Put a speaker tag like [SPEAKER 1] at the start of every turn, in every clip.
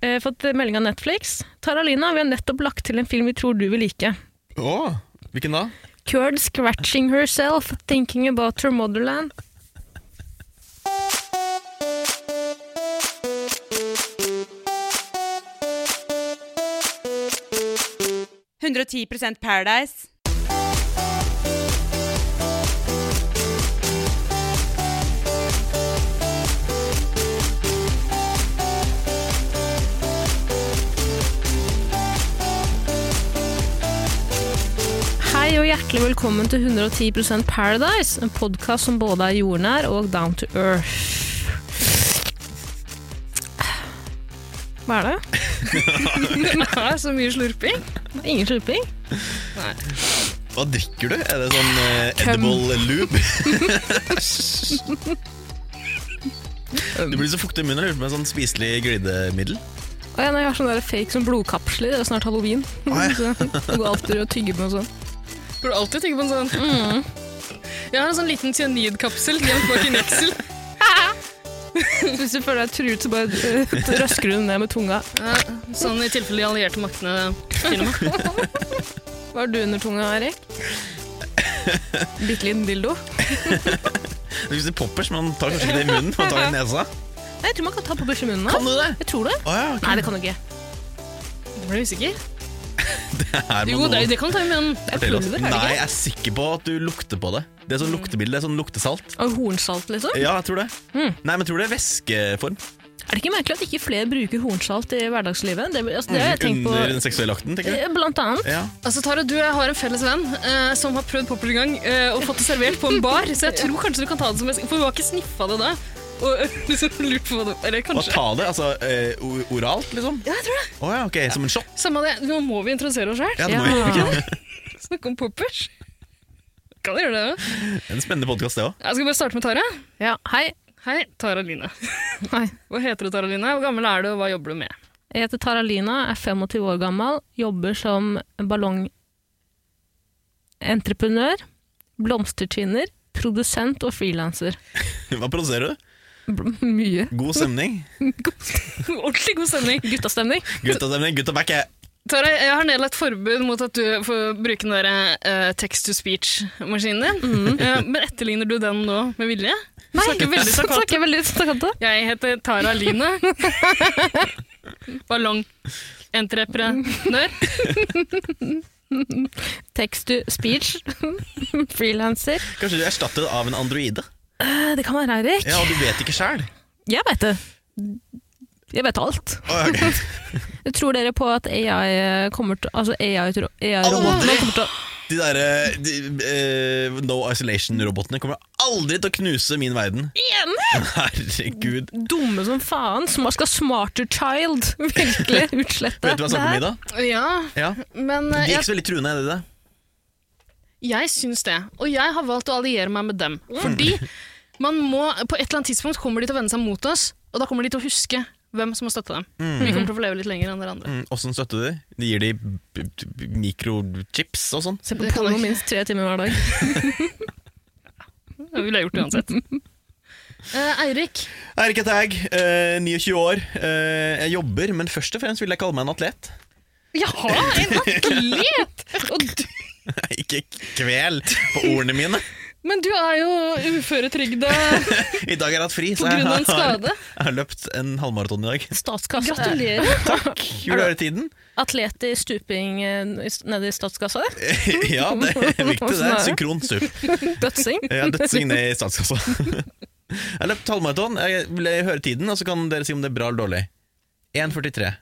[SPEAKER 1] eh, fått melding av Netflix. Taralina, vi har nettopp lagt til en film vi tror du vil like.
[SPEAKER 2] Å, hvilken da?
[SPEAKER 1] Curd scratching herself, thinking about her motherland.
[SPEAKER 3] det. 110 Paradise.
[SPEAKER 1] Hei og hjertelig velkommen til 110 Paradise, en podkast som både er jordnær og down to earth. Hva er det? det er så mye slurping. Ingen slurping.
[SPEAKER 2] Hva drikker du? Er det sånn eh, edible loop? du blir så fuktig i munnen jeg lurer på om det er sånn spiselig glidemiddel.
[SPEAKER 1] Og jeg, jeg har sånne der fake som blodkapsler. Det er snart halloween.
[SPEAKER 2] Nei.
[SPEAKER 1] Så jeg går alltid og tygger på noe sånt.
[SPEAKER 4] Burde alltid tenke på en sånn. Jeg har en sånn liten cyanidkapsel gjemt bak i neksel.
[SPEAKER 1] Så Hvis du føler deg truet, så bare eh, røsker du den ned med tunga.
[SPEAKER 4] Ja, sånn i tilfelle de allierte maktene finner meg.
[SPEAKER 1] Hva har du under tunga, Erik? Bitte liten dildo?
[SPEAKER 2] Det er liksom sånn poppers, man tar kanskje ikke det i munnen, man tar det i nesa.
[SPEAKER 1] Nei, jeg tror man kan ta på børsemunnen.
[SPEAKER 2] Kan du det?
[SPEAKER 1] Jeg tror det.
[SPEAKER 2] Å ja, ok.
[SPEAKER 1] Nei, det kan du ikke.
[SPEAKER 4] Ble du usikker?
[SPEAKER 2] Det her må
[SPEAKER 4] Jo, det,
[SPEAKER 2] noen
[SPEAKER 4] det kan du ta i munnen.
[SPEAKER 1] Det er
[SPEAKER 2] fortelle oss.
[SPEAKER 1] pulver, er det
[SPEAKER 2] Nei,
[SPEAKER 1] ikke?
[SPEAKER 2] jeg er sikker på at du lukter på det. Det er sånn luktebilde, det er sånn luktesalt.
[SPEAKER 1] Og hornsalt, liksom?
[SPEAKER 2] Ja, jeg tror det.
[SPEAKER 1] Mm.
[SPEAKER 2] Nei, men jeg tror det er væskeform.
[SPEAKER 1] Er det ikke merkelig at ikke flere bruker hornsalt i hverdagslivet? Det, altså, det har jeg tenkt på.
[SPEAKER 2] Under den seksuelle akten, tenker du?
[SPEAKER 1] Eh, Blant annet.
[SPEAKER 2] Ja.
[SPEAKER 4] Altså, Tara, du og jeg har en felles venn eh, som har prøvd popper en gang eh, og fått det servert på en bar, så jeg tror kanskje du kan ta det som en For hun har ikke sniffa det da. Og liksom lurt på hva det Eller
[SPEAKER 2] Hva
[SPEAKER 4] kanskje
[SPEAKER 2] ta det? Altså eh, o- oralt, liksom? Ja, jeg tror det. Å ja, ok, som en shot?
[SPEAKER 4] Samme det, nå må vi introdusere oss sjøl.
[SPEAKER 2] Ja, det må vi.
[SPEAKER 1] Ja.
[SPEAKER 4] Snakke om poppers. Kan jeg gjøre det òg?
[SPEAKER 2] En spennende podkast, det òg.
[SPEAKER 4] Jeg skal bare starte med Tara.
[SPEAKER 1] Ja, hei.
[SPEAKER 4] Hei, Tara Line.
[SPEAKER 1] Hei.
[SPEAKER 4] Hva heter du, Tara Line? Hvor gammel er du, og hva jobber du med?
[SPEAKER 1] Jeg heter Tara Lina, er 25 år gammel, jobber som ballongentreprenør, blomstertvinner, produsent og frilanser.
[SPEAKER 2] Hva produserer du?
[SPEAKER 1] Mye.
[SPEAKER 2] God stemning?
[SPEAKER 4] Ordentlig god stemning.
[SPEAKER 1] Guttastemning.
[SPEAKER 2] Guttastemning? Gutta back, jeg.
[SPEAKER 4] Tara, jeg har nedlagt forbud mot at du får bruke den der eh, text-to-speech-maskinen din. Eh, men etterligner du den nå med vilje?
[SPEAKER 1] Nei,
[SPEAKER 4] snakker veldig stakkato.
[SPEAKER 1] snakker veldig stakkato.
[SPEAKER 4] Jeg heter Tara Line. Ballongentreprenør.
[SPEAKER 1] Text to speech. Freelancer.
[SPEAKER 2] Kanskje du erstatter det av en androide?
[SPEAKER 1] Eh, Det kan være Eirik.
[SPEAKER 2] Ja, og du vet ikke sjæl.
[SPEAKER 1] Jeg vet det. Jeg vet alt.
[SPEAKER 2] Oh, okay.
[SPEAKER 1] Tror dere på at AI kommer til Altså AI-robotene
[SPEAKER 2] Aldri.
[SPEAKER 1] kommer til å
[SPEAKER 2] De derre eh, No Isolation-robotene kommer aldri til å knuse min verden.
[SPEAKER 1] Igjen?
[SPEAKER 2] Herregud.
[SPEAKER 1] Dumme som faen. Som skal smarter child. Virkelig. Utslette.
[SPEAKER 2] Vet du hva jeg snakker om,
[SPEAKER 1] Det her-
[SPEAKER 2] Ida?
[SPEAKER 4] Ja,
[SPEAKER 2] Ja.
[SPEAKER 4] men
[SPEAKER 2] De
[SPEAKER 4] eh,
[SPEAKER 2] er ikke
[SPEAKER 4] jeg,
[SPEAKER 2] så veldig truende, er de det?
[SPEAKER 4] jeg syns det. Og jeg har valgt å alliere meg med dem. Fordi man må, på et eller annet tidspunkt kommer de til å vende seg mot oss, og da kommer de til å huske hvem som har støtta dem. Vi kommer til å få leve litt lenger enn dere andre.
[SPEAKER 2] Mm, Åssen støtter de? De gir de b- b- mikrochips og sånn.
[SPEAKER 1] Se på
[SPEAKER 4] Det kan
[SPEAKER 1] porno
[SPEAKER 4] jeg-
[SPEAKER 1] minst tre timer hver dag.
[SPEAKER 4] Det ville jeg gjort uansett. Eh, Eirik,
[SPEAKER 2] Eirik heter jeg. eh, 29 år. Eh, jeg jobber, men først og fremst vil jeg kalle meg en atlet.
[SPEAKER 4] Jaha, en atlet! Og du,
[SPEAKER 2] ikke kvel på ordene mine.
[SPEAKER 4] men du er jo uføretrygda
[SPEAKER 2] I dag har jeg hatt fri,
[SPEAKER 4] på
[SPEAKER 2] så jeg
[SPEAKER 4] grunn av en
[SPEAKER 2] har,
[SPEAKER 4] skade.
[SPEAKER 2] jeg har løpt en halvmaraton i dag.
[SPEAKER 1] Statskassa.
[SPEAKER 4] Gratulerer.
[SPEAKER 2] Vil du høre tiden?
[SPEAKER 1] Atlet i stuping eh, i- nede i statskassa.
[SPEAKER 2] ja, det er viktig, det.
[SPEAKER 1] Åssen er det?
[SPEAKER 2] Synkronstup.
[SPEAKER 1] Dødsing.
[SPEAKER 2] Jeg har dødsing ned i statskassa. Jeg løp halvmaraton. Jeg vil høre tiden, og så kan dere si om det er bra eller dårlig. 1,43.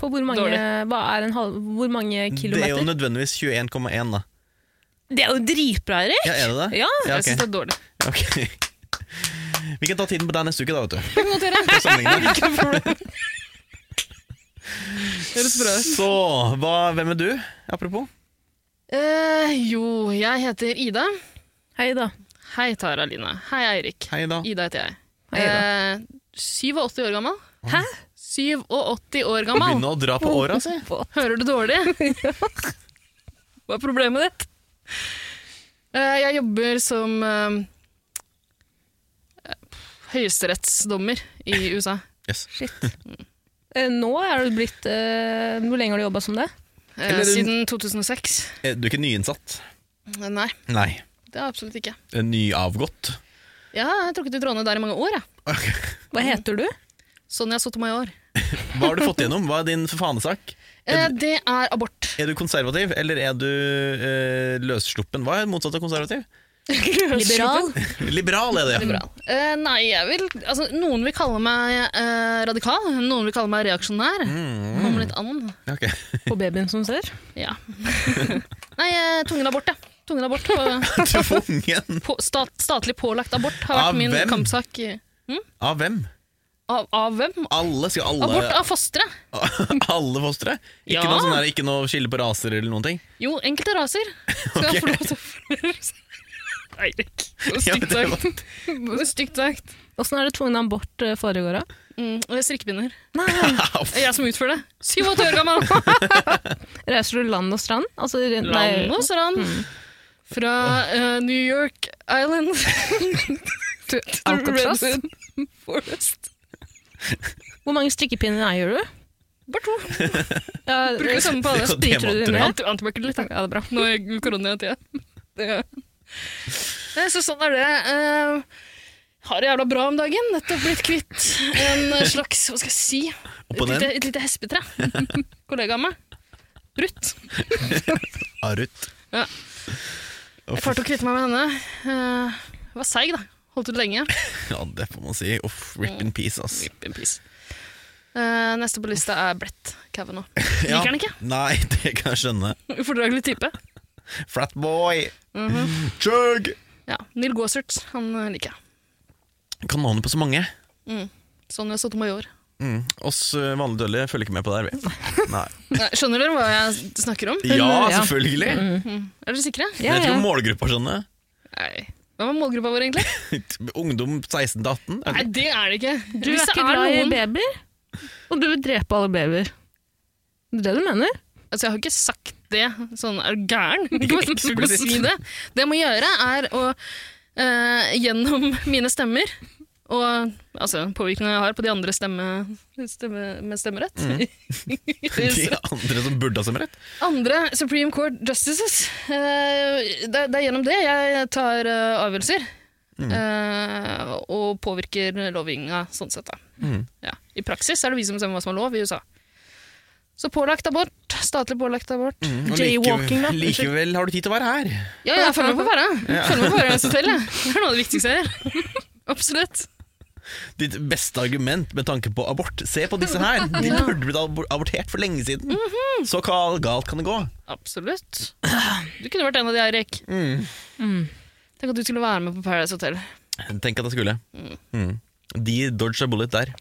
[SPEAKER 1] På hvor mange,
[SPEAKER 4] Dårlig.
[SPEAKER 1] hva er en halv, hvor mange
[SPEAKER 2] Det er jo
[SPEAKER 1] kilometer?
[SPEAKER 2] nødvendigvis 21,1, da.
[SPEAKER 1] Det er jo dritbra, Erik!
[SPEAKER 2] Ja, er det det?
[SPEAKER 1] Ja.
[SPEAKER 2] Ja,
[SPEAKER 4] Jeg
[SPEAKER 2] ok.
[SPEAKER 4] syns det er dårlig.
[SPEAKER 2] Ok. Vi kan ta tiden på deg neste uke, da, vet du.
[SPEAKER 4] Det kan godt gjøre.
[SPEAKER 2] Og sammenligne.
[SPEAKER 4] Ikke noe problem. Høres bra ut.
[SPEAKER 2] Så hva, hvem er du, apropos?
[SPEAKER 4] Eh, jo, jeg heter Ida.
[SPEAKER 1] Hei da.
[SPEAKER 4] Hei, Tara Line. Hei, Eirik.
[SPEAKER 2] Hei, da.
[SPEAKER 4] Ida heter jeg.
[SPEAKER 1] Hei
[SPEAKER 4] Eh, 87 år gammel.
[SPEAKER 1] Hæ?
[SPEAKER 4] 87 år gammel.
[SPEAKER 2] Begynne å dra på åra, si.
[SPEAKER 4] Hører du dårlig? Hva er problemet ditt? Eh, Jeg jobber som eh, høyesterettsdommer i USA.
[SPEAKER 2] Yes.
[SPEAKER 1] Shit. Eh, Nå er du blitt eh, Hvor lenge har du jobba som det?
[SPEAKER 4] Eh,
[SPEAKER 2] Eller-
[SPEAKER 4] Siden 2006.
[SPEAKER 2] Eh, Du er ikke nyinnsatt?
[SPEAKER 4] Eh, Nei,
[SPEAKER 2] Nei.
[SPEAKER 4] det er absolutt ikke.
[SPEAKER 2] Eh, Nyavgått?
[SPEAKER 4] Jeg har trukket ut råne der i mange år, jeg.
[SPEAKER 2] Ok.
[SPEAKER 1] Hva heter du?
[SPEAKER 4] Sånn jeg har i år.
[SPEAKER 2] Hva har du fått gjennom? Hva er din fanesak?
[SPEAKER 4] Eh, det er abort.
[SPEAKER 2] Er du konservativ, eller er du eh, løssluppen? Hva er motsatt av konservativ? Liberal er det. ja.
[SPEAKER 4] Eh, nei, jeg vil altså, Noen vil kalle meg eh, radikal, noen vil kalle meg reaksjonær.
[SPEAKER 2] Mm.
[SPEAKER 4] Kommer litt an.
[SPEAKER 2] Ok.
[SPEAKER 1] På babyen som ser?
[SPEAKER 4] Ja. nei, eh, tvungen abort, ja. Tvungen abort på,
[SPEAKER 2] Tvungen.
[SPEAKER 4] på, stat, statlig pålagt abort har vært
[SPEAKER 2] Av
[SPEAKER 4] min
[SPEAKER 2] hvem?
[SPEAKER 4] kampsak. i-
[SPEAKER 2] Av hvem?
[SPEAKER 4] Av, av hvem?
[SPEAKER 2] Alle skal
[SPEAKER 4] Abort
[SPEAKER 2] alle,
[SPEAKER 4] av fostre.
[SPEAKER 2] alle fostre? Ikke,
[SPEAKER 4] Ja.
[SPEAKER 2] noe sånn der, ikke noe skille på raser eller noen ting?
[SPEAKER 4] Jo, enkelte raser skal
[SPEAKER 2] Ok.
[SPEAKER 4] få lov til å Eirik, så
[SPEAKER 2] Ja, men
[SPEAKER 4] stygt
[SPEAKER 2] det
[SPEAKER 4] sagt. Så stygt sagt.
[SPEAKER 1] Åssen er det tvungen abort eh, foregår, da?
[SPEAKER 4] Mm, og jeg strikkepinner.
[SPEAKER 2] Au.
[SPEAKER 4] Det er Jeg som utfører det. 87 år gammel!
[SPEAKER 1] Reiser du land og strand? Altså, re- nei, Mm.
[SPEAKER 4] Land og strand. Fra eh, New York Island to, to
[SPEAKER 1] Alcatraz.
[SPEAKER 4] Redwood Forest.
[SPEAKER 1] Hvor mange strikkepinner eier du?
[SPEAKER 4] Bare to.
[SPEAKER 1] Ja,
[SPEAKER 4] Bruker det samme på alle.
[SPEAKER 2] Det var
[SPEAKER 1] Bryter du
[SPEAKER 2] demontrert.
[SPEAKER 1] det ned?
[SPEAKER 4] Anti- Antibac litt, da. Ja, det er bra. Nå i koronatida. Det- Eh, Så sånn er det. Eh, har det jævla bra om dagen. Nettopp blitt kvitt en slags, hva skal jeg si, et
[SPEAKER 2] Opponent?
[SPEAKER 4] lite, et lite hespetre. Kollega av meg. Ruth.
[SPEAKER 2] Arut.
[SPEAKER 4] Ja.
[SPEAKER 2] Å,
[SPEAKER 4] Jeg klarte å kvitte meg med henne. Eh, var seig, da. Holdt ut lenge.
[SPEAKER 2] Ja, det får man si. Uff, rip in peace, ass.
[SPEAKER 4] Rip in peace. Eh, neste på lista er Brett Kavanaugh.
[SPEAKER 2] Ja.
[SPEAKER 4] Liker han ikke?
[SPEAKER 2] Nei, det kan jeg skjønne.
[SPEAKER 4] Ufordragelig type. Mhm.
[SPEAKER 2] Frat boy! Chug!
[SPEAKER 4] Ja, Neil Gossert, han eh, liker jeg.
[SPEAKER 2] Kan navnet på så mange.
[SPEAKER 4] Sonja Sotomayor.
[SPEAKER 2] Mm. Oss eh, vanlige dødelige følger ikke med på det her, vi. Nei.
[SPEAKER 4] Nei, Skjønner dere hva jeg snakker om? Mhm.
[SPEAKER 2] Ja,
[SPEAKER 1] Ja.
[SPEAKER 2] selvfølgelig!
[SPEAKER 4] Mm. Er dere sikre?
[SPEAKER 2] Jeg
[SPEAKER 1] Ja,
[SPEAKER 2] vet ikke
[SPEAKER 1] ja.
[SPEAKER 2] om målgruppa sånn, eh. skjønner.
[SPEAKER 4] Nei. Hva var målgruppa vår, egentlig?
[SPEAKER 2] Ungdom 16 til 18? er
[SPEAKER 4] Nei,
[SPEAKER 2] det-
[SPEAKER 4] det er det ikke.
[SPEAKER 1] Du er
[SPEAKER 4] Hvis det
[SPEAKER 1] ikke glad i
[SPEAKER 4] noen-
[SPEAKER 1] babyer, og du vil drepe alle babyer. Det er det du mener?
[SPEAKER 4] Altså, jeg har ikke sagt det sånn Er du gæren?
[SPEAKER 2] Ikke
[SPEAKER 4] Hvordan skal du
[SPEAKER 2] eksplisitt.
[SPEAKER 4] si det? Det jeg må gjøre, er å eh, gjennom mine stemmer og altså, påvirkningen jeg har på de andre stemme, stemme, med stemmerett
[SPEAKER 2] De andre som burde ha stemmerett?
[SPEAKER 4] Andre Supreme Court justices. Eh, det, det er gjennom det jeg tar eh, avgjørelser. eh, og påvirker lovgivninga sånn sett, da.
[SPEAKER 2] Mhm.
[SPEAKER 4] Ja. I praksis er det vi som bestemmer hva som er lov i USA. Så pålagt abort. Statlig pålagt abort.
[SPEAKER 2] Og
[SPEAKER 1] Jaywalking, da.
[SPEAKER 2] likevel, likevel har du tid til å være her.
[SPEAKER 4] Ja, jeg følger med på Bæra. Følger med på Bæra Hotell, jeg. Det er noe av det viktigste jeg gjør. Absolutt.
[SPEAKER 2] Ditt beste argument med tanke på abort. Se på disse her! De burde blitt abor- abortert for lenge siden. Så hva galt kan det gå?
[SPEAKER 4] Absolutt. Du kunne vært en av de, Eirik. Tenk at du skulle være med på Paradise Hotel.
[SPEAKER 2] Tenk at jeg skulle. Mm. De dodga bullet der.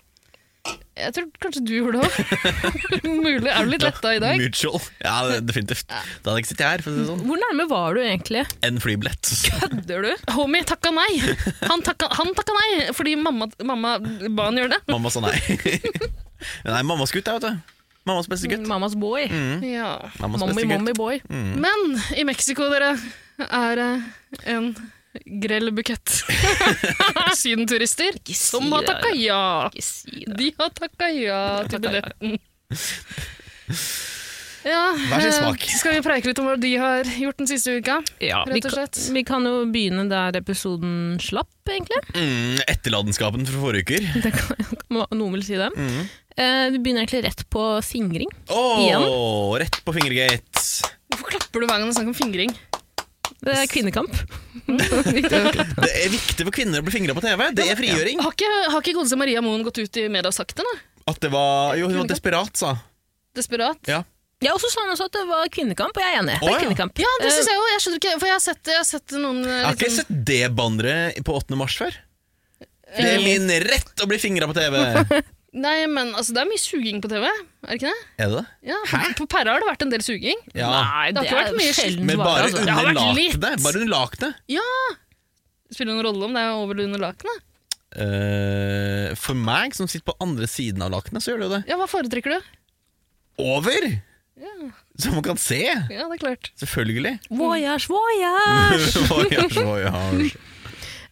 [SPEAKER 4] Jeg tror kanskje du gjorde det òg. Mulig. Er du litt letta i dag?
[SPEAKER 2] Mutual. Ja, det- definitivt. Da hadde jeg ikke sittet her. for å si det sånn.
[SPEAKER 1] Hvor nærme var du egentlig?
[SPEAKER 2] En flybillett.
[SPEAKER 1] Kødder du?
[SPEAKER 4] Homie takka nei. Han takka, han takka nei fordi mamma, mamma ba han gjøre det.
[SPEAKER 2] Mamma sa nei. Nei, mammas gutt, jeg, vet du. Mammas beste gutt.
[SPEAKER 4] Mm,
[SPEAKER 1] Mammas boy.
[SPEAKER 4] Ja.
[SPEAKER 2] Mammas
[SPEAKER 1] Mommy,
[SPEAKER 2] beste gutt.
[SPEAKER 1] mommy boy.
[SPEAKER 4] Men i Mexico, dere, er eh, en grell bukett sydenturister som har
[SPEAKER 1] det,
[SPEAKER 4] takka ja.
[SPEAKER 1] Ikke si det.
[SPEAKER 4] De har takka ja til billetten. Ja,
[SPEAKER 2] Hver sin
[SPEAKER 4] eh,
[SPEAKER 2] smak.
[SPEAKER 4] Skal vi preike litt om hva de har gjort den siste uka?
[SPEAKER 1] Ja, vi,
[SPEAKER 4] Rett
[SPEAKER 1] kan-
[SPEAKER 4] og slett.
[SPEAKER 1] vi kan jo begynne der episoden slapp, egentlig.
[SPEAKER 2] Mm, etterladenskapen fra forrige uker.
[SPEAKER 1] Det kan, må- noen vil si det.
[SPEAKER 2] Mhm.
[SPEAKER 1] Eh, vi begynner egentlig rett på fingring.
[SPEAKER 2] Åh, rett på fingergate.
[SPEAKER 4] Hvorfor klapper du hver gang det er snakk om fingring?
[SPEAKER 1] Det er kvinnekamp.
[SPEAKER 2] Det er viktig for kvinner å bli fingra på TV. Det er frigjøring.
[SPEAKER 4] Har ikke, har ikke godeste Maria Moen gått ut i media og sagt det? da?
[SPEAKER 2] At det var Jo, hun var desperat, sa.
[SPEAKER 4] Desperat?
[SPEAKER 1] Ja, og så sa han også at det var kvinnekamp, og jeg er enig. Det
[SPEAKER 2] Å,
[SPEAKER 1] er
[SPEAKER 2] ja.
[SPEAKER 1] kvinnekamp.
[SPEAKER 4] Ja, det syns
[SPEAKER 1] Eh,
[SPEAKER 4] jeg òg. Jeg skjønner ikke, for jeg har sett, jeg har sett noen eh,
[SPEAKER 2] Jeg har ikke
[SPEAKER 4] liksom-
[SPEAKER 2] sett det banderet på 8. mars før. Det
[SPEAKER 4] Eh.
[SPEAKER 2] er min rett å bli fingra på TV. Er
[SPEAKER 4] Nei, men altså, det er mye suging på TV, er det ikke det?
[SPEAKER 2] det det?
[SPEAKER 4] Ja, På Perra har det vært en del suging.
[SPEAKER 2] Ja.
[SPEAKER 1] Nei,
[SPEAKER 4] Det har ikke vært mye
[SPEAKER 1] sjeldent
[SPEAKER 2] Men
[SPEAKER 1] vare,
[SPEAKER 2] bare
[SPEAKER 1] altså.
[SPEAKER 4] har
[SPEAKER 2] under
[SPEAKER 4] vært litt.
[SPEAKER 2] lakenet. Bare under lakenet.
[SPEAKER 4] Det spiller noen rolle om det er over eller under lakenet.
[SPEAKER 2] Eh, for meg som sitter på andre siden av lakenet, så gjør det jo det.
[SPEAKER 4] Ja, hva foretrekker du?
[SPEAKER 2] Over! Så man kan se.
[SPEAKER 4] Ja, det er klart.
[SPEAKER 2] Selvfølgelig.
[SPEAKER 1] Eh, Voyage,
[SPEAKER 4] Ah,
[SPEAKER 1] voyage!
[SPEAKER 2] Voyage, voyage.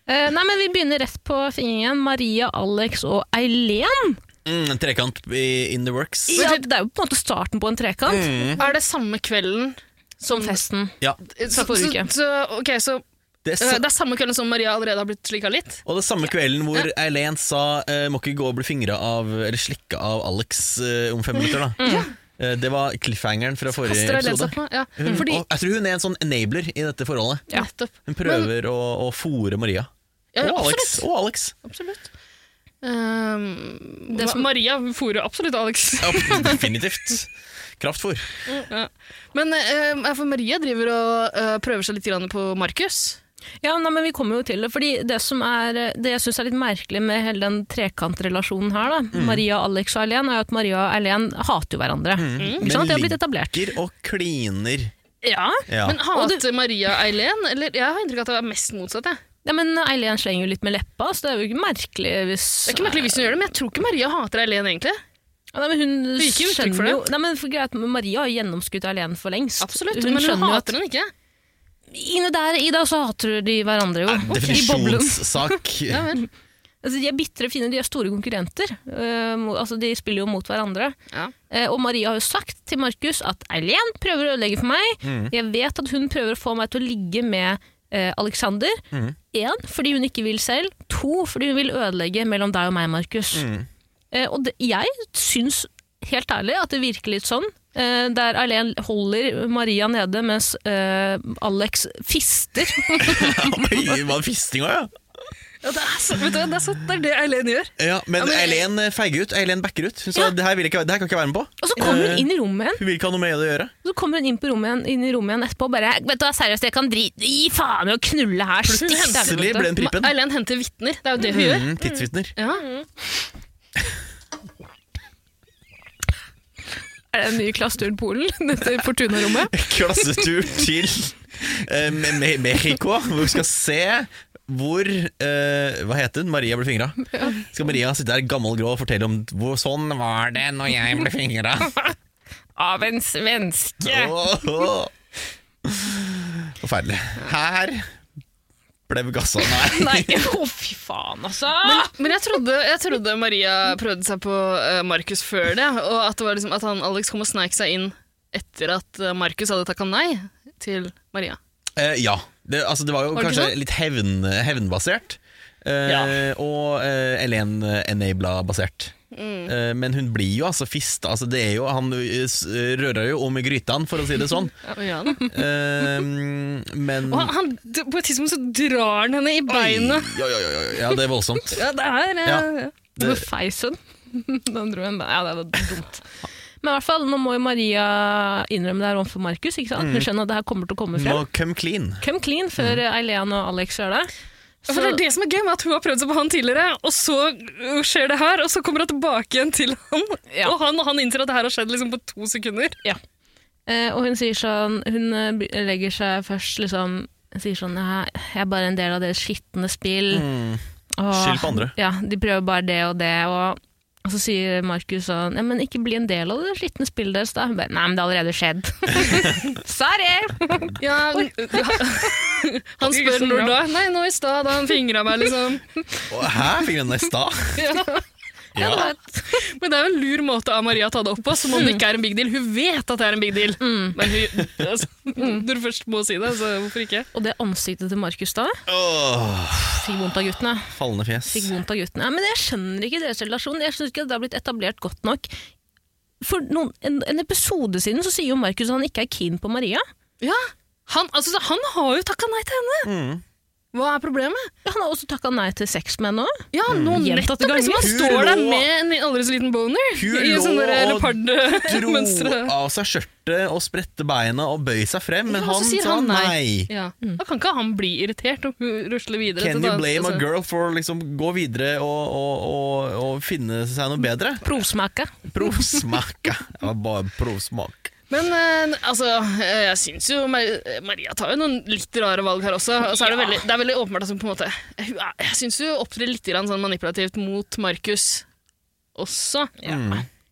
[SPEAKER 1] Eh, nei, men Vi begynner rett på fingringen. Maria, Alex og Eileen
[SPEAKER 2] Mm, en trekant i, in the works. Mm.
[SPEAKER 1] Ja, det er jo på en måte starten på en trekant.
[SPEAKER 4] Er det samme kvelden
[SPEAKER 1] Som
[SPEAKER 4] Mm.
[SPEAKER 1] festen.
[SPEAKER 2] Ja,
[SPEAKER 1] Fra forrige uke.
[SPEAKER 4] Så, så, ok, så
[SPEAKER 2] det er
[SPEAKER 4] øh,
[SPEAKER 2] sa
[SPEAKER 4] det er samme kvelden som Maria allerede har blitt slika litt?
[SPEAKER 2] og det er samme kvelden hvor Eileen sa eh, må ikke gå og bli fingra av eller slikka av Alex eh, om fem minutter. da Eh, Det var cliffhangeren fra forrige
[SPEAKER 4] Mm. Kaster Eileen
[SPEAKER 2] episode.
[SPEAKER 4] seg på? Ja.
[SPEAKER 2] Hun,
[SPEAKER 4] Mm. Fordi,
[SPEAKER 2] og jeg tror hun er en sånn enabler i dette forholdet.
[SPEAKER 1] Ja.
[SPEAKER 4] Nettopp.
[SPEAKER 2] Hun prøver å, å fore Maria.
[SPEAKER 4] Ja,
[SPEAKER 2] og Alex.
[SPEAKER 4] absolutt.
[SPEAKER 2] Og Alex.
[SPEAKER 4] absolutt. Ehm,
[SPEAKER 1] Det som-
[SPEAKER 4] Ma- Maria fôrer absolutt Alex.
[SPEAKER 2] Ja, definitivt.
[SPEAKER 4] Mm.
[SPEAKER 2] Kraftfôr.
[SPEAKER 4] Men eh, for Maria driver og eh, prøver seg litt grann på Markus.
[SPEAKER 1] Ja, nei, men vi kommer jo til det. Fordi det som er, det jeg syns er litt merkelig med hele den trekantrelasjonen her, da, Maria, Alex og Eileen, er jo at Maria og Eileen hater jo hverandre.
[SPEAKER 4] Mm.
[SPEAKER 1] Ikke sant? Det har blitt etablert.
[SPEAKER 2] ligger og kliner.
[SPEAKER 1] Ja.
[SPEAKER 2] Ja.
[SPEAKER 4] Men hater Maria Eileen? Eller jeg har inntrykk av at det er mest motsatt. Jeg.
[SPEAKER 1] ja, men Eileen slenger jo litt med leppa, så det er jo ikke merkelig hvis
[SPEAKER 4] Det er ikke merkelig hvis hun gjør det, men jeg tror ikke Maria hater Eileen egentlig.
[SPEAKER 1] Ja, nei, men hun
[SPEAKER 4] gir ikke uttrykk
[SPEAKER 1] skjønner
[SPEAKER 4] for det.
[SPEAKER 1] jo Nei, men for greit, men Maria har jo gjennomskutt Eileen for lengst.
[SPEAKER 4] Absolutt,
[SPEAKER 1] Hun
[SPEAKER 4] Men hun
[SPEAKER 1] skjønner jo at
[SPEAKER 4] hater henne ikke.
[SPEAKER 1] Inne der, Ida, så hater de hverandre
[SPEAKER 2] Ah,
[SPEAKER 1] jo. I boblen.
[SPEAKER 2] Definisjonssak.
[SPEAKER 4] Ja, vel.
[SPEAKER 1] Altså, de er bitre fiender, de er store konkurrenter. Eh, mo- altså, de spiller jo mot hverandre.
[SPEAKER 4] Ja.
[SPEAKER 1] Eh, og Maria har jo sagt til Markus at Eileen prøver å ødelegge for meg. Jeg vet at hun prøver å få meg til å ligge med eh, Alexander. Én, fordi hun ikke vil selv. To, fordi hun vil ødelegge mellom deg og meg, Markus. Eh, og det, jeg syns helt ærlig at det virker litt sånn. eh, der Eileen holder Maria nede, mens eh, Alex fister.
[SPEAKER 2] Oi, var det fisting òg, ja?
[SPEAKER 4] Ja, det, er så, vet du, hva, det, er så, det er det Eileen gjør.
[SPEAKER 2] ja? Men
[SPEAKER 4] Ja, men-
[SPEAKER 2] Eileen feiger ut. Eileen backer ut. Hun sa
[SPEAKER 1] Ja.
[SPEAKER 2] det, her vil jeg ikke, det her kan jeg ikke være med på.
[SPEAKER 1] Og så kommer
[SPEAKER 2] Eh.
[SPEAKER 1] hun inn i rommet igjen.
[SPEAKER 2] Hun vil ikke ha noe med det å gjøre.
[SPEAKER 1] Så kommer hun inn, på rommet, igjen- inn i rommet igjen etterpå og bare Vet du hva, seriøst, jeg kan drite Gi faen i å knulle her!
[SPEAKER 2] Plutselig
[SPEAKER 1] stikk deg,
[SPEAKER 2] henselig
[SPEAKER 1] vet
[SPEAKER 2] ble
[SPEAKER 1] du.
[SPEAKER 2] en pripen.
[SPEAKER 4] Ma- Eileen henter vitner, det er jo det hun gjør.
[SPEAKER 2] Mm, tidsvitner.
[SPEAKER 4] Ja.
[SPEAKER 1] Er det en ny klassetur til Polen? Dette Fortuna-rommet?
[SPEAKER 2] Klassetur til eh, Me- Me- Mexico, hvor vi skal se hvor eh, Hva heter hun? Maria ble fingra. Skal Maria sitte der gammel grå og fortelle om hvor sånn var det når jeg ble fingra?
[SPEAKER 1] Av en svenske!
[SPEAKER 2] Forferdelig. Her ble vi gassa. Nei.
[SPEAKER 1] Nei, å fy faen, altså!
[SPEAKER 4] Men jeg trodde, jeg trodde Maria prøvde seg på eh, Markus før det, og at, det var liksom, at han, Alex kom og sneik seg inn etter at eh, Markus hadde takka nei til Maria.
[SPEAKER 2] Eh, ja. Det, altså, det var jo
[SPEAKER 4] Var det ikke
[SPEAKER 2] kanskje
[SPEAKER 4] sånn?
[SPEAKER 2] litt hevn, hevnbasert. eh, Og uh, Elen Enabla-basert.
[SPEAKER 4] Mm.
[SPEAKER 2] Eh, men hun blir jo altså fist. Altså, det er jo, han eh, s- rører jo om i grytene, for å si det sånn.
[SPEAKER 4] Og, ja, da.
[SPEAKER 2] Eh, men
[SPEAKER 4] og han, han, på et tidspunkt så drar han henne i beinet.
[SPEAKER 2] Oi, oi, oi, oi, ja, det er voldsomt.
[SPEAKER 4] Ja, det er eh,
[SPEAKER 2] Ja.
[SPEAKER 1] Hvor feis hun? Den dro hun Ja, det var dumt. Men i hvert fall, nå må jo Maria innrømme det her overfor Markus. ikke
[SPEAKER 4] Mm.
[SPEAKER 1] sant? Hun skjønner at det her kommer til å komme
[SPEAKER 2] Må
[SPEAKER 1] frem.
[SPEAKER 2] come clean.
[SPEAKER 1] Come clean før Eileen og Alex gjør det.
[SPEAKER 4] Ja, For det er det som er gøy med at hun har prøvd seg på han tidligere, og så øh, skjer det her, og så kommer hun tilbake igjen til han,
[SPEAKER 1] Ja.
[SPEAKER 4] og han, han innser at det her har skjedd liksom på to sekunder.
[SPEAKER 1] Eh, og hun sier sånn Hun eh, be- legger seg først liksom Sier sånn «Nei, Jeg er bare en del av deres skitne spill. Åh,
[SPEAKER 2] Mm. Skyld på andre.
[SPEAKER 1] Ja, de prøver bare det og det. Og, og så sier Markus sånn Ja, men ikke bli en del av det skitne spillet deres, da. Hun bare Nei, men det har allerede skjedd. Sorry!
[SPEAKER 4] Ja, sånn, han spør når da? Nei, nå i stad, da han fingra meg, liksom.
[SPEAKER 2] Å, Hæ, fikk hun den i stad?
[SPEAKER 4] Ja.
[SPEAKER 1] Ja.
[SPEAKER 2] Ja.
[SPEAKER 4] Men det er jo en lur måte av Maria å ta det opp på, som om det ikke er en big deal. Hun vet at det er en big deal, men hun, altså, når du først må si det, så hvorfor ikke?
[SPEAKER 1] Og det ansiktet til Markus da
[SPEAKER 2] Åh,
[SPEAKER 1] fikk vondt av guttene.
[SPEAKER 2] fallende fjes.
[SPEAKER 1] Fikk vondt av guttene. Ja, men jeg skjønner ikke deres relasjon. Jeg skjønner ikke at det har blitt etablert godt nok. For noen, en, en episode siden så sier jo Markus at han ikke er keen på Maria.
[SPEAKER 4] Ja, han, altså, så han har jo takka nei til henne!
[SPEAKER 2] Mm.
[SPEAKER 4] Hva er problemet?
[SPEAKER 1] Ja, Han har også takka nei til sex med henne òg.
[SPEAKER 4] Ja,
[SPEAKER 2] Mm.
[SPEAKER 4] nå
[SPEAKER 1] Gjentatte
[SPEAKER 4] nettopp liksom, Han
[SPEAKER 2] ganger.
[SPEAKER 4] står der
[SPEAKER 2] Hun lå-
[SPEAKER 4] med en aldri så liten boner
[SPEAKER 2] Hun
[SPEAKER 4] i
[SPEAKER 2] lå
[SPEAKER 4] sånne
[SPEAKER 2] og dro
[SPEAKER 4] leopardmønstre.
[SPEAKER 2] av seg skjørtet og spredte beina og bøy seg frem, men
[SPEAKER 4] Ja,
[SPEAKER 2] han
[SPEAKER 4] så sier
[SPEAKER 2] sa
[SPEAKER 4] han
[SPEAKER 2] nei.
[SPEAKER 4] nei. Ja. Da kan ikke han bli irritert og hun rusler videre.
[SPEAKER 2] Can
[SPEAKER 4] til
[SPEAKER 2] you
[SPEAKER 4] da-
[SPEAKER 2] blame a
[SPEAKER 4] altså-
[SPEAKER 2] girl for å liksom gå videre og, og, og, og finne seg noe bedre?
[SPEAKER 1] Provsmake.
[SPEAKER 2] Provsmaka. Det var bare provsmak.
[SPEAKER 4] Men eh, altså, eh, jeg syns jo Mar- Maria tar jo noen litt rare valg her også. Og så er det, veldig, det er veldig åpenbart at hun på en måte hun er- Jeg syns hun opptrer litt grann sånn manipulativt mot Markus også. I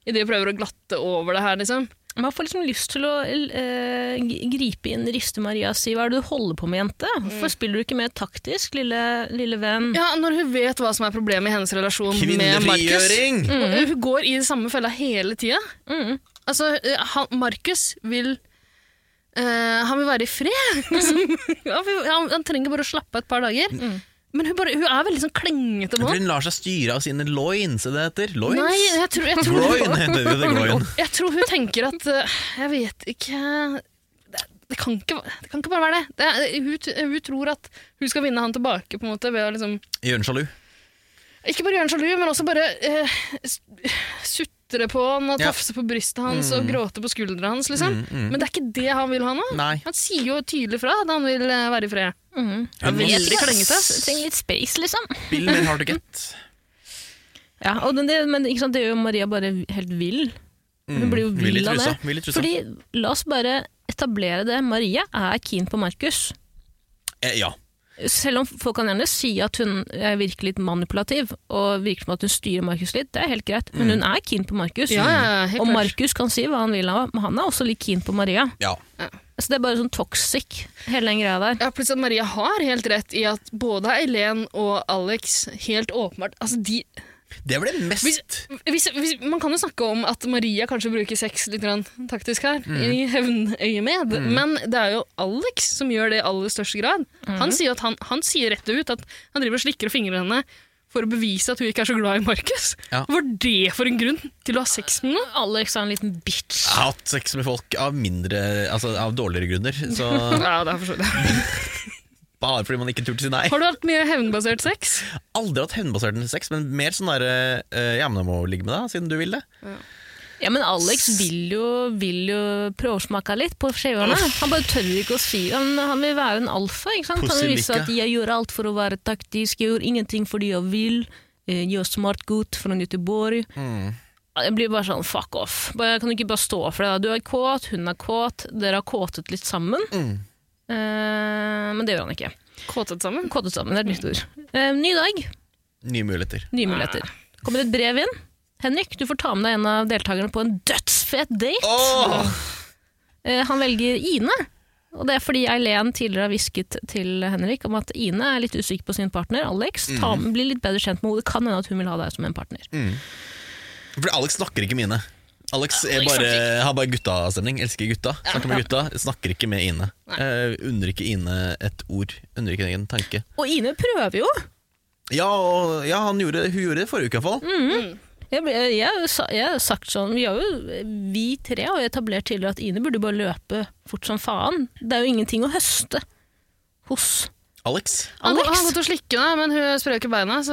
[SPEAKER 4] det hun prøver å glatte over det her, liksom.
[SPEAKER 1] Man får liksom lyst til å eh, gripe inn, riste Maria og si 'hva er det du holder på med, jente'? Hvorfor spiller du ikke mer taktisk, lille, lille venn?
[SPEAKER 4] Mm. Ja, Når hun vet hva som er problemet i hennes relasjon med Markus.
[SPEAKER 2] Kvinnefrigjøring!
[SPEAKER 4] Og Hun går i den samme fella hele tida.
[SPEAKER 1] Mm.
[SPEAKER 4] Altså, eh, han- Markus vil eh, Han vil være i fred. liksom. han, vil, han, han trenger bare å slappe av et par dager. Men hun, bare, hun er veldig sånn klengete
[SPEAKER 2] Jeg
[SPEAKER 4] nå.
[SPEAKER 2] tror hun lar seg styre av sine loins, er det det heter? Loins?
[SPEAKER 4] Nei, jeg tror, jeg, tror,
[SPEAKER 2] Groin heter det, det er groin.
[SPEAKER 4] jeg tror hun tenker at eh, Jeg vet ikke det, det, kan ikke det kan ikke bare være det. det er- hun, t- hun tror at hun skal vinne han tilbake på en måte ved å liksom
[SPEAKER 2] Gjør den sjalu.
[SPEAKER 4] Ikke bare gjøre han sjalu, men også bare eh, s- sutre på han og
[SPEAKER 2] Ja. Mm.
[SPEAKER 4] tafse på brystet hans og gråte på skuldra hans. liksom. Men det er ikke det han vil ha nå.
[SPEAKER 2] Nei.
[SPEAKER 4] Han sier jo tydelig fra at han vil eh, være i fred.
[SPEAKER 2] Hun må
[SPEAKER 4] veldig klengete, ass.
[SPEAKER 1] Jeg Trenger litt space, liksom.
[SPEAKER 2] spille mer hard to get.
[SPEAKER 1] Ja, og den, det, men ikke sant, det gjør jo Maria bare helt vill. Hun blir jo
[SPEAKER 2] Mm,
[SPEAKER 1] vill
[SPEAKER 2] i
[SPEAKER 1] av
[SPEAKER 2] trusa,
[SPEAKER 1] det.
[SPEAKER 2] Vill i trusa.
[SPEAKER 1] Fordi, la oss bare etablere det. Maria er keen på Markus.
[SPEAKER 2] Eh, ja.
[SPEAKER 1] Selv om folk kan gjerne si at hun er virkelig litt manipulativ, og virker som at hun styrer Markus litt, det er helt greit, men hun er keen på Markus.
[SPEAKER 4] Mm. Ja, ja, helt
[SPEAKER 1] og
[SPEAKER 4] klart.
[SPEAKER 1] Markus kan si hva han vil, av, men han er også litt keen på Maria.
[SPEAKER 2] ja.
[SPEAKER 1] Så det er bare sånn toxic, hele den greia der.
[SPEAKER 4] Ja, plutselig at Maria har helt rett i at både Eileen og Alex helt åpenbart altså de,
[SPEAKER 2] Det ble mest
[SPEAKER 4] hvis, hvis, hvis, Man kan jo snakke om at Maria kanskje bruker sex litt grann taktisk her, i hevnøyemed, men det er jo Alex som gjør det i aller største grad. Han, sier at han, han sier rett ut at han driver og slikker og fingrer henne for å bevise at hun ikke er så glad i Markus.
[SPEAKER 2] Ja.
[SPEAKER 4] Var det for en grunn til å ha sex med noen?
[SPEAKER 1] Alex er en liten bitch.
[SPEAKER 2] Jeg har hatt sex med folk av mindre Altså av dårligere grunner. Så
[SPEAKER 4] Ja, det er for så vidt.
[SPEAKER 2] bare fordi man ikke turte si nei.
[SPEAKER 4] Har du hatt mye hevnbasert sex?
[SPEAKER 2] Aldri hatt hevnbasert sex, men mer sånn derre eh, Ja, men jeg må ligge med deg, siden du vil det.
[SPEAKER 1] Ja, men Alex vil jo, vil jo prøvesmake litt på skjevene. Han bare tør ikke å si Han, han vil være en alfa. ikke sant? Han vil vise
[SPEAKER 2] Pusselike.
[SPEAKER 1] at 'jeg gjør alt for å være taktisk', 'jeg gjør ingenting fordi jeg vil', eh, 'jeg er smart gutt fra Göteborg'.
[SPEAKER 2] Mm.
[SPEAKER 1] Jeg blir bare sånn fuck off. Bare, kan du ikke bare stå for det? da? Du er kåt, hun er kåt, dere har kåtet litt sammen.
[SPEAKER 2] Mm.
[SPEAKER 1] Eh, men det gjør han ikke.
[SPEAKER 4] Kåtet sammen?
[SPEAKER 1] Kåtet sammen, det er et nytt ord. Eh, ny dag,
[SPEAKER 2] Nye muligheter.
[SPEAKER 1] nye muligheter. Kommer et brev inn. Henrik, du får ta med deg en av deltakerne på en dødsfet date.
[SPEAKER 2] Åh!
[SPEAKER 1] Eh, Han velger Ine. Og det er fordi Eileen tidligere har hvisket til Henrik om at Ine er litt usikker på sin partner, Alex. Ta, Bli litt bedre kjent med henne. Det kan hende at hun vil ha deg som en partner.
[SPEAKER 2] For Alex snakker ikke mine. Alex er bare, har bare guttastemning. Elsker gutta. Snakker med gutta, snakker ikke med Ine. Eh, unner ikke Ine et ord. Unner ikke en tanke.
[SPEAKER 1] Og Ine prøver jo.
[SPEAKER 2] Ja, og, ja han gjorde, hun gjorde det forrige uke, iallfall. fall
[SPEAKER 1] Jeg, ble- jeg, har jo sa- jeg har jo sagt sånn, vi, har jo, vi tre har jo etablert tidligere at Ine burde bare løpe fort som faen. Det er jo ingenting å høste hos
[SPEAKER 2] Alex,
[SPEAKER 4] Han går- han har
[SPEAKER 1] Alex.
[SPEAKER 4] gått og slikket henne, men hun sprer jo ikke beina, så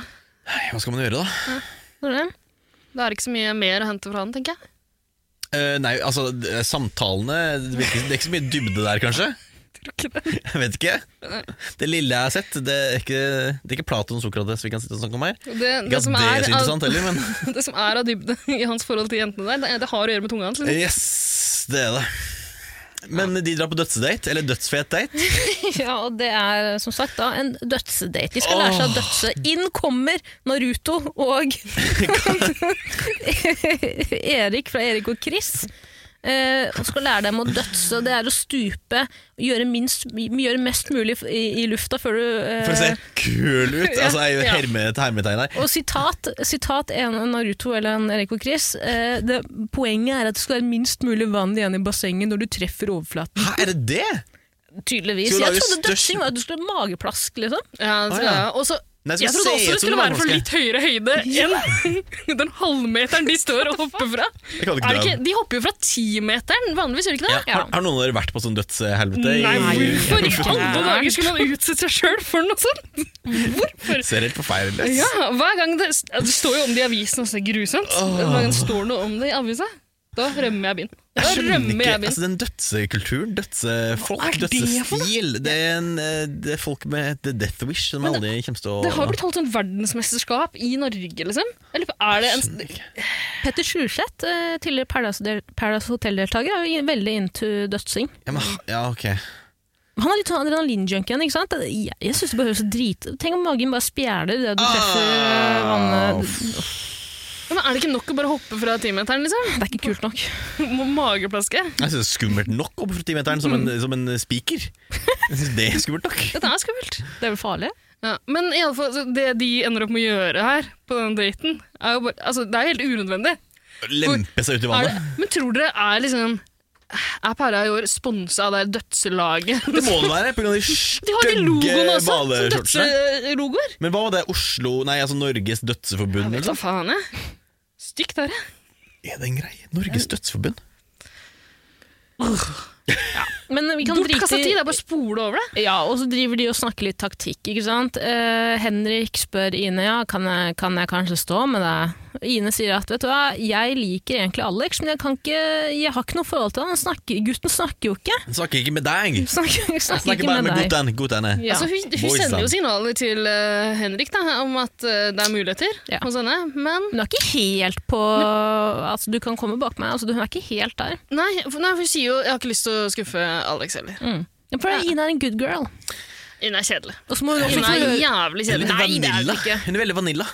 [SPEAKER 2] Nei, hva skal man gjøre, da?
[SPEAKER 1] Tror du det?
[SPEAKER 4] det er ikke så mye mer å hente fra han, tenker jeg.
[SPEAKER 2] Eh, nei, altså, d- samtalene det, virker, det er ikke så mye dybde der, kanskje? Jeg vet ikke. Det lille jeg har sett, det er ikke, det er ikke Platon og Sokrates vi kan sitte og snakke om her.
[SPEAKER 4] Det,
[SPEAKER 2] Ikke
[SPEAKER 4] det,
[SPEAKER 2] at
[SPEAKER 4] som
[SPEAKER 2] det er
[SPEAKER 4] er,
[SPEAKER 2] så interessant
[SPEAKER 4] av,
[SPEAKER 2] heller, men
[SPEAKER 4] det som er av dybde i hans forhold til jentene der, det, det har å gjøre med tunga
[SPEAKER 2] Eh,
[SPEAKER 4] hans. Liksom.
[SPEAKER 2] Yes, det er det. Men de drar på dødsdate, eller dødsfet date.
[SPEAKER 1] Ja, og det er som sagt da en dødsedate. De skal lære seg å dødse. Inn kommer Naruto og Erik fra Erik og Chris. eh, og skal lære dem å dødse. Det er å stupe, gjøre, minst, gjøre mest mulig i, i lufta før du eh,
[SPEAKER 2] For å se kul ut. Altså, jeg er jo
[SPEAKER 1] Ja.
[SPEAKER 2] herme, et hermetegn her.
[SPEAKER 1] Og sitat, sitat en av Naruto eller en Erik og Chris. eh, det, poenget er at det skal være minst mulig vann igjen i bassenget når du treffer overflaten.
[SPEAKER 2] Hæ, er det det?
[SPEAKER 1] Tydeligvis.
[SPEAKER 2] Skal du
[SPEAKER 1] Jeg
[SPEAKER 2] lage
[SPEAKER 1] trodde
[SPEAKER 2] størst-
[SPEAKER 1] dødsing var at du skulle ha mageplask, liksom.
[SPEAKER 4] Ja,
[SPEAKER 2] Å,
[SPEAKER 4] så,
[SPEAKER 2] ja.
[SPEAKER 4] ja. Og så-
[SPEAKER 2] Nei, jeg
[SPEAKER 4] jeg
[SPEAKER 2] skulle
[SPEAKER 4] trodde
[SPEAKER 2] se
[SPEAKER 4] også
[SPEAKER 2] ut
[SPEAKER 4] det
[SPEAKER 2] som
[SPEAKER 4] skulle
[SPEAKER 2] en
[SPEAKER 4] være for
[SPEAKER 2] vannmaske.
[SPEAKER 4] litt høyere høyde enn den halvmeteren de står og hopper fra.
[SPEAKER 2] Jeg kan ikke
[SPEAKER 4] Er
[SPEAKER 2] dra
[SPEAKER 4] det ikke, de hopper jo fra timeteren, vanligvis gjør de ikke
[SPEAKER 2] Ja,
[SPEAKER 4] det?
[SPEAKER 2] har, har noen av dere vært på sånn dødshelvete? i-
[SPEAKER 4] Nei, hvorfor i
[SPEAKER 2] Hvorfor?
[SPEAKER 4] alle dager skulle han utsette seg sjøl for noe sånt? Hvorfor?
[SPEAKER 2] Ser helt forferdelig ut.
[SPEAKER 4] Ja, hver gang det, ja, det står jo om det i avisen også, det er grusomt. Hver gang det står noe om det i avisa, da rømmer jeg byen. Da
[SPEAKER 2] Jeg skjønner
[SPEAKER 4] rømmer
[SPEAKER 2] ikke
[SPEAKER 4] jeg byen.
[SPEAKER 2] altså, den dødsekulturen, dødsefolk,
[SPEAKER 4] er det for
[SPEAKER 2] dødsestil. Det er, en, eh, det er folk med The Death Wish som aldri kommer til å
[SPEAKER 4] Det har blitt holdt sånn verdensmesterskap i Norge, liksom. Jeg lurer på, er det en
[SPEAKER 1] Petter Sjurseth, eh, tidligere Paradise del- Paradise Hotel-deltaker, er jo veldig into dødsing.
[SPEAKER 2] ja, men, ja, ok.
[SPEAKER 1] Han er litt sånn adrenalinjunkien, ikke sant? Jeg, jeg syns det
[SPEAKER 2] Ah.
[SPEAKER 1] bare høres så drit Tenk om magen bare spjæler det du treffer eh, vannet.
[SPEAKER 2] Au.
[SPEAKER 4] Ja, men er det ikke nok å bare hoppe fra timeteren, liksom?
[SPEAKER 1] Det er ikke kult nok.
[SPEAKER 4] Må mageplaske.
[SPEAKER 2] Jeg synes det er skummelt nok å hoppe fra timeteren som en,
[SPEAKER 4] Mm.
[SPEAKER 2] som en spiker. Jeg synes det er skummelt nok.
[SPEAKER 4] Dette er skummelt.
[SPEAKER 1] Det er vel farlig?
[SPEAKER 4] Ja, men i alle fall, så det de ender opp med å gjøre her, på den daten, er jo bare, altså, det er helt unødvendig.
[SPEAKER 2] Lempe seg ut i
[SPEAKER 4] Er det,
[SPEAKER 2] vannet.
[SPEAKER 4] men tror dere er liksom Er Pæra i år sponsa av det her dødselaget?
[SPEAKER 2] Det må det være, pga. de
[SPEAKER 4] De har de logoen
[SPEAKER 2] stygge
[SPEAKER 4] også, som
[SPEAKER 2] hvaleskjortene.
[SPEAKER 4] dødslogoer.
[SPEAKER 2] Men hva var det Oslo Nei, altså Norges Dødseforbund?
[SPEAKER 4] Vet
[SPEAKER 2] Eller
[SPEAKER 4] hva faen, jeg. Stygt er det.
[SPEAKER 2] noe? Er det en greie?
[SPEAKER 4] Eh.
[SPEAKER 2] Norges Dødseforbund?
[SPEAKER 1] Men vi kan
[SPEAKER 4] Bortkasta
[SPEAKER 1] drite
[SPEAKER 4] tid,
[SPEAKER 1] i
[SPEAKER 4] det er bare å spole over det.
[SPEAKER 1] Ja, og så driver de og snakker litt taktikk, ikke sant. Eh, Henrik spør Ine, ja, kan jeg, kan jeg kanskje stå med deg? Ine sier at, vet du hva, jeg liker egentlig Alex, men jeg, kan ikke, jeg har ikke noe forhold til han. Han Snakker, gutten snakker jo ikke.
[SPEAKER 2] Jeg snakker ikke med deg.
[SPEAKER 1] Han Snakker, snakker,
[SPEAKER 2] Jeg snakker
[SPEAKER 1] ikke
[SPEAKER 2] bare
[SPEAKER 1] med,
[SPEAKER 2] med
[SPEAKER 1] deg.
[SPEAKER 2] Gutan. Gutan er.
[SPEAKER 1] Ja.
[SPEAKER 4] Altså, hun hun
[SPEAKER 2] Boys
[SPEAKER 4] sender jo
[SPEAKER 2] down.
[SPEAKER 4] signaler til eh, Henrik da, om at eh, det er muligheter
[SPEAKER 1] Ja.
[SPEAKER 4] hos henne, men
[SPEAKER 1] Hun er ikke helt på Altså, du kan komme bak meg. Altså, hun er ikke helt der.
[SPEAKER 4] nei, for, nei, for hun sier jo 'jeg har ikke lyst til å skuffe Alex heller'.
[SPEAKER 1] Mm. Ja, For Ine er en good girl.
[SPEAKER 4] Hun er kjedelig.
[SPEAKER 1] Og så må hun også få
[SPEAKER 4] Hun er
[SPEAKER 1] høre
[SPEAKER 4] jævlig
[SPEAKER 2] Hun er
[SPEAKER 4] kjedelig.
[SPEAKER 2] litt
[SPEAKER 4] Nei, det er hun
[SPEAKER 2] vanilla.
[SPEAKER 4] ikke.
[SPEAKER 2] Hun er veldig vanilla.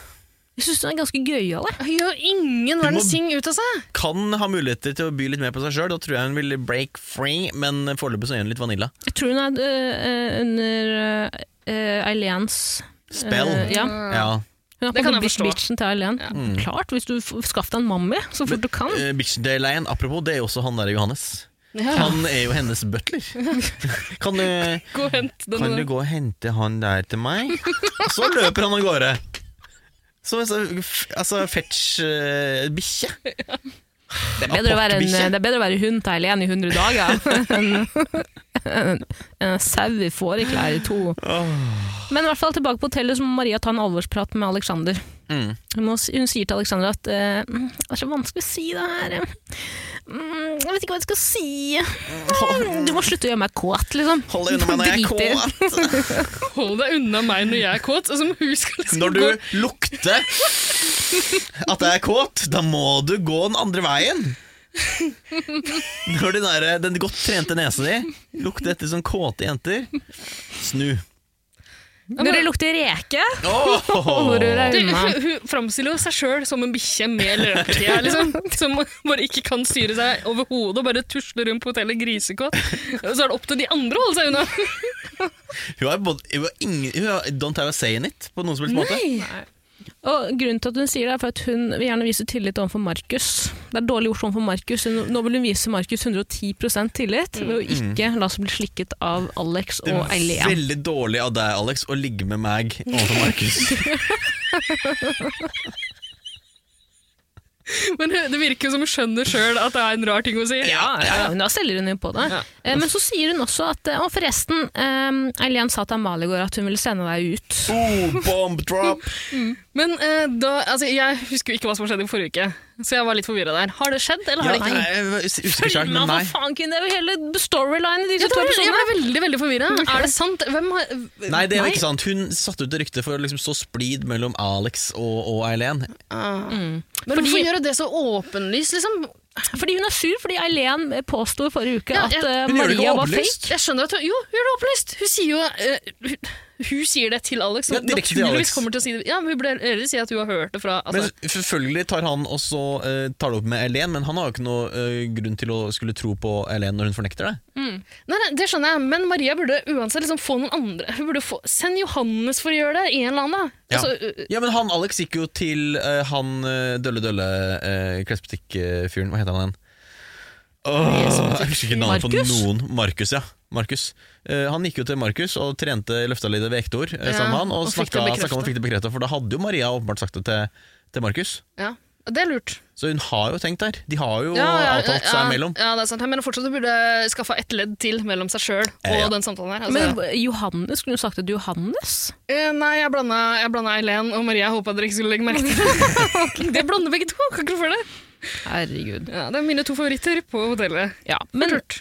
[SPEAKER 1] Jeg syns hun er ganske gøyal. jeg.
[SPEAKER 4] Hun gjør ingen
[SPEAKER 2] må-
[SPEAKER 4] verdens ting ut av seg.
[SPEAKER 2] Kan ha muligheter til å by litt mer på seg sjøl. Da tror jeg hun vil break free, men foreløpig så er hun litt vanilla.
[SPEAKER 1] Jeg tror hun er øh, øh, under øh, Eileens
[SPEAKER 2] Spell.
[SPEAKER 1] øh, ja.
[SPEAKER 2] Ja.
[SPEAKER 1] Hun er på
[SPEAKER 4] Det kan
[SPEAKER 1] en
[SPEAKER 4] jeg forstå.
[SPEAKER 1] bitchen til Eileen. Klart, hvis du f- skaff deg en mammi så fort du kan.
[SPEAKER 2] Eh, Bitchendale-leien, apropos, det er jo også han der Johannes. Han er jo hennes butler. Kan du,
[SPEAKER 4] Gå og hent den.
[SPEAKER 2] kan du gå og hente han der til meg? Og så løper han av gårde. Som en sånn f- altså, fetch eh, bikkje.
[SPEAKER 1] Det er bedre å være, en, eh, det er bedre å være hund til Eileen i 100 dager enn en, en sau i fåreklær i to. Men i hvert fall tilbake på hotellet så må Maria ta en alvorsprat med Alexander.
[SPEAKER 2] Mm.
[SPEAKER 1] Hun, må, hun sier til Alexander at eh, «Mm, det er så vanskelig å si det her. Mm, jeg vet ikke hva jeg skal si. Du må slutte å gjøre meg kåt, liksom.
[SPEAKER 2] Hold deg unna meg når jeg
[SPEAKER 1] Drit i det.
[SPEAKER 2] er kåt.
[SPEAKER 4] Hold deg unna meg når jeg er kåt. Og så må hun skal liksom
[SPEAKER 2] Når du
[SPEAKER 4] gå
[SPEAKER 2] lukter at jeg er kåt, da må du gå den andre veien. Når den, der, den godt trente nesa di lukter etter sånn kåte jenter, snu.
[SPEAKER 1] Når det lukter reke,
[SPEAKER 2] Åh!
[SPEAKER 1] holder du deg
[SPEAKER 4] Du,
[SPEAKER 1] unna.
[SPEAKER 4] hun, hun framstiller jo seg sjøl som en bikkje med løkkje, liksom, som bare ikke kan styre seg overhodet og bare tusler rundt på hotellet grisekåt. Og så er det opp til de andre å holde seg unna.
[SPEAKER 2] Hun har både hun har ingen, hun har, Don't have a say in it, på noen som helst måte.
[SPEAKER 1] Og grunnen til at hun sier det er for at hun vil gjerne vise tillit overfor Markus. Det er dårlig gjort overfor Markus. Hun- Nå vil hun vise Markus 110 tillit ved å ikke la seg bli slikket av Alex
[SPEAKER 2] Mm. Det
[SPEAKER 1] og
[SPEAKER 2] er
[SPEAKER 1] Eileen.
[SPEAKER 2] veldig dårlig av deg, Alex, å ligge med meg overfor Markus.
[SPEAKER 4] Men hun- det virker jo som hun skjønner sjøl at det er en rar ting å si.
[SPEAKER 1] Ja, ja, ja, men da selger hun jo på det.
[SPEAKER 4] Ja.
[SPEAKER 1] Eh, Men så sier hun også at eh, Og forresten, eh, Eileen sa til Amalie i går at hun ville sende deg ut.
[SPEAKER 2] Oh, bomb drop!
[SPEAKER 4] Men eh, da, altså, jeg husker jo ikke hva som skjedde i forrige uke, så jeg var litt forvirra der. Har det skjedd, eller har
[SPEAKER 2] Ja,
[SPEAKER 4] det ikke?
[SPEAKER 2] nei, jeg var us- usikker
[SPEAKER 1] Følg
[SPEAKER 2] selv,
[SPEAKER 1] med,
[SPEAKER 2] men nei.
[SPEAKER 1] for faen, kvinne! Det er jo hele storylinen i
[SPEAKER 4] Jeg,
[SPEAKER 1] disse to
[SPEAKER 4] tror, jeg
[SPEAKER 1] episodene.
[SPEAKER 4] ble veldig veldig forvirra. Er det sant? Hvem har
[SPEAKER 2] Nei, det er jo ikke sant. Hun satte ut et rykte for å liksom så splid mellom Alex og, og Eileen.
[SPEAKER 4] Ah. Men
[SPEAKER 1] Fordi-
[SPEAKER 4] hvorfor gjøre det så åpenlyst, liksom?
[SPEAKER 1] Fordi hun er sur fordi Eileen eh, påsto i forrige uke
[SPEAKER 4] Ja,
[SPEAKER 1] at
[SPEAKER 4] jeg-
[SPEAKER 1] eh,
[SPEAKER 2] Hun gjør det ikke
[SPEAKER 1] Maria var
[SPEAKER 2] åpenlyst.
[SPEAKER 1] fake.
[SPEAKER 4] Jeg skjønner at hun Jo, hun gjør det åpenlyst! Hun sier jo eh, hun, hun sier det til Alex, som
[SPEAKER 2] Ja, direkte til
[SPEAKER 4] naturligvis
[SPEAKER 2] Alex.
[SPEAKER 4] kommer til å si det. Ja, men Hun burde heller si at hun har hørt det fra altså,
[SPEAKER 2] Men selvfølgelig tar han også eh, tar det opp med Elen, men han har jo ikke noe eh, grunn til å skulle tro på Elen når hun fornekter det.
[SPEAKER 4] Nei, nei, Det skjønner jeg, men Maria burde uansett liksom få noen andre. Hun burde få, Send Johannes for å gjøre det, en eller annen. da.
[SPEAKER 2] Ja.
[SPEAKER 4] Altså, eh,
[SPEAKER 2] Ja, men han Alex gikk jo til eh, han eh, Dølle Dølle uh, klesbutikkfyren, hva heter han igjen? Åh, jeg husker ikke navnet på
[SPEAKER 1] Markus?
[SPEAKER 2] noen. Markus, ja. Markus. Eh, han gikk jo til Markus og trente løfta litt ved ekteord eh,
[SPEAKER 4] Ja,
[SPEAKER 2] sammen med han, og,
[SPEAKER 4] og fikk
[SPEAKER 2] snakka,
[SPEAKER 4] det bekreftet.
[SPEAKER 2] snakka om og fikk det bekrefta, for da hadde jo Maria åpenbart sagt det til, til Markus.
[SPEAKER 4] ja. Det er lurt.
[SPEAKER 2] Så hun har jo tenkt der. De har jo
[SPEAKER 4] Ja, ja,
[SPEAKER 2] avtalt seg
[SPEAKER 4] ja,
[SPEAKER 2] imellom.
[SPEAKER 4] Ja, det er sant. Jeg mener fortsatt hun burde skaffa ett ledd til mellom seg sjøl og
[SPEAKER 2] Eh, ja.
[SPEAKER 4] den samtalen her. Altså,
[SPEAKER 1] Men Johannes, skulle du sagt det til Johannes?
[SPEAKER 4] Eh, nei, jeg blanda, jeg blanda Eileen og Maria. Jeg håpa dere ikke skulle legge merke til det. det blander begge to. Kan ikke du føle det?
[SPEAKER 1] Herregud.
[SPEAKER 4] Ja, det er mine to favoritter på hotellet.
[SPEAKER 1] Ja, men
[SPEAKER 4] Lurt.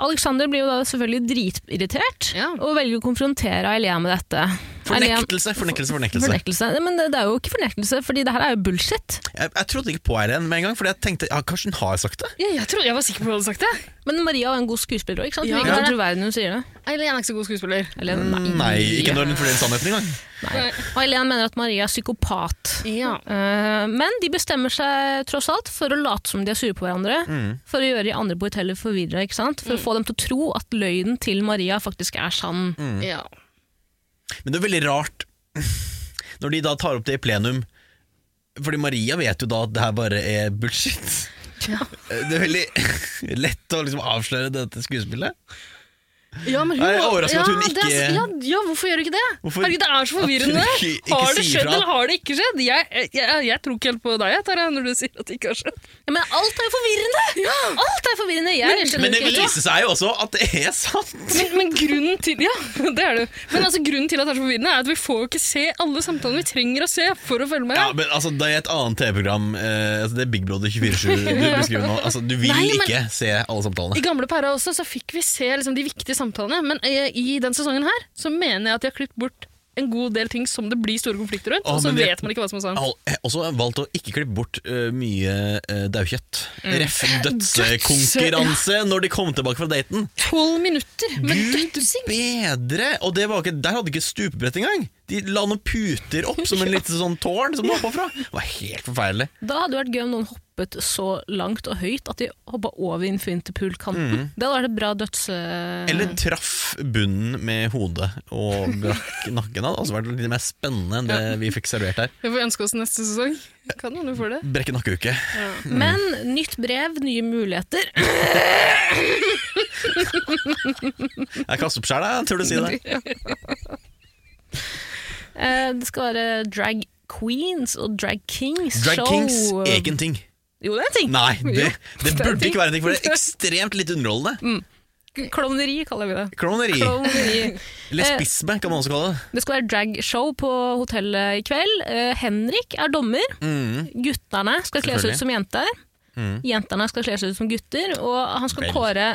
[SPEAKER 1] Alexander blir jo da selvfølgelig dritirritert
[SPEAKER 4] Ja.
[SPEAKER 1] og velger å konfrontere Ailea med dette.
[SPEAKER 2] Fornektelse, fornektelse, fornektelse.
[SPEAKER 1] Fornektelse. Nei, Men det, det er jo ikke fornektelse, fordi det her er jo bullshit.
[SPEAKER 2] Jeg, jeg trodde ikke på Eileen med en gang, Fordi jeg tenkte ja, kanskje hun har sagt det.
[SPEAKER 4] Ja, jeg, trodde, jeg var sikker på hva du hadde sagt. det.
[SPEAKER 1] Men Maria er en god skuespiller òg, ikke sant?
[SPEAKER 4] Ja.
[SPEAKER 1] Ja. Hun virker troverdig når hun sier det.
[SPEAKER 4] Eileen er ikke så god skuespiller.
[SPEAKER 1] Eller, nei.
[SPEAKER 4] Mm,
[SPEAKER 2] Nei, ikke når hun fordeler sannheten engang.
[SPEAKER 1] Nei. Og Eileen mener at Maria er psykopat.
[SPEAKER 4] Ja.
[SPEAKER 1] Eh, men de bestemmer seg tross alt for å late som de er sure på hverandre.
[SPEAKER 2] Mm.
[SPEAKER 1] For å gjøre de andre på hotellet forvirra. ikke sant? For å få dem til å tro at løgnen til Maria faktisk er sann.
[SPEAKER 2] Mm.
[SPEAKER 4] ja.
[SPEAKER 2] Men det er veldig rart når de da tar opp det i plenum. Fordi Maria vet jo da at det her bare er bullshit.
[SPEAKER 4] Ja.
[SPEAKER 2] Det er veldig lett å liksom avsløre dette skuespillet.
[SPEAKER 4] Ja, men hun,
[SPEAKER 2] Jeg er overrasket at hun
[SPEAKER 4] det
[SPEAKER 2] ikke-
[SPEAKER 4] er- ja, ja, hvorfor gjør du ikke det?
[SPEAKER 2] Hvorfor-
[SPEAKER 4] Herregud, det er så forvirrende!
[SPEAKER 2] At hun ikke- ikke
[SPEAKER 4] har det
[SPEAKER 2] sier
[SPEAKER 4] skjedd,
[SPEAKER 2] fra.
[SPEAKER 4] eller har det ikke skjedd? Jeg, jeg, jeg, jeg tror ikke helt på deg, Tara, når du sier at det ikke har skjedd.
[SPEAKER 1] Ja, men alt er jo forvirrende! Alt er forvirrende! Jeg skjønner
[SPEAKER 2] Men det
[SPEAKER 1] ikke helt hva-
[SPEAKER 2] viser seg jo også at det er sant!
[SPEAKER 4] Men, men grunnen til Ja, det er det. Men altså, grunnen til at det er så forvirrende, er at vi får jo ikke se alle samtalene vi trenger å se for å følge med.
[SPEAKER 2] Ja, men altså, Det er et annet TV-program. Eh, altså, det er Big Brother 24-7 du beskriver nå. Altså, du vil
[SPEAKER 4] Nei, men-
[SPEAKER 2] ikke se alle samtalene.
[SPEAKER 4] I gamle pæra også så fikk vi se liksom, de viktige samtalene, men eh, i den sesongen her så mener jeg at de har klippet bort en god del ting som det blir store konflikter rundt,
[SPEAKER 2] Å,
[SPEAKER 4] og så
[SPEAKER 2] men det-
[SPEAKER 4] vet man ikke hva som er sant.
[SPEAKER 2] Al- Jeg har også valgt å ikke klippe bort eh, mye eh, daukjøtt. Ref. dødskonkurranse når de kom tilbake fra daten.
[SPEAKER 4] Tolv minutter med
[SPEAKER 2] Gud
[SPEAKER 4] dødsing!
[SPEAKER 2] bedre! Og det var ikke, der hadde ikke stupebrett engang. De la noen puter opp som en liten sånn tårn som de hoppa fra. Det var helt forferdelig.
[SPEAKER 1] Da hadde det vært gøy om noen hoppet så langt og høyt at de hoppa over infinity pool-kanten. Det hadde vært et bra døds...
[SPEAKER 2] Mm.
[SPEAKER 1] eh,
[SPEAKER 2] Eller traff bunnen med hodet og brakk nakken. Det hadde også vært litt mer spennende enn det vi fikk servert her.
[SPEAKER 4] Vi får ønske oss neste sesong. Kan noen få det?
[SPEAKER 2] Brekke nakkeuke. mm.
[SPEAKER 1] Men nytt brev, nye muligheter.
[SPEAKER 2] Jeg kaster opp sjæl, jeg. Tør du si det?
[SPEAKER 1] Eh, Det skal være drag queens og drag kings
[SPEAKER 2] Drag
[SPEAKER 1] show.
[SPEAKER 2] Kings er ikke en ting.
[SPEAKER 1] Jo, det er en ting.
[SPEAKER 2] Nei, det, det
[SPEAKER 1] det er
[SPEAKER 2] burde
[SPEAKER 1] ting. Mm.
[SPEAKER 2] ikke være en ting, for det er ekstremt litt underholdende.
[SPEAKER 1] Klovneri kaller vi det.
[SPEAKER 2] Klovneri.
[SPEAKER 1] Klovneri. Eh.
[SPEAKER 2] Lesbisme kan man også kalle det.
[SPEAKER 1] Det skal være dragshow på hotellet i kveld. Eh, Henrik er dommer.
[SPEAKER 2] Mm.
[SPEAKER 1] Gutterne skal kle seg
[SPEAKER 2] Selvfølgelig.
[SPEAKER 1] ut
[SPEAKER 2] Mm.
[SPEAKER 1] som jenter. Jentene skal kle seg ut som gutter. Og han skal
[SPEAKER 2] Vel.
[SPEAKER 1] kåre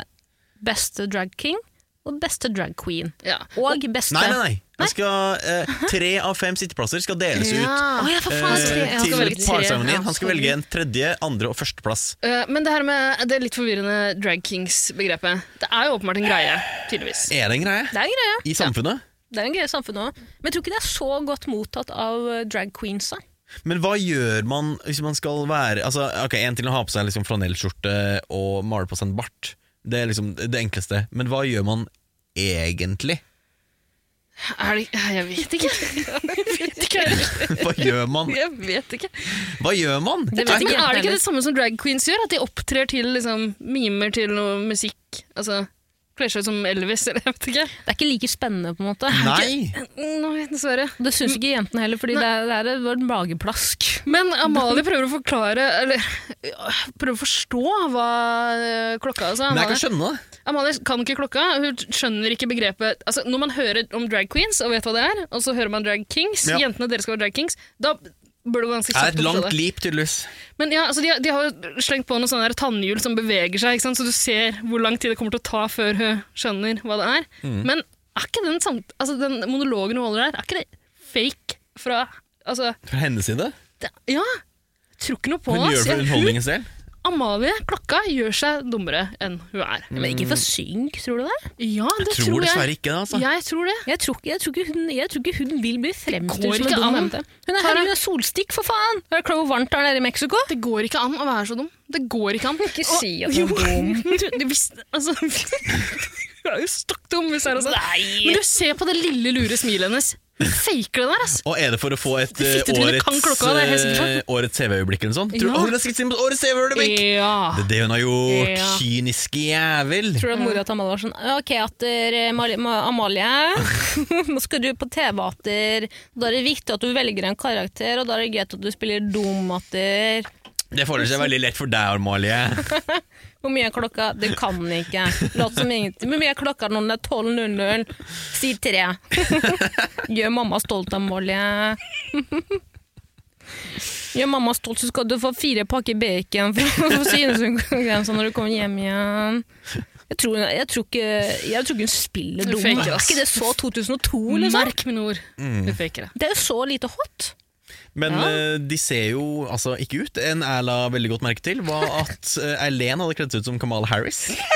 [SPEAKER 1] beste drag king og beste drag queen.
[SPEAKER 4] Ja.
[SPEAKER 1] Og beste
[SPEAKER 2] Nei, nei, nei. Jeg Skal, eh, tre av fem sitteplasser skal deles ut.
[SPEAKER 1] Å ja, for faen!
[SPEAKER 2] eh,
[SPEAKER 1] tre- ja, han skal
[SPEAKER 2] til
[SPEAKER 1] velge tre.
[SPEAKER 2] parseremonien.
[SPEAKER 1] Ja,
[SPEAKER 2] Han skal
[SPEAKER 1] sorry.
[SPEAKER 2] velge en tredje, andre og førsteplass.
[SPEAKER 4] Eh, Men det her med det litt forvirrende drag kings-begrepet, det er jo åpenbart en greie, tydeligvis.
[SPEAKER 2] Er det en greie
[SPEAKER 1] Det er en greie.
[SPEAKER 2] i samfunnet?
[SPEAKER 1] Det er en greie i samfunnet òg. Men jeg tror ikke det er så godt mottatt av eh, drag queens. da.
[SPEAKER 2] Men hva gjør man hvis man skal være altså, Ok, En ting er å ha på seg liksom flanellskjorte og male på seg en bart. Det er liksom det enkleste. Men hva gjør man egentlig?
[SPEAKER 4] Er det, jeg vet ikke. Jeg vet ikke.
[SPEAKER 2] Hva gjør man?
[SPEAKER 4] Jeg vet ikke.
[SPEAKER 2] Hva gjør man?
[SPEAKER 1] Det vet ikke
[SPEAKER 4] Men er det
[SPEAKER 1] jentene
[SPEAKER 4] ikke
[SPEAKER 1] heller.
[SPEAKER 4] det samme som drag queens gjør? At de opptrer til liksom, mimer til noe musikk? Altså, Kler seg ut som Elvis, eller jeg vet ikke.
[SPEAKER 1] Det er ikke like spennende, på en måte.
[SPEAKER 2] Nei!
[SPEAKER 4] Nei, dessverre.
[SPEAKER 1] Det syns ikke jentene heller, fordi det, er- det er et mageplask.
[SPEAKER 4] Men Amalie prøver å forklare Eller ja, prøver å forstå hva eh, klokka
[SPEAKER 2] Men
[SPEAKER 4] altså.
[SPEAKER 2] jeg
[SPEAKER 4] Amalie,
[SPEAKER 2] kan skjønne det.
[SPEAKER 4] Amalie kan ikke klokka. Hun skjønner ikke begrepet Altså, Når man hører om drag queens og vet hva det er, og så hører man drag kings,
[SPEAKER 2] Ja.
[SPEAKER 4] jentene deres skal være drag kings, da burde man ganske
[SPEAKER 2] Det er
[SPEAKER 4] kjapt
[SPEAKER 2] et
[SPEAKER 4] forstå
[SPEAKER 2] langt
[SPEAKER 4] det.
[SPEAKER 2] lip, tydeligvis.
[SPEAKER 4] Men ja, altså de, har- de har jo slengt på noen sånne der tannhjul som beveger seg, ikke sant? så du ser hvor lang tid det kommer til å ta før hun skjønner hva det er.
[SPEAKER 2] Mm.
[SPEAKER 4] Men er ikke den, samt, altså den monologen hun holder der, er ikke det fake fra altså,
[SPEAKER 2] Fra hennes side.
[SPEAKER 4] det, Ja! Jeg tror ikke noe på
[SPEAKER 2] Hun gjør
[SPEAKER 4] ass.
[SPEAKER 2] det for
[SPEAKER 4] Jeg-
[SPEAKER 2] underholdningens del.
[SPEAKER 4] Amalie Klokka gjør seg dummere enn hun er.
[SPEAKER 1] Men ikke for synk, tror du det?
[SPEAKER 4] Ja, det
[SPEAKER 2] Tror
[SPEAKER 4] tror,
[SPEAKER 2] dessverre
[SPEAKER 4] jeg.
[SPEAKER 2] ikke det, altså.
[SPEAKER 4] Jeg tror det.
[SPEAKER 1] Jeg tror, ikke- jeg, tror ikke hun, jeg tror ikke hun vil bli fremstilt
[SPEAKER 4] går
[SPEAKER 1] som en
[SPEAKER 4] ikke
[SPEAKER 1] dum
[SPEAKER 4] an.
[SPEAKER 1] jente. Hun er
[SPEAKER 4] Tara.
[SPEAKER 1] herregud solstikk, for faen! Er det hvor varmt det er nede i Mexico?
[SPEAKER 4] Det går ikke an å være så dum. Det går ikke an. Ikke
[SPEAKER 1] si at hun er
[SPEAKER 4] dum. Du, hvis, altså, hun er jo stokk dum, hvis det er sånn. Men du ser på det lille, lure smilet hennes. Hun faker det der, altså. ass.
[SPEAKER 2] Og er det for å få et eh,
[SPEAKER 4] fittetrynet
[SPEAKER 2] årets,
[SPEAKER 4] kan klokka, det er helt sikkert.
[SPEAKER 2] eh, årets TV-øyeblikk eller noe sånt? Tror du
[SPEAKER 4] Ja.
[SPEAKER 2] Å, hun har skrevet inn på årets TV-øyeblikk?
[SPEAKER 4] Ja.
[SPEAKER 2] Det er det hun har gjort.
[SPEAKER 4] Ja.
[SPEAKER 2] Kynisk jævel.
[SPEAKER 1] Tror du at mora til Amalie var sånn Ok, atter eh, Mali- Ma- Amalie, nå skal du på TV, atter. Da er det viktig at du velger en karakter, og da er det greit at du spiller dum, atter.
[SPEAKER 2] Det forholder seg veldig lett for deg, Amalie.
[SPEAKER 1] Hvor mye er klokka? Det kan den ikke. Lat som ingenting. Hvor mye er klokka når den er 12.00? Si tre. Gjør mamma stolt, Amalie. Gjør mamma stolt, så sånn skal du få fire pakker bacon fra Synesundkonkurransen når du kommer hjem igjen. Jeg tror, jeg tror, ikke, jeg tror ikke hun spiller
[SPEAKER 4] Du
[SPEAKER 1] dum.
[SPEAKER 4] faker,
[SPEAKER 1] Er
[SPEAKER 4] ass.
[SPEAKER 1] ikke det så 2002, liksom?
[SPEAKER 4] Merk mine ord.
[SPEAKER 2] Mm.
[SPEAKER 4] Vi faker det.
[SPEAKER 1] Det er jo så lite hot.
[SPEAKER 2] Men
[SPEAKER 4] Ja.
[SPEAKER 2] eh, de ser jo altså ikke ut. En jeg la veldig godt merke til, var at eh, Eileen hadde kledd seg ut som Kamala Harris.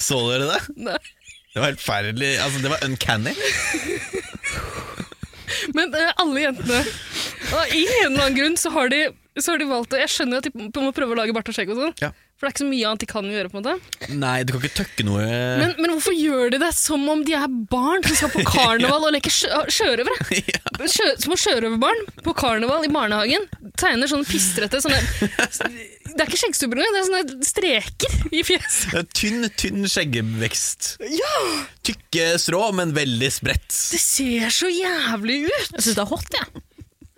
[SPEAKER 2] Så dere det?
[SPEAKER 4] Nei.
[SPEAKER 2] Det var helt forferdelig. Altså, det var uncanny.
[SPEAKER 4] Men eh, alle jentene og I en eller annen grunn så har de, så har de valgt det. Jeg skjønner at de p- må prøve å lage bart og skjegg og sånn.
[SPEAKER 2] Ja.
[SPEAKER 4] For det er ikke så mye annet de kan gjøre. på en måte.
[SPEAKER 2] Nei, du kan ikke tøkke noe
[SPEAKER 4] Men, men hvorfor gjør de det som om de er barn som skal på karneval og leke sjø sjørøvere?
[SPEAKER 2] ja.
[SPEAKER 4] Sjø små sjørøverbarn på karneval i barnehagen tegner sånne pistrete sånne Det er ikke skjeggstubber engang, det er sånne streker i fjeset.
[SPEAKER 2] Det er Tynn, tynn skjeggevekst. Tykke strå, men veldig spredt.
[SPEAKER 4] Det ser så jævlig ut!
[SPEAKER 1] Jeg syns det er hot, jeg.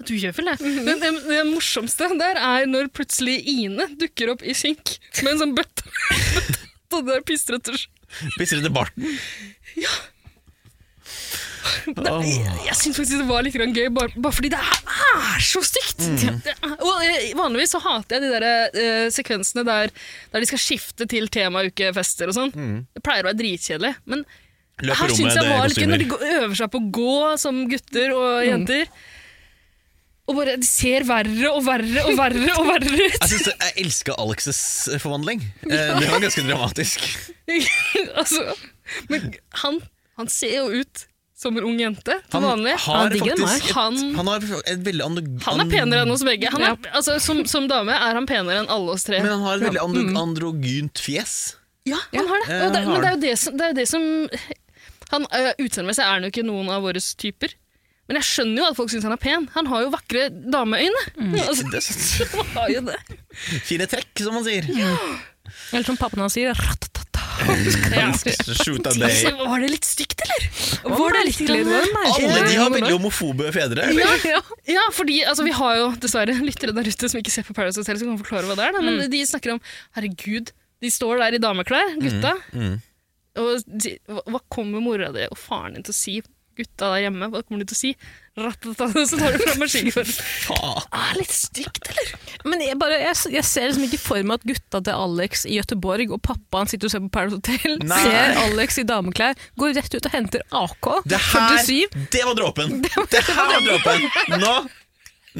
[SPEAKER 4] Du gjør vel det. Men det, det morsomste der er når plutselig Ine dukker opp i skink med en sånn bøtte. Og det er pistrete skjegg.
[SPEAKER 2] Pisser etter barten.
[SPEAKER 4] Det- Jeg, jeg syns faktisk det var litt grann gøy, bare, bare fordi det er, er så stygt!
[SPEAKER 2] Mm.
[SPEAKER 4] Det er, og eh, Vanligvis så hater jeg de der, eh, sekvensene der, der de skal skifte til temaukefester og sånn. Det pleier å være dritkjedelig. Men
[SPEAKER 2] Løp på
[SPEAKER 4] her
[SPEAKER 2] rommet,
[SPEAKER 4] syns jeg
[SPEAKER 2] det Mm. er Mm.
[SPEAKER 4] var litt gøy
[SPEAKER 2] kostymer.
[SPEAKER 4] når de gå- øver seg på å gå som gutter og jenter. Og bare, De ser verre og verre og verre og verre ut!
[SPEAKER 2] Jeg, synes, jeg elsker Alexes forvandling. Eh, Det var ganske dramatisk.
[SPEAKER 4] altså, men han, han ser jo ut som en ung jente til vanlig.
[SPEAKER 2] har
[SPEAKER 1] digger den
[SPEAKER 2] faktisk et,
[SPEAKER 4] Han-
[SPEAKER 2] han har et veldig andro-
[SPEAKER 4] Han er penere enn oss begge. Han er, altså, som, som dame er han penere enn alle oss tre.
[SPEAKER 2] Men han har et veldig andro
[SPEAKER 4] Mm.
[SPEAKER 2] androgynt fjes.
[SPEAKER 4] ja, eh, han har det.
[SPEAKER 2] Ja,
[SPEAKER 4] Og det
[SPEAKER 2] han
[SPEAKER 4] men det
[SPEAKER 2] har
[SPEAKER 4] er jo det som, det er jo det som han, øh, Utseendemessig er han jo ikke noen av våre typer. Men jeg skjønner jo at folk syns han er pen. Han har jo vakre dameøyne. Altså,
[SPEAKER 2] Det er sånn
[SPEAKER 4] han har jo det.
[SPEAKER 2] Fine trekk, som man sier.
[SPEAKER 1] Eller som pappaen hans sier, ratatata.
[SPEAKER 4] Ja.
[SPEAKER 2] Shoot a day.
[SPEAKER 4] Altså, var det litt stygt, eller? Var det litt
[SPEAKER 1] merkelig, det liksom? var merkelig.
[SPEAKER 2] Alle de har veldig homofobe fedre.
[SPEAKER 4] ja, ja, fordi altså, vi har jo dessverre lyttere der ute som ikke ser på Paradise Hotel, som kan forklare hva det er. Da.
[SPEAKER 2] Mm.
[SPEAKER 4] Men de snakker om Herregud, de står der i dameklær, gutta.
[SPEAKER 2] mm.
[SPEAKER 4] Og de, hva, hva kommer mora di og faren din til å si? Gutta der hjemme, hva kommer de til å si? Rattatata, så tar du fram maskingevær.
[SPEAKER 2] Faen.
[SPEAKER 4] Ah, litt stygt, eller?
[SPEAKER 1] Men jeg, bare, jeg, jeg ser liksom ikke for meg at gutta til Alex i Gøteborg og pappaen sitter og ser på Paradise Hotel,
[SPEAKER 2] Nei.
[SPEAKER 1] ser Alex i dameklær, går rett ut og henter AK
[SPEAKER 2] Det her
[SPEAKER 1] 47.
[SPEAKER 2] Det var dråpen! Det her var dråpen! Nå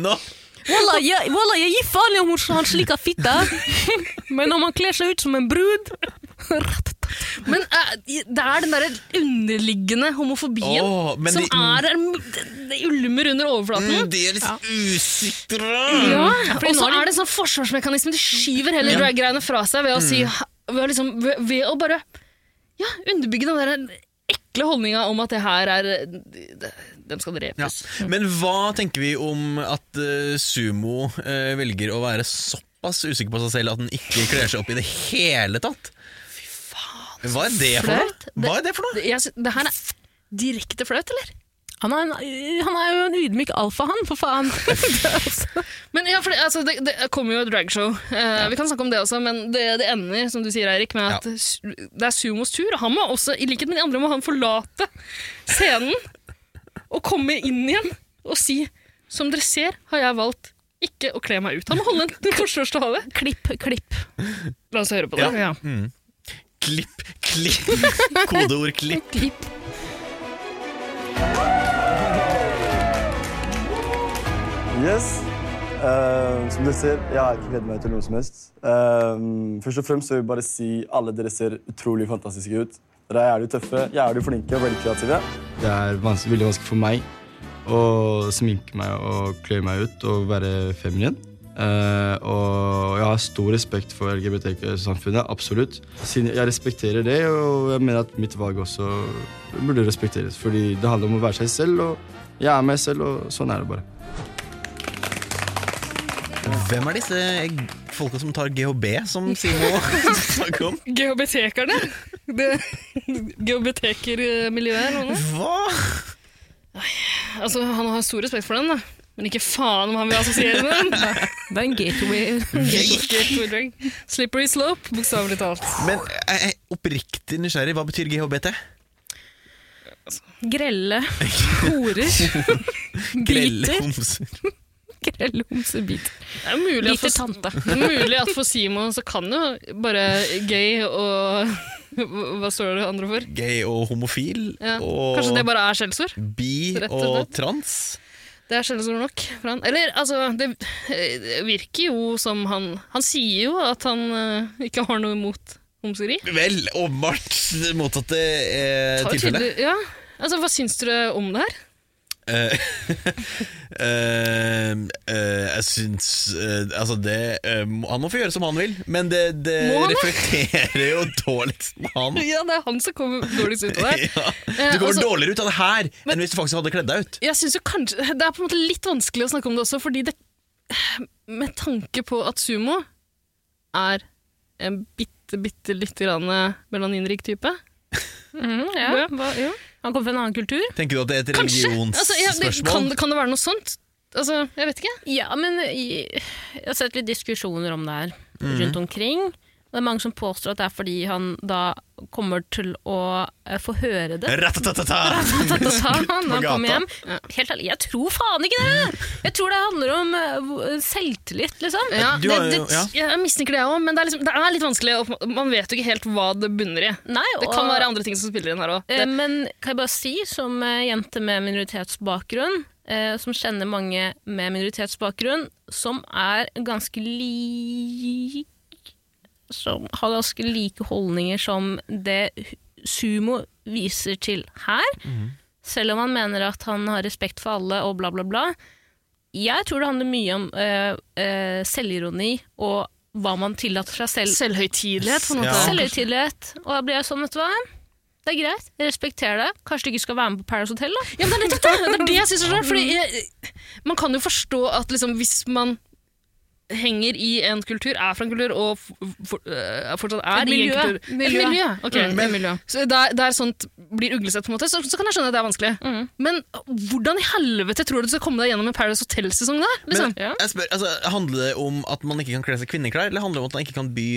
[SPEAKER 2] Nå
[SPEAKER 1] Wallah, jeg, wallah, jeg gir faen i om hun- han slik har fitta, men om han kler seg ut som en brud ratatata.
[SPEAKER 4] Men eh, det er den derre underliggende homofobien
[SPEAKER 2] Åh, men
[SPEAKER 4] som
[SPEAKER 2] de-
[SPEAKER 4] er Det det ulmer under overflaten.
[SPEAKER 2] Mm, De er litt usikre.
[SPEAKER 4] Ja,
[SPEAKER 1] fordi
[SPEAKER 4] og så
[SPEAKER 1] nå er
[SPEAKER 4] er det en sånn forsvarsmekanisme. De skyver heller drag-greiene fra seg ved å, si, ved, å liksom, ved, ved å bare ja, underbygge den der ekle holdninga om at det her er Dem skal
[SPEAKER 2] Ja.
[SPEAKER 4] drepes.
[SPEAKER 2] Men hva tenker vi om at eh, sumo eh, velger å være såpass usikker på seg selv at den ikke kler seg opp i det hele tatt? Hva er det for
[SPEAKER 4] flaut.
[SPEAKER 2] noe? Hva er det for noe?
[SPEAKER 4] Det, jeg, sy- det her er direkte flaut, eller?
[SPEAKER 1] Han er, en, han er jo en ydmyk alfa, han, for faen. Det er altså-
[SPEAKER 4] Men ja, for det, altså, det, det kommer jo et dragshow. Eh, Vi kan snakke om det også, men det, det ender som du sier, Eirik, med at su- det er Sumos tur. og Han må også, i likhet med de andre, må han forlate scenen og komme inn igjen og si Som dere ser, har jeg valgt ikke å kle meg ut. Han må holde en forsvarstale.
[SPEAKER 1] klipp, klipp.
[SPEAKER 4] La oss høre på det.
[SPEAKER 2] Ja. Klipp, klipp, kodeord klipp.
[SPEAKER 1] klipp.
[SPEAKER 5] Yes. Eh, som dere ser, jeg har ikke gledet meg til noe som helst. Eh, først og fremst så vil jeg bare si alle dere ser utrolig fantastiske ut. Dere er jævlig tøffe, jævlig flinke og veldig kreative.
[SPEAKER 6] Det er vanskelig, veldig vanskelig for meg å sminke meg og klø meg ut og være feminin. Eh, og jeg har stor respekt for LGBTQ-samfunnet, absolutt. Siden jeg respekterer det, og jeg mener at mitt valg også burde respekteres. Fordi det handler om å være seg selv, og jeg er meg selv, og sånn er det bare.
[SPEAKER 2] Hvem er disse folka som tar GHB, som Simo snakker om?
[SPEAKER 4] Geobetekerne. Det- Geobetekermiljøet eller noe.
[SPEAKER 2] Hva?
[SPEAKER 4] Altså, han har stor respekt for den, da. Men ikke faen om han vil assosiere med den.
[SPEAKER 1] Det er en gateway.
[SPEAKER 4] Geobetekerdrag. Slippery slope, bokstavelig talt.
[SPEAKER 2] Men jeg er oppriktig nysgjerrig, hva betyr GHBT?
[SPEAKER 1] Grelle horer.
[SPEAKER 2] Grelle
[SPEAKER 1] Biter.
[SPEAKER 2] homser.
[SPEAKER 1] makrell og homsebiter.
[SPEAKER 4] Det er jo mulig at
[SPEAKER 1] Biter
[SPEAKER 4] for,
[SPEAKER 1] tante.
[SPEAKER 4] mulig at for Simon så kan jo bare gay og Hva står det andre for?
[SPEAKER 2] Gay og homofil
[SPEAKER 4] Ja.
[SPEAKER 2] og
[SPEAKER 4] Kanskje det bare er skjellsord?
[SPEAKER 2] bi
[SPEAKER 4] rett og
[SPEAKER 2] og
[SPEAKER 4] slett.
[SPEAKER 2] trans.
[SPEAKER 4] Det er skjellsord nok for han. Eller altså, det eh, virker jo som han Han sier jo at han eh, ikke har noe imot homseri.
[SPEAKER 2] Vel, åpenbart det motsatte eh,
[SPEAKER 4] Har jo
[SPEAKER 2] tilfellet.
[SPEAKER 4] tydelig- Ja. Altså, hva syns dere om det her?
[SPEAKER 2] Eh, eh, eh, jeg syns eh, Altså, det eh, må- Han må få gjøre som han vil, men det, det
[SPEAKER 4] Må han det?
[SPEAKER 2] reflekterer jo dårligst med han.
[SPEAKER 4] Ja, det er han som kommer dårligst ut av det.
[SPEAKER 2] Ja.
[SPEAKER 4] Eh,
[SPEAKER 2] Du kommer
[SPEAKER 4] altså-
[SPEAKER 2] dårligere ut av det her enn hvis du faktisk hadde kledd deg ut.
[SPEAKER 4] Jeg synes jo kanskje, Det er på en måte litt vanskelig å snakke om det også, fordi det Med tanke på at sumo er en bitte, bitte lite grann melaninrik type.
[SPEAKER 1] Mm, ja.
[SPEAKER 4] Ja.
[SPEAKER 1] Hva, ja. Han kommer fra en annen kultur.
[SPEAKER 2] Tenker du at det er et
[SPEAKER 4] Kanskje! Altså, ja, det, kan,
[SPEAKER 2] religionsspørsmål?
[SPEAKER 4] kan det være noe sånt? Altså, Jeg vet ikke.
[SPEAKER 1] Ja, men i- jeg har sett litt diskusjoner om det her rundt omkring. Og det er mange som påstår at det er fordi han da kommer til å eh, få høre det.
[SPEAKER 2] Ratatatata!
[SPEAKER 1] Da sa han når han
[SPEAKER 2] gata.
[SPEAKER 1] kom hjem. Helt ærlig, jeg tror faen ikke det! Jeg tror det handler om eh, hvor- selvtillit, liksom.
[SPEAKER 4] Ja,
[SPEAKER 2] Eh, Du
[SPEAKER 4] det,
[SPEAKER 2] har
[SPEAKER 4] det,
[SPEAKER 2] jo- ja.
[SPEAKER 4] Jeg mistenker det, jeg òg, men det er, liksom, det er litt vanskelig. og Man vet jo ikke helt hva det bunner i.
[SPEAKER 1] Nei,
[SPEAKER 4] Det kan være andre ting som spiller inn her òg.
[SPEAKER 1] Eh, Men kan jeg bare si, som eh, jente med minoritetsbakgrunn, eh, som kjenner mange med minoritetsbakgrunn, som er ganske lik Som har ganske like holdninger som det hu- sumo viser til her. Selv om han mener at han har respekt for alle og bla, bla, bla. Jeg tror det handler mye om eh, eh, selvironi og hva man tillater seg selv
[SPEAKER 4] Eh, Selvhøytidelighet, på en måte.
[SPEAKER 2] Ja.
[SPEAKER 1] Selvhøytidelighet. Og da blir jeg sånn, vet du hva. Det er greit, jeg respekterer det. Kanskje du ikke skal være med på Paradise Hotel, da.
[SPEAKER 4] Ja, men det er nettopp det! Det er det jeg synes er så rart. Fordi jeg, man kan jo forstå at liksom, hvis man henger i en kultur, er fra en kultur og f- f- øh, fortsatt er
[SPEAKER 1] Et
[SPEAKER 4] i
[SPEAKER 1] miljø.
[SPEAKER 4] en kultur.
[SPEAKER 1] Miljø.
[SPEAKER 4] Et miljø. ok.
[SPEAKER 2] Mm. Men-
[SPEAKER 4] Så der, der sånt blir uglesett, på en måte, så, så kan jeg skjønne at det er vanskelig.
[SPEAKER 1] Mm.
[SPEAKER 4] Men hvordan i helvete tror du du skal komme deg gjennom en Paradise Hotel-sesong? da? Liksom?
[SPEAKER 2] Men jeg spør, altså, Handler det om at man ikke kan kle seg i kvinneklær, eller handler det om at man ikke kan by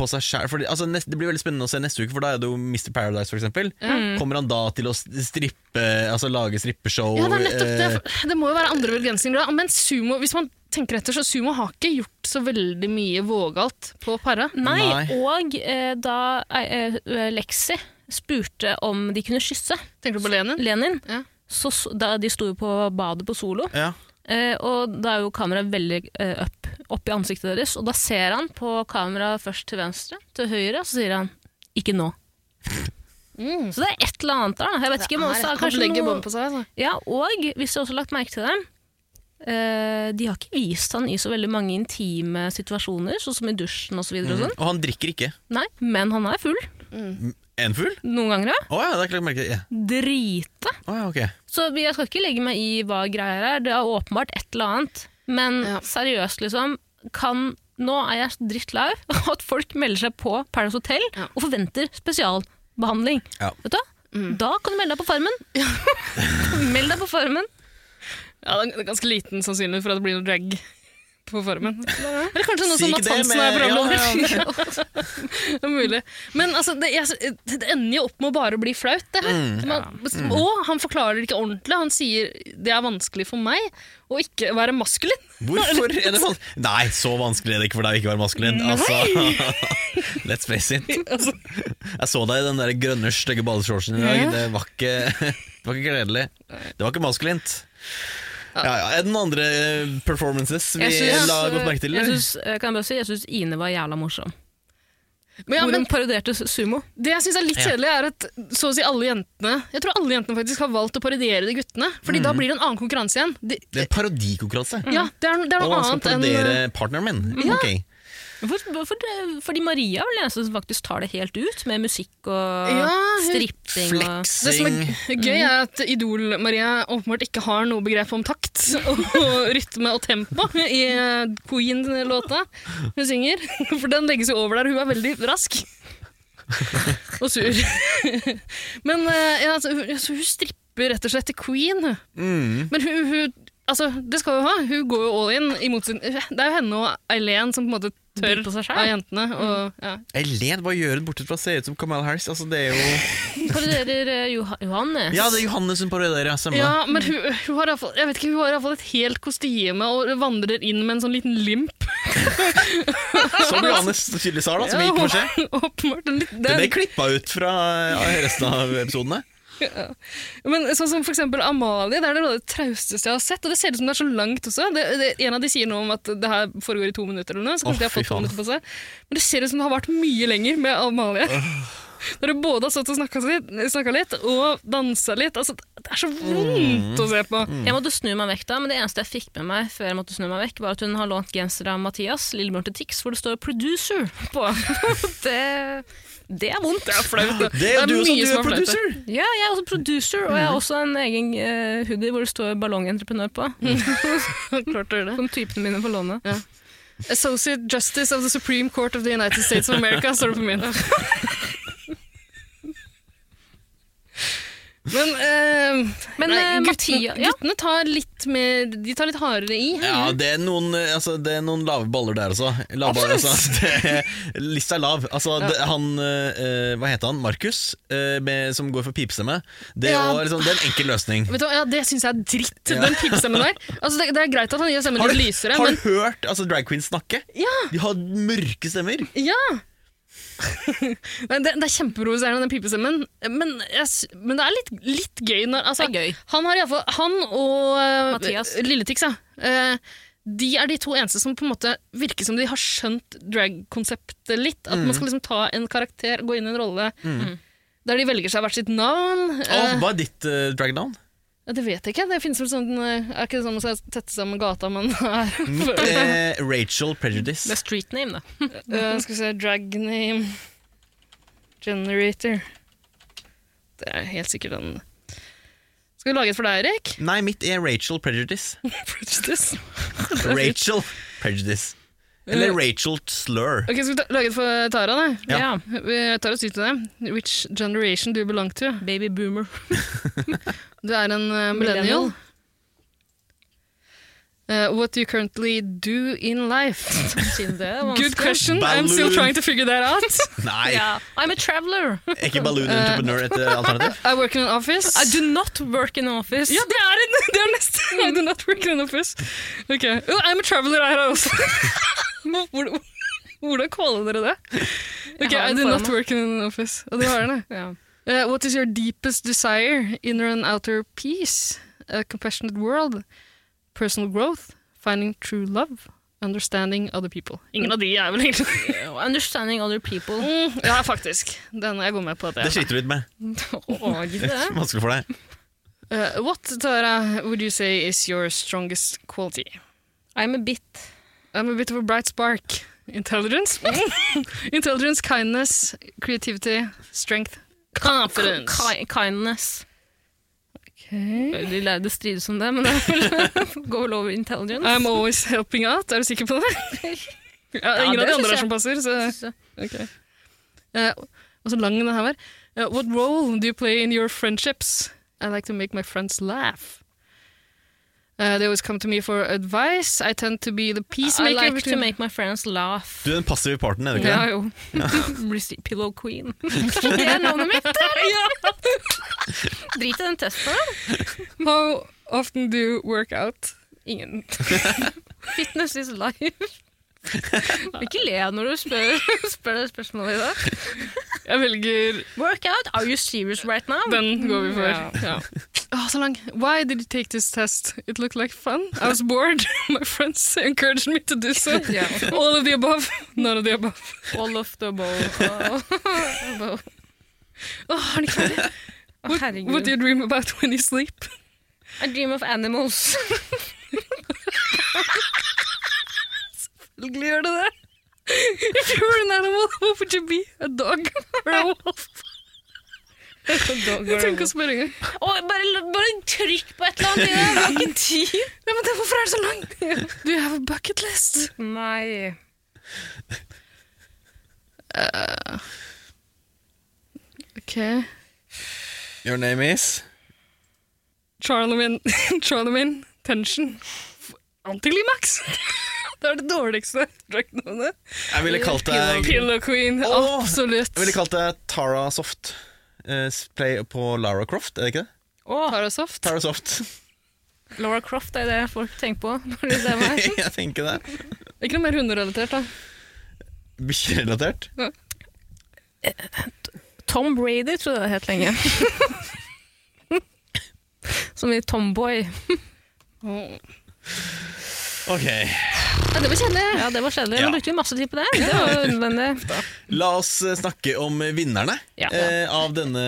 [SPEAKER 2] på seg sjæl? Altså, nest- det blir veldig spennende å se neste uke, for da er det jo Mr. Paradise, f.eks.
[SPEAKER 4] Mm.
[SPEAKER 2] Kommer han da til å strippe Altså lage strippeshow?
[SPEAKER 4] Ja, det er nettopp det.
[SPEAKER 2] eh,
[SPEAKER 4] For- Det må jo være andre begrensninger. da. Men sumo, hvis man tenker etter, så sumo har ikke gjort så veldig mye vågalt på para.
[SPEAKER 1] Nei,
[SPEAKER 2] Nei.
[SPEAKER 1] Og eh, da eh, eh, Lexi spurte om de kunne kysse
[SPEAKER 4] Tenker du på Lenin?
[SPEAKER 1] Lenin,
[SPEAKER 4] Ja.
[SPEAKER 1] så, s- da de sto jo på badet på Solo,
[SPEAKER 2] ja.
[SPEAKER 1] eh, og da er jo kameraet veldig eh, opp, opp i ansiktet deres, og da ser han på kameraet først til venstre, til høyre, og så sier han 'ikke nå'. Så det er et eller annet der. da. Jeg vet ikke, men også er Mm. det
[SPEAKER 4] han
[SPEAKER 1] kanskje
[SPEAKER 4] legger
[SPEAKER 1] noe-
[SPEAKER 4] bånd på seg. Altså.
[SPEAKER 1] Ja, og hvis du også har lagt merke til dem, eh, de har ikke vist han i så veldig mange intime situasjoner, sånn som i dusjen og så videre
[SPEAKER 4] Mm.
[SPEAKER 1] og sånn.
[SPEAKER 2] Og han drikker ikke.
[SPEAKER 1] Nei, men han er full.
[SPEAKER 2] En fugl?
[SPEAKER 1] Noen ganger, ja.
[SPEAKER 2] Å ja, det har jeg ikke lagt merke til. Ja.
[SPEAKER 1] Drite.
[SPEAKER 2] Å ja, ok.
[SPEAKER 1] Så jeg skal ikke legge meg i hva greia er, det er åpenbart et eller annet. Men
[SPEAKER 4] Ja.
[SPEAKER 1] seriøst, liksom, kan Nå er jeg drittlei av at folk melder seg på Paradise Hotel
[SPEAKER 4] Ja.
[SPEAKER 1] og forventer spesialbehandling.
[SPEAKER 2] Ja.
[SPEAKER 1] Vet du hva?
[SPEAKER 4] Mm.
[SPEAKER 1] Da kan du melde deg på Farmen. Meld deg på Farmen.
[SPEAKER 4] Ja, det er ganske liten sannsynlighet for at det blir noe drag på formen. Eller kanskje noe
[SPEAKER 2] Si
[SPEAKER 4] som
[SPEAKER 2] ikke
[SPEAKER 4] at
[SPEAKER 2] det
[SPEAKER 4] Hansen
[SPEAKER 2] med-
[SPEAKER 4] er programleder.
[SPEAKER 2] ja, ja,
[SPEAKER 4] det er mulig. Men altså, det, jeg, det ender jo opp med å bare bli flaut, det her.
[SPEAKER 2] Mm.
[SPEAKER 4] Man, Og han forklarer det ikke ordentlig. Han sier det er vanskelig for meg å ikke være maskulin.
[SPEAKER 2] Hvorfor er det vanskelig? Nei, så vanskelig er det ikke for deg å ikke være maskulin. Altså, let's face it.
[SPEAKER 4] Altså,
[SPEAKER 2] Jeg så deg i den der grønne, stygge badeshortsen i dag. Det var ikke, det var ikke gledelig. Det var ikke maskulint. Ja, ja. Er det noen andre eh, performances vi
[SPEAKER 1] synes-
[SPEAKER 2] la godt merke til?
[SPEAKER 1] Jeg
[SPEAKER 2] eller?
[SPEAKER 1] synes, eh, kan jeg bare si, jeg syns Ine var jævla morsom.
[SPEAKER 4] Men, ja,
[SPEAKER 1] Hvor
[SPEAKER 4] men
[SPEAKER 1] hun parodierte sumo.
[SPEAKER 4] Det jeg synes er litt
[SPEAKER 2] Ja.
[SPEAKER 4] kjedelig, er at så å si alle jentene Jeg tror alle jentene faktisk har valgt å parodiere de guttene. Fordi
[SPEAKER 2] Mm.
[SPEAKER 4] da blir det en annen konkurranse igjen. De,
[SPEAKER 2] Det er en parodikonkurranse.
[SPEAKER 4] ja, det er, det er
[SPEAKER 2] Og
[SPEAKER 4] noe
[SPEAKER 2] man skal
[SPEAKER 4] annet enn eh,
[SPEAKER 2] parodiere partneren min. Ok.
[SPEAKER 1] For, for det, fordi Maria er vel den eneste som faktisk tar det helt ut, med musikk og
[SPEAKER 4] Ja, hun-
[SPEAKER 1] stripping. Og,
[SPEAKER 4] Det som
[SPEAKER 2] Fleksing.
[SPEAKER 4] er gøy, er at Idol-Maria åpenbart ikke har noe begrep om takt og rytme og tempo i eh, Queen-låta hun synger. For den legges jo over der, hun er veldig rask. Og sur. Men eh, ja, altså, hun, altså, hun stripper rett og slett til Queen. hun.
[SPEAKER 2] Mm.
[SPEAKER 4] Men hun, hun Altså, det skal hun ha. Hun går jo all in. I motsetning- det er jo henne og Eileen som på en måte
[SPEAKER 1] By
[SPEAKER 4] tørr
[SPEAKER 1] på seg selv.
[SPEAKER 4] av jentene. Og, ja.
[SPEAKER 2] Elen, hva gjør hun bortsett fra å se ut som Kamal Harris? Altså, det er jo...
[SPEAKER 1] Parodierer eh, Joha Johannes.
[SPEAKER 2] Ja, det er Johannes hun parodierer, ja, stemmer
[SPEAKER 4] ja, men hun, hun har iallfall Jeg vet ikke, hun har iallfall et helt kostyme og vandrer inn med en sånn liten limp.
[SPEAKER 2] det. Som Johannes tydeligvis har, da, som vi ikke får se.
[SPEAKER 4] Sånn, Åpenbart. en liten-
[SPEAKER 2] Det
[SPEAKER 4] den-
[SPEAKER 2] ble klippa ut fra eh, resten av episodene.
[SPEAKER 4] Men sånn som for eksempel Amalie, det er det noe av det trausteste jeg har sett. Og det ser ut som det er så langt også. Det, det, en av de sier noe om at det her foregår i to minutter eller noe, så
[SPEAKER 2] Å,
[SPEAKER 4] kanskje de har
[SPEAKER 2] fy
[SPEAKER 4] fått to
[SPEAKER 2] faen.
[SPEAKER 4] minutter på seg. Men det ser ut som det har vært mye lenger med Amalie. Når du både har stått og snakka litt, snakket litt og dansa litt. Altså, det er så
[SPEAKER 2] Mm.
[SPEAKER 4] vondt å se på.
[SPEAKER 1] Jeg måtte snu meg vekk da, men det eneste jeg fikk med meg før jeg måtte snu meg vekk, var at hun har lånt genser av Mathias, lillebror til Tix, hvor det står 'producer' på. det, det er vondt.
[SPEAKER 4] Det er flaut. da.
[SPEAKER 2] Det er jo du som
[SPEAKER 4] mye
[SPEAKER 2] du
[SPEAKER 4] som
[SPEAKER 2] er
[SPEAKER 4] flaut, da.
[SPEAKER 2] producer!
[SPEAKER 1] Ja, jeg er også producer, og jeg har også en egen eh, hoodie hvor det står 'ballongentreprenør' på.
[SPEAKER 4] Klart du gjør det.
[SPEAKER 1] Som typene mine på lånet.
[SPEAKER 4] Associate Justice of the Supreme Court of the United States of America, står det på min. Men, eh,
[SPEAKER 1] Men,
[SPEAKER 4] nei,
[SPEAKER 1] eh,
[SPEAKER 4] gutten,
[SPEAKER 1] Mathia- ja.
[SPEAKER 4] guttene tar litt mer De tar litt hardere i.
[SPEAKER 2] Ja, det er noen, eh, altså, det er noen lave baller der også. Lave baller, altså. Det er, lista er lav. Altså, det, han, eh, hva heter han, Markus, eh, med, som går for pipestemme, det, er
[SPEAKER 4] Ja.
[SPEAKER 2] jo liksom, det er en enkel løsning.
[SPEAKER 4] Vet du hva, ja, Det syns jeg er dritt, den pipestemmen der. Altså, det, det er greit at han gjør stemmen
[SPEAKER 2] Har du,
[SPEAKER 4] litt lysere,
[SPEAKER 2] har
[SPEAKER 4] men
[SPEAKER 2] du hørt altså, drag queens snakke?
[SPEAKER 4] ja,
[SPEAKER 2] De har mørke stemmer.
[SPEAKER 4] ja. Nei, det, det er kjempeprovoserende, den pipestemmen. Men, jeg, s- men det er litt, litt gøy. Når, altså,
[SPEAKER 1] Det er gøy.
[SPEAKER 4] Han, har i hvert fall- han og eh,
[SPEAKER 1] Mathias.
[SPEAKER 4] Lilletix, ja. Eh, de er de to eneste som på en måte virker som de har skjønt drag-konseptet litt. At
[SPEAKER 2] Mm.
[SPEAKER 4] man skal liksom ta en karakter, gå inn i en rolle der de velger seg hvert sitt navn.
[SPEAKER 2] Åh,
[SPEAKER 4] Eh,
[SPEAKER 2] hva er ditt uh, drag down?
[SPEAKER 4] ja, det vet jeg ikke. Det finnes vel sånn, eh, er ikke det sånn man skal tette sammen gata man er
[SPEAKER 2] Eh, Rachel Prejudice.
[SPEAKER 1] Det er street name, da.
[SPEAKER 4] Eh, Skal vi se Drag name generator. Det er helt sikkert den Skal vi lage et for deg, Erik?
[SPEAKER 2] Nei, mitt er Rachel Prejudice.
[SPEAKER 4] Prejudice.
[SPEAKER 2] Rachel Prejudice. Eller Rachel Slur.
[SPEAKER 4] Ok, Skal vi ta, lage et for Tara, da?
[SPEAKER 2] Ja.
[SPEAKER 1] Ja.
[SPEAKER 4] Vi tar oss ut til det. Which generation do you belong to?
[SPEAKER 1] Baby boomer.
[SPEAKER 4] Du er en eh, millennial. Eh, what do you currently do in life?
[SPEAKER 1] Siden det er vanskelig.
[SPEAKER 4] Good question. I'm still
[SPEAKER 2] Balloon.
[SPEAKER 4] trying to figure that out.
[SPEAKER 2] Nei,
[SPEAKER 1] Ja. I'm a traveler.
[SPEAKER 2] er ikke Balloon Entrepreneur et eh, alternativ?
[SPEAKER 4] I work in an office.
[SPEAKER 1] I do not Mm. work in office.
[SPEAKER 4] Ja, det er, en, det er neste. I do not work in an office. Ok. Oh, I'm a traveler er her også. Nå, Hvordan, hvordan kaller dere det? Ok,
[SPEAKER 1] Jeg har
[SPEAKER 4] I
[SPEAKER 1] den
[SPEAKER 4] do
[SPEAKER 1] foran
[SPEAKER 4] not
[SPEAKER 1] meg.
[SPEAKER 4] work in an office. Og du har den, ja.
[SPEAKER 1] Ja.
[SPEAKER 4] Eh, what is your deepest desire? Inner and outer peace? A compassionate world? Personal growth? Finding true love? Understanding other people. Ingen av de er vel egentlig
[SPEAKER 1] Understanding other people.
[SPEAKER 4] mm, Ja, faktisk. Den jeg går med på. at det er
[SPEAKER 2] Det sliter du litt med.
[SPEAKER 1] Åh, gidde det.
[SPEAKER 2] Vanskelig for deg.
[SPEAKER 4] Eh, what, Tara, would you say is your strongest quality?
[SPEAKER 1] I'm a bit.
[SPEAKER 4] I'm a bit of a bright spark. Intelligence? Intelligence, kindness, creativity, strength, confidence.
[SPEAKER 1] Ki kindness.
[SPEAKER 4] Okay.
[SPEAKER 1] De lærde strides om det, men det er vel- går vel over intelligence.
[SPEAKER 4] I'm always helping out. Er du sikker på det? ja, ingen
[SPEAKER 1] det
[SPEAKER 4] av
[SPEAKER 1] synes
[SPEAKER 4] de andre
[SPEAKER 1] jeg.
[SPEAKER 4] er som passer, så
[SPEAKER 1] Så-
[SPEAKER 4] ok. Eh, og så lang den her var. Eh, what role do you play in your friendships? I like to make my friends laugh. Eh, they always come to me for advice. I tend to be the
[SPEAKER 1] I
[SPEAKER 4] peacemaker.
[SPEAKER 1] like to
[SPEAKER 4] between-
[SPEAKER 1] make my friends laugh.
[SPEAKER 2] Du er den passive parten, er du ikke
[SPEAKER 1] Ja,
[SPEAKER 2] det?
[SPEAKER 1] jo. Rece- Pillow Queen. Det er navnet mitt! Der. Ja. Drit i den testen. da.
[SPEAKER 4] How often do you work out?
[SPEAKER 1] Ingen. Fitness is life. Ikke le når du spør, spør det spørsmålet i dag.
[SPEAKER 4] Jeg velger
[SPEAKER 1] Workout, are you serious right now?
[SPEAKER 4] Den går vi for.
[SPEAKER 1] Ja.
[SPEAKER 4] Ja. Åh, så lang. Why did you take this test? It looked like fun. I was bored. My friends encouraged me to do so.
[SPEAKER 1] Ja.
[SPEAKER 4] All of the above. None of the above.
[SPEAKER 1] All of the bow.
[SPEAKER 4] Åh, er det ikke ferdig?
[SPEAKER 1] Å,
[SPEAKER 4] What,
[SPEAKER 1] herregud.
[SPEAKER 4] what do you dream about when you sleep?
[SPEAKER 1] I dream of animals.
[SPEAKER 4] Selvfølgelig gjør det det. If you were an animal, what would you be? A dog or a wolf? Jeg trenger ikke å spørre engang.
[SPEAKER 1] Å, bare, bare trykk på et eller annet i det. Vi har ikke tid.
[SPEAKER 4] Nei, men det- Hvorfor er det så lang? Do you have a bucket list?
[SPEAKER 1] Nei.
[SPEAKER 4] Okay.
[SPEAKER 2] Your name is
[SPEAKER 4] Charlemagne, Charlemagne tension. Antiklimax! Det var det dårligste dragnavnet.
[SPEAKER 2] Jeg ville kalt deg
[SPEAKER 4] Pillow Queen,
[SPEAKER 2] Åh!
[SPEAKER 4] absolutt.
[SPEAKER 2] Jeg ville kalt deg Tara Soft. Eh, play på Lara Croft, er det ikke det?
[SPEAKER 4] Parasoft.
[SPEAKER 2] Tara Soft.
[SPEAKER 1] Laura Croft er det folk tenker på når de ser meg.
[SPEAKER 2] jeg tenker det.
[SPEAKER 4] Ikke noe mer hunderelatert, da.
[SPEAKER 2] Bikkjerelatert.
[SPEAKER 1] Tom Brady tror jeg det het lenge. Som i Tomboy.
[SPEAKER 4] Åh.
[SPEAKER 2] Ok.
[SPEAKER 4] Ja, det var kjedelig.
[SPEAKER 1] Ja, det var kjedelig.
[SPEAKER 2] Ja.
[SPEAKER 1] Nå brukte vi masse tid på det. Det var jo unødvendig.
[SPEAKER 2] La oss eh, snakke om vinnerne
[SPEAKER 1] Ja.
[SPEAKER 2] eh, av denne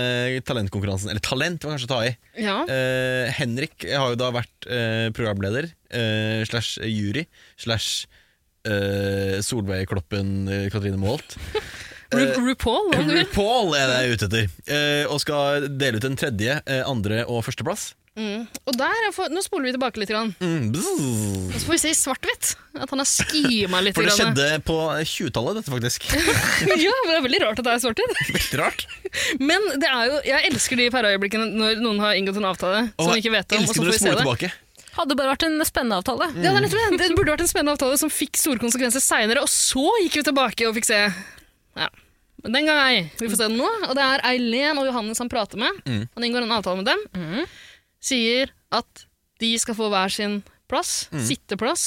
[SPEAKER 2] talentkonkurransen. Eller talent, var kanskje å ta i.
[SPEAKER 4] Ja.
[SPEAKER 2] Eh, Henrik har jo da vært eh, programleder eh, slash jury slash eh, Solveig Kloppen eh, Katrine Moholt. Eh,
[SPEAKER 4] Ru RuPaul, om du vil.
[SPEAKER 2] RuPaul er det jeg er ute etter, eh, og skal dele ut en tredje, eh, andre og førsteplass.
[SPEAKER 4] Mm. Og der, er for, Nå spoler vi tilbake litt. Grann.
[SPEAKER 2] Mm, bzzz.
[SPEAKER 4] Og så får vi se i svart-hvitt at han har skima litt.
[SPEAKER 2] For det
[SPEAKER 4] grann.
[SPEAKER 2] skjedde på 20-tallet, dette faktisk.
[SPEAKER 4] ja, men det er veldig rart at det er svart-hvitt.
[SPEAKER 2] Veldig rart.
[SPEAKER 4] Men det er jo, jeg elsker de pæreøyeblikkene når noen har inngått en avtale som vi ikke vet om. og så
[SPEAKER 2] elsker
[SPEAKER 4] får
[SPEAKER 2] når du
[SPEAKER 4] vi se det.
[SPEAKER 2] spoler tilbake.
[SPEAKER 1] Hadde bare vært en spennende avtale.
[SPEAKER 4] Ja, det, er nettopp det. det burde vært en spennende avtale som fikk store konsekvenser seinere, og så gikk vi tilbake og fikk se. Ja. Men den gang ei. Vi får se den nå. Og det er Eileen og Johannes han prater med. Han inngår en avtale med dem. Sier at de skal få hver sin plass, sitteplass,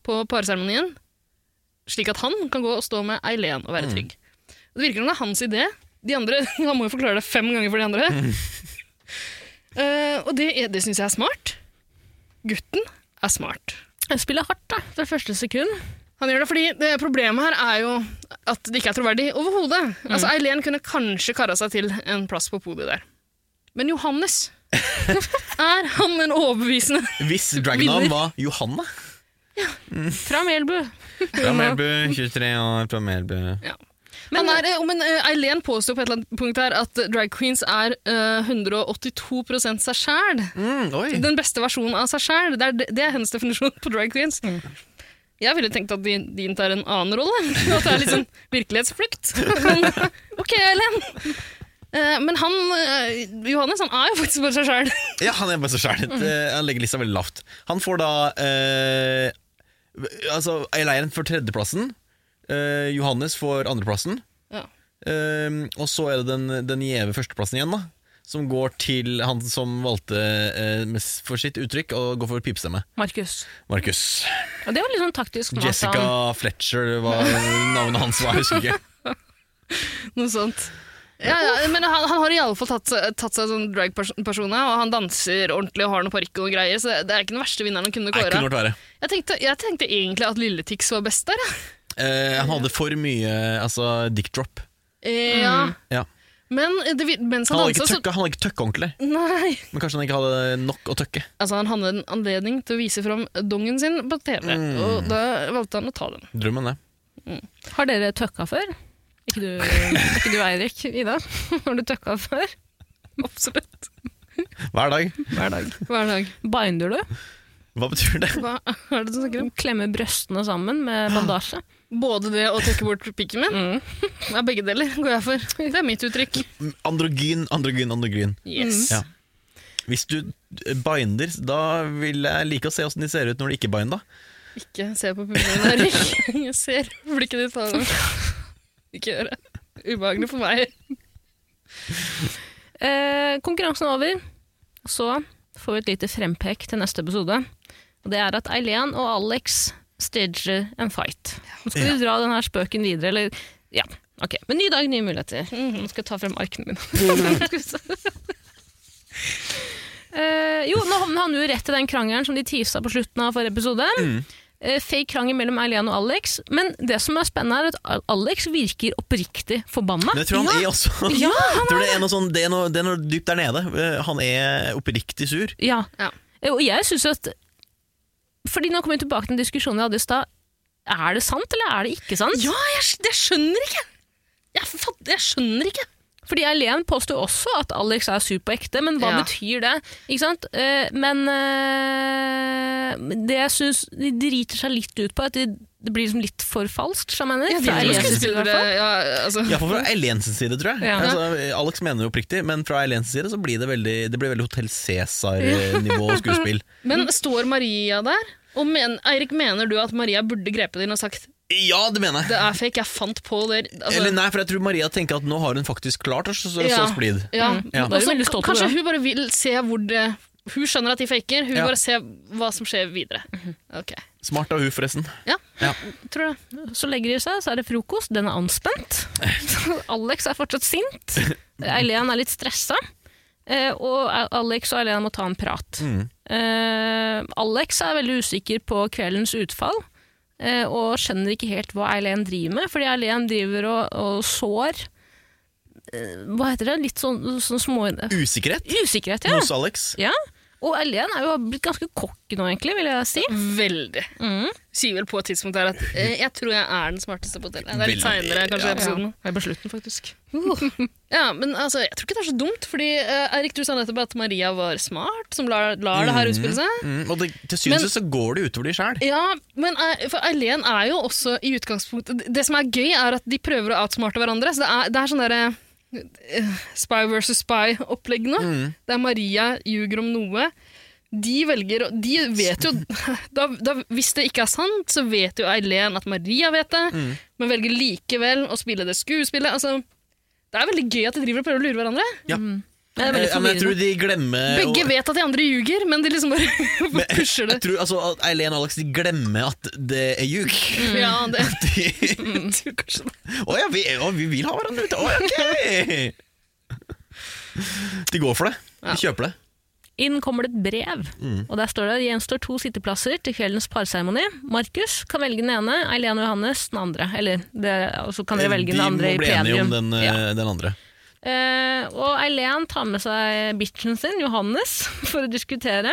[SPEAKER 4] på parseremonien. Slik at han kan gå og stå med Eileen og være trygg. Og det virker som det er hans idé. De andre, Han må jo forklare det fem ganger for de andre. Eh, og det, er- det syns jeg er smart. Gutten er smart.
[SPEAKER 1] Jeg spiller hardt da, fra første sekund.
[SPEAKER 4] Han gjør det fordi det problemet her er jo at det ikke er troverdig overhodet. Altså, Eileen kunne kanskje kara seg til en plass på podiet der. Men Johannes Er han en overbevisende
[SPEAKER 2] Hvis Dragnam
[SPEAKER 4] Vinner.
[SPEAKER 2] var Johanne
[SPEAKER 1] Fra Melbu.
[SPEAKER 2] Fra Melbu, 23 år fra Melbu.
[SPEAKER 4] Han er, eh, men eh, Eileen påstår på et eller annet punkt her at drag queens er eh, 182 seg sjæl.
[SPEAKER 2] Mm, oi.
[SPEAKER 4] Den beste versjonen av seg sjæl. Det, er- det er hennes definisjon på drag queens.
[SPEAKER 2] Mm.
[SPEAKER 4] Jeg ville tenkt at de, de inntar en annen rolle. At det er litt sånn virkelighetsflukt. Men, ok, Eileen. Eh, Men han, eh, Johannes han er jo faktisk bare seg sjæl.
[SPEAKER 2] Ja, han er bare så skjærlig.
[SPEAKER 4] Mm.
[SPEAKER 2] Han legger lista veldig lavt. Han får da eh, Altså, Eileiren får tredjeplassen. Eh, Johannes får andreplassen.
[SPEAKER 4] Ja.
[SPEAKER 2] Eh, og så er det den, den gjeve førsteplassen igjen, da. Som går til han som valgte eh, med s- for sitt uttrykk å gå for pipestemme.
[SPEAKER 1] Markus.
[SPEAKER 2] Markus.
[SPEAKER 1] Og det var litt sånn taktisk. smart av han.
[SPEAKER 2] Jessica Fletcher var navnet hans, var, jeg husker ikke.
[SPEAKER 4] Noe sånt. Ja, ja, men han, han har iallfall tatt, seg- tatt seg sånn drag-persona, og han danser ordentlig og har noe parykk og noe greier, så det er ikke den verste vinneren han kunne
[SPEAKER 2] Nei,
[SPEAKER 4] kåra.
[SPEAKER 2] kunne vært verre.
[SPEAKER 4] Jeg tenkte, jeg tenkte egentlig at Lille Tix var best der, jeg.
[SPEAKER 2] Eh, han hadde for mye altså, dick drop.
[SPEAKER 4] Eh, Ja.
[SPEAKER 2] Mm. Ja.
[SPEAKER 4] Men det, vi- mens han,
[SPEAKER 2] Han hadde
[SPEAKER 4] dansa,
[SPEAKER 2] ikke
[SPEAKER 4] så
[SPEAKER 2] tøkka, han hadde ikke tøkka ordentlig.
[SPEAKER 4] Nei.
[SPEAKER 2] Men kanskje han ikke hadde nok å tøkke.
[SPEAKER 4] Altså, han hadde en anledning til å vise fram dongen sin på TV, og da valgte han å ta den.
[SPEAKER 2] Drømmen, det.
[SPEAKER 1] Har dere tøkka før? Ikke du, ikke du Eirik, Ida? Har du tøkka før?
[SPEAKER 4] Absolutt.
[SPEAKER 2] Hver dag.
[SPEAKER 4] Hver dag.
[SPEAKER 1] Binder du?
[SPEAKER 2] Hva betyr det?
[SPEAKER 4] Hva er det du snakker om?
[SPEAKER 1] Klemmer brøstene sammen med bandasje?
[SPEAKER 4] Både det å tøkke bort pikken min,
[SPEAKER 1] Mm.
[SPEAKER 4] ja, begge deler går jeg for. Det er mitt uttrykk.
[SPEAKER 2] Androgyn, androgyn, androgyn.
[SPEAKER 4] Yes.
[SPEAKER 2] Ja. Hvis du binder, da vil jeg like å se åssen de ser ut når de ikke binder.
[SPEAKER 4] Ikke se på puppene dine, Erik. Jeg ser blikket ditt. Faen. Ikke gjør det. Ubehagelig for meg.
[SPEAKER 1] Eh, konkurransen er over. Så får vi et lite frempek til neste episode. Og det er at Eileen og Alex stager en fight. Nå skal vi dra denne spøken videre, eller Ja, ok. Men ny dag, nye muligheter.
[SPEAKER 4] Mm.
[SPEAKER 1] Nå skal jeg ta frem arkene mine. Skal vi se. Eh, jo, nå havner han jo rett i den krangelen som de tisa på slutten av forrige episode. Eh, fake krangel mellom Eileen og Alex. Men det som er spennende, er at Al- Alex virker oppriktig forbanna.
[SPEAKER 2] Men jeg tror han er også
[SPEAKER 1] Ah, Ja,
[SPEAKER 2] Jeg tror det, er noe sånn, det, er noe, det er noe dypt der nede. Eh, Han er oppriktig sur.
[SPEAKER 1] Ja. Eh,
[SPEAKER 4] Ja.
[SPEAKER 1] Og jeg synes at Fordi nå kommer vi tilbake til den diskusjonen vi hadde i stad. Er det sant, eller er det ikke sant?
[SPEAKER 4] Ja, jeg, det skjønner ikke! Jeg, fatt, jeg skjønner ikke.
[SPEAKER 1] Fordi Eileen påstår også at Alex er sur på ekte, men hva
[SPEAKER 4] Ja.
[SPEAKER 1] betyr det? Ikke sant? Eh, men eh, det jeg syns de driter seg litt ut på, at det, det blir liksom litt for falskt, som jeg mener.
[SPEAKER 4] Jeg
[SPEAKER 1] Fra
[SPEAKER 4] vet
[SPEAKER 1] Eileens
[SPEAKER 4] ikke
[SPEAKER 1] side i hvert fall.
[SPEAKER 4] Ja, altså.
[SPEAKER 2] Iallfall fra Eileen sin side, tror jeg.
[SPEAKER 1] Ja.
[SPEAKER 2] Altså, Alex mener jo oppriktig, men fra Eileen sin side så blir det veldig, det blir veldig Hotell Cæsar-nivå skuespill.
[SPEAKER 4] Men står Maria der Og men, Eirik, mener du at Maria burde grepet inn og sagt
[SPEAKER 2] Ja, det mener jeg.
[SPEAKER 4] det er fake, jeg fant på det altså,
[SPEAKER 2] Eller nei, for jeg tror Maria tenker at nå har hun faktisk klart å så, så,
[SPEAKER 4] Ja.
[SPEAKER 2] så splid.
[SPEAKER 4] ja.
[SPEAKER 1] Da
[SPEAKER 2] Ja.
[SPEAKER 1] er du
[SPEAKER 4] Også,
[SPEAKER 1] veldig stolt over
[SPEAKER 4] Kanskje
[SPEAKER 1] Mm, det.
[SPEAKER 4] hun bare vil se hvor det Hun skjønner at de faker, hun
[SPEAKER 2] Ja.
[SPEAKER 4] bare ser hva som skjer videre.
[SPEAKER 1] Mhm.
[SPEAKER 4] Ok,
[SPEAKER 2] Smart av hun forresten.
[SPEAKER 4] tror det.
[SPEAKER 1] Så legger de seg, så er det frokost. Den er anspent. Alex er fortsatt sint. Eileen er litt stressa. Eh, og A- Alex og Eileen må ta en prat.
[SPEAKER 2] Mm.
[SPEAKER 1] Eh, Alex er veldig usikker på kveldens utfall. eh, og skjønner ikke helt hva Eileen driver med, fordi Eileen driver og, og sår eh, Hva heter det? Litt sånn, sånn små
[SPEAKER 2] Usikkerhet
[SPEAKER 1] Usikkerhet, ja.
[SPEAKER 2] hos Alex.
[SPEAKER 1] ja. Og Eileen er jo blitt ganske cocky nå, egentlig, vil jeg si.
[SPEAKER 4] Veldig.
[SPEAKER 1] Mm.
[SPEAKER 4] Sier vel på et tidspunkt her at eh, jeg tror jeg er den smarteste på hotellet. Det er
[SPEAKER 2] Veldig,
[SPEAKER 4] litt seinere, kanskje, i episoden.
[SPEAKER 1] Jeg er på slutten, faktisk.
[SPEAKER 4] Ja, men altså, jeg tror ikke det er så dumt, fordi eh, Eirik, du sa nettopp at Maria var smart, som lar, lar det her utspille seg.
[SPEAKER 2] Mm, og det, til syvende og sist så går det utover de sjæl.
[SPEAKER 4] Ja, men eh, for Eileen er jo også i utgangspunktet Det som er gøy, er at de prøver å outsmarte hverandre. Så det er, det er sånn derre eh, spy versus spy-opplegg nå. Der Maria ljuger om noe. De velger å- De vet jo da, da, Hvis det ikke er sant, så vet jo Eileen at Maria vet det, men velger likevel å spille det skuespillet. Altså, det er veldig gøy at de driver og prøver å lure hverandre.
[SPEAKER 1] Det er
[SPEAKER 2] Eh,
[SPEAKER 1] veldig
[SPEAKER 2] ja, men jeg tror
[SPEAKER 1] forvirrende.
[SPEAKER 2] de glemmer
[SPEAKER 4] Begge
[SPEAKER 2] å-
[SPEAKER 4] vet at de andre ljuger, Eh, men de liksom bare pusher det.
[SPEAKER 2] Jeg tror altså, at Eileen og Alex de glemmer at det er ljug.
[SPEAKER 4] Ja, det
[SPEAKER 2] De-
[SPEAKER 1] Mm.
[SPEAKER 4] tror kanskje det.
[SPEAKER 2] Å ja, vi, å, vi vil ha hverandre ute! Å, ja, ok! De går for det. De kjøper det.
[SPEAKER 1] Inn kommer det et brev,
[SPEAKER 2] Mm.
[SPEAKER 1] og der står det det gjenstår to sitteplasser til kveldens parseremoni. Markus kan velge den ene, Eileen og Johannes den andre. Eller det, og så kan dere velge den
[SPEAKER 2] Eh, de
[SPEAKER 1] andre i
[SPEAKER 2] må bli enige
[SPEAKER 1] pedium.
[SPEAKER 2] om den, eh,
[SPEAKER 1] Ja.
[SPEAKER 2] den andre.
[SPEAKER 1] Eh, og Eileen tar med seg bitchen sin, Johannes, for å diskutere.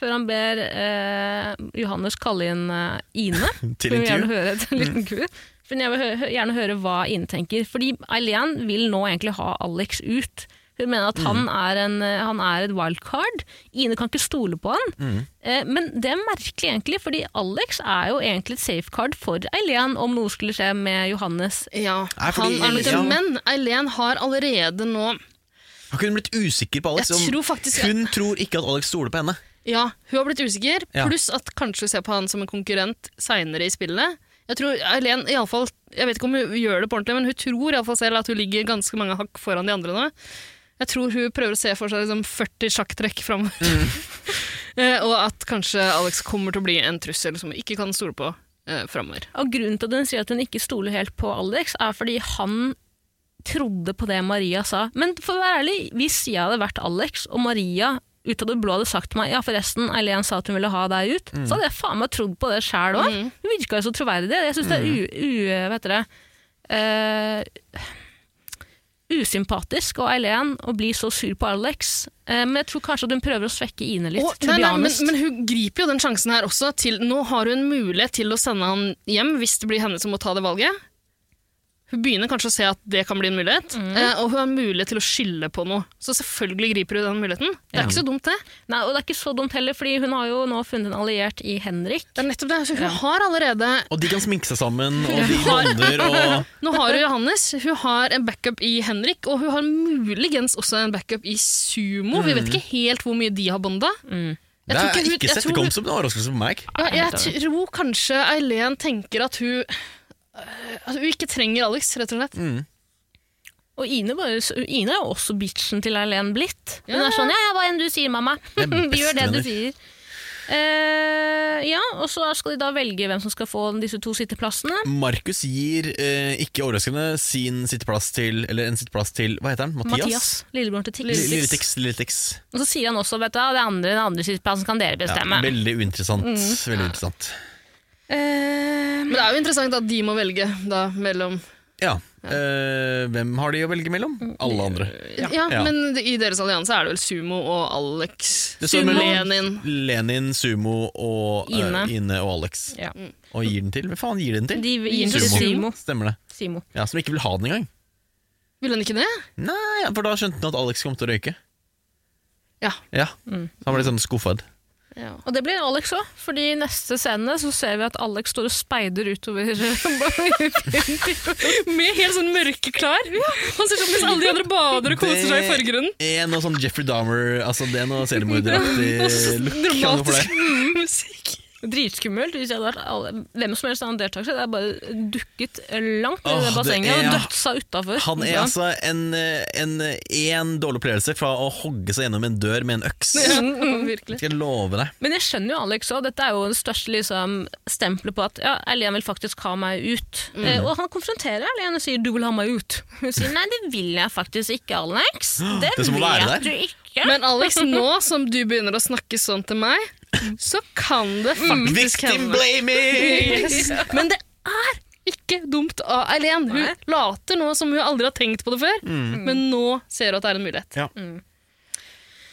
[SPEAKER 1] Før han ber eh, Johannes kalle inn eh, Ine.
[SPEAKER 2] Til
[SPEAKER 1] for hun vil Gjerne
[SPEAKER 2] intervju. Mm.
[SPEAKER 1] høre, til en liten intervju. For jeg vil hø- gjerne høre hva Ine tenker. Fordi Eileen vil nå egentlig ha Alex ut. Hun mener at
[SPEAKER 2] Mm.
[SPEAKER 1] han, er en, eh, han er et wildcard. Ine kan ikke stole på han.
[SPEAKER 2] Mm.
[SPEAKER 1] Eh, men det er merkelig, egentlig, fordi Alex er jo egentlig et safecard for Eileen om noe skulle skje med Johannes.
[SPEAKER 4] Ja,
[SPEAKER 2] Nei,
[SPEAKER 4] han
[SPEAKER 2] fordi-
[SPEAKER 4] er litt
[SPEAKER 2] ja.
[SPEAKER 4] Men Eileen har allerede nå
[SPEAKER 2] Har ikke hun blitt usikker på Alex?
[SPEAKER 4] Jeg
[SPEAKER 2] Om-
[SPEAKER 4] tror faktisk-
[SPEAKER 2] Hun tror ikke at Alex stoler på henne.
[SPEAKER 4] Ja, hun har blitt usikker,
[SPEAKER 2] Ja.
[SPEAKER 4] pluss at kanskje hun ser på han som en konkurrent seinere i spillet. Jeg tror Eileen, i alle fall, jeg vet ikke om hun gjør det på ordentlig, men hun tror i alle fall selv at hun ligger ganske mange hakk foran de andre nå. Jeg tror hun prøver å se for seg liksom 40 sjakktrekk framover.
[SPEAKER 2] Mm.
[SPEAKER 4] Eh, og at kanskje Alex kommer til å bli en trussel som hun ikke kan stole på eh, framover.
[SPEAKER 1] Og grunnen til at hun sier at hun ikke stoler helt på Alex, er fordi han trodde på det Maria sa. Men for å være ærlig, hvis jeg hadde vært Alex, og Maria ut av det blå hadde sagt til meg ja, forresten, Eileen sa at hun ville ha deg ut, så hadde jeg faen meg trodd på det sjæl òg.
[SPEAKER 4] Mm.
[SPEAKER 1] Hun virka jo så troverdig. Jeg syns det er u... u hva heter det? eh, usympatisk av Eileen å bli så sur på Alex, eh, men jeg tror kanskje at hun prøver å svekke Ine litt.
[SPEAKER 4] Og-
[SPEAKER 1] to
[SPEAKER 4] nei,
[SPEAKER 1] be
[SPEAKER 4] nei, men,
[SPEAKER 1] honest.
[SPEAKER 4] men hun griper jo den sjansen her også. Til, nå har hun mulighet til å sende han hjem hvis det blir henne som må ta det valget. Hun begynner kanskje å se at det kan bli en mulighet,
[SPEAKER 2] Mm.
[SPEAKER 4] eh, og hun har mulighet til å skylde på noe. Så selvfølgelig griper hun den muligheten. Det er ikke så dumt, det.
[SPEAKER 1] Nei, og det er ikke så dumt heller, fordi hun har jo nå funnet en alliert i Henrik.
[SPEAKER 4] Det er nettopp det. Så hun har allerede
[SPEAKER 2] Og de kan sminke seg sammen, og de bonder og
[SPEAKER 4] Nå har hun Johannes, hun har en backup i Henrik, og hun har muligens også en backup i Sumo. Vi vet ikke helt hvor mye de har bonda.
[SPEAKER 2] Mm. Det er
[SPEAKER 4] tror ikke hun-
[SPEAKER 2] ikke
[SPEAKER 4] jeg
[SPEAKER 2] sett
[SPEAKER 4] tror
[SPEAKER 2] det
[SPEAKER 4] hun-
[SPEAKER 2] kom som en overraskelse på meg.
[SPEAKER 4] Ja,
[SPEAKER 1] Nei, helt
[SPEAKER 4] jeg tror kanskje Eileen tenker at hun øh, at hun ikke trenger Alex, rett og slett.
[SPEAKER 2] Mm.
[SPEAKER 1] Og Ine, bare, Ine er jo også bitchen til Erlend blitt. Hun
[SPEAKER 4] Ja.
[SPEAKER 1] er sånn 'ja, ja, hva enn du sier, mamma'.
[SPEAKER 2] er
[SPEAKER 1] Vi gjør det du
[SPEAKER 2] bestevenner.
[SPEAKER 1] sier. Eh, ja, og så skal de da velge hvem som skal få disse to sitteplassene.
[SPEAKER 2] Markus gir, eh, ikke overraskende, sin sitteplass til Eller en sitteplass til Hva heter han? Mathias?
[SPEAKER 1] Mathias, lillebroren til Tix.
[SPEAKER 2] Mathias. Lilletix. Lilletix.
[SPEAKER 1] Og så sier han også vet du, hva, det andre, den andre sitteplassen kan dere
[SPEAKER 2] Ja,
[SPEAKER 1] bestemme.
[SPEAKER 2] veldig uinteressant.
[SPEAKER 1] Mm.
[SPEAKER 2] Veldig uinteressant.
[SPEAKER 1] Eh,
[SPEAKER 4] Men det er jo interessant at de må velge da, mellom
[SPEAKER 2] Ja. eh, hvem har de å velge mellom? Alle andre.
[SPEAKER 4] ja,
[SPEAKER 2] Ja.
[SPEAKER 4] men i deres allianse er det vel Sumo og Alex.
[SPEAKER 2] Det står
[SPEAKER 4] Sumo
[SPEAKER 2] mellom-
[SPEAKER 4] Lenin.
[SPEAKER 2] Lenin, Sumo og eh,
[SPEAKER 1] Ine.
[SPEAKER 2] Ine og Alex.
[SPEAKER 1] ja.
[SPEAKER 2] Og gir den til? Hva faen gir den til?
[SPEAKER 1] De gir den til
[SPEAKER 4] Sumo.
[SPEAKER 1] Simo.
[SPEAKER 2] Stemmer det.
[SPEAKER 1] Simo.
[SPEAKER 2] Ja, Som ikke vil ha den engang.
[SPEAKER 4] Ville han ikke det?
[SPEAKER 2] Nei, ja, For da skjønte han at Alex kom til å røyke.
[SPEAKER 4] Ja.
[SPEAKER 2] Ja,
[SPEAKER 1] Mm.
[SPEAKER 2] Så han ble litt sånn skuffet.
[SPEAKER 1] Og det blir Alex òg, for i neste scene så ser vi at Alex står og speider utover
[SPEAKER 4] Med helt sånn mørke klær. Han ser sånn mens alle de andre bader og koser seg i forgrunnen.
[SPEAKER 2] Det er noe sånn Jeffrey Dahmer Altså det er noe
[SPEAKER 4] Og så
[SPEAKER 2] seriemorderaktig look. kan du få det?
[SPEAKER 4] Dramatisk Mm, musikk.
[SPEAKER 1] Dritskummelt. Hvis jeg hadde vært alle, hvem som helst annen deltaker, så hadde jeg bare dukket langt ned i det
[SPEAKER 2] Åh, det
[SPEAKER 1] bassenget
[SPEAKER 2] er-
[SPEAKER 1] og dødsa utafor.
[SPEAKER 2] Han er altså en, eh, en, eh, en dårlig opplevelse fra å hogge seg gjennom en dør med en øks.
[SPEAKER 4] Virkelig.
[SPEAKER 2] Skal jeg love
[SPEAKER 4] Mm.
[SPEAKER 2] deg.
[SPEAKER 1] Men jeg skjønner jo Alex òg. Dette er jo det største liksom, stempelet på at ja, Erlien vil faktisk ha meg ut.
[SPEAKER 2] Mm.
[SPEAKER 1] Eh, og han konfronterer Erlien og sier 'du vil ha meg ut'. Hun sier 'nei, det vil jeg faktisk ikke, Alex'. Det,
[SPEAKER 2] Det er som å være
[SPEAKER 1] vet
[SPEAKER 2] der.
[SPEAKER 1] du ikke.
[SPEAKER 4] Men Alex, nå som du begynner å snakke sånn til meg, så kan det faktisk
[SPEAKER 2] Victim
[SPEAKER 4] hende.
[SPEAKER 2] blaming!
[SPEAKER 4] Yes. Men det er ikke dumt av Eileen. Hun
[SPEAKER 1] Nei.
[SPEAKER 4] later nå som hun aldri har tenkt på det før, men nå ser hun at det er en mulighet.
[SPEAKER 2] Ja.
[SPEAKER 1] Mm.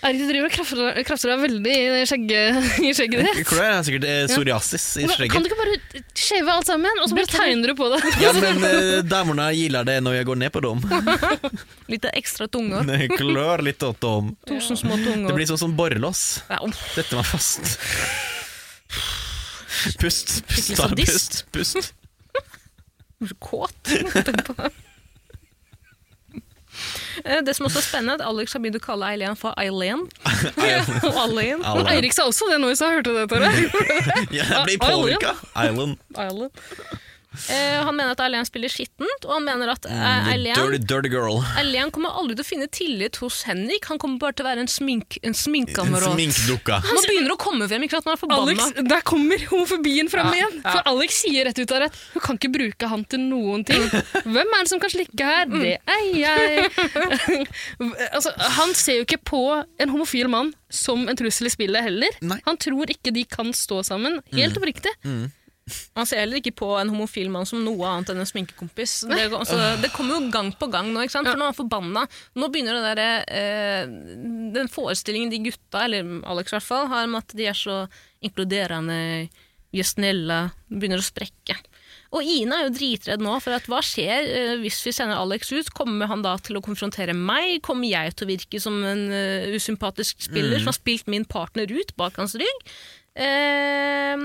[SPEAKER 4] Eirik, du driver og krafter- krafter deg veldig i skjegget, i skjegget ditt.
[SPEAKER 2] Mm. Klør er sikkert eh, psoriasis i
[SPEAKER 4] Kan du
[SPEAKER 2] skjegget.
[SPEAKER 4] ikke bare shave alt sammen, og så bare tegner du på det?
[SPEAKER 2] Ja, men eh, damene gilder det når jeg går ned på dem.
[SPEAKER 1] Litt ekstra tunge.
[SPEAKER 2] Det Klør litt åt dem.
[SPEAKER 1] Tusen små tunger.
[SPEAKER 2] Det blir sånn som borrelås.
[SPEAKER 1] ja, uff.
[SPEAKER 2] Sette meg fast. Pust, pust,
[SPEAKER 1] Skikkelig
[SPEAKER 2] da, pust.
[SPEAKER 1] sadist.
[SPEAKER 2] pust.
[SPEAKER 1] Jeg blir så kåt. Tenk på det. Eh, Det som også er spennende, er at Alex har begynt å kalle Eileen for Eileen. Og Eileen.
[SPEAKER 2] Alle.
[SPEAKER 4] Eirik sa også det nå i stad, hørte du det, Tore?
[SPEAKER 2] Jeg blir påvirka. Island.
[SPEAKER 4] Eileen.
[SPEAKER 1] Eh, Han mener at Eileen spiller skittent, og han mener at eh, Eileen
[SPEAKER 2] Mm, Dirty, dirty girl.
[SPEAKER 1] Elian kommer aldri til å finne tillit hos Henrik. Han kommer bare til å være en, smink, en
[SPEAKER 2] En
[SPEAKER 1] sminkkamerat.
[SPEAKER 2] sminkdukka.
[SPEAKER 1] Man begynner å komme frem, ikke sant? Man er forbanna.
[SPEAKER 4] Alex, der kommer homofobien fram igjen! For Alex sier rett ut av rett hun kan ikke bruke han til noen ting. Hvem er det som kan slikke her? Det er jeg! altså, han ser jo ikke på en homofil mann som en trussel i spillet heller.
[SPEAKER 2] Nei.
[SPEAKER 4] Han tror ikke de kan stå sammen. Helt oppriktig.
[SPEAKER 1] Man ser heller ikke på en homofil mann som noe annet enn en sminkekompis. Det, altså, det kommer jo gang på gang nå, ikke sant? for nå er han forbanna. Nå begynner det der, eh, den forestillingen de gutta, eller Alex i hvert fall, har om at de er så inkluderende, vi er snille, begynner å sprekke. Og Ina er jo dritredd nå, for at hva skjer eh, hvis vi sender Alex ut? Kommer han da til å konfrontere meg? Kommer jeg til å virke som en eh, usympatisk spiller som har spilt min partner ut bak hans rygg? Eh,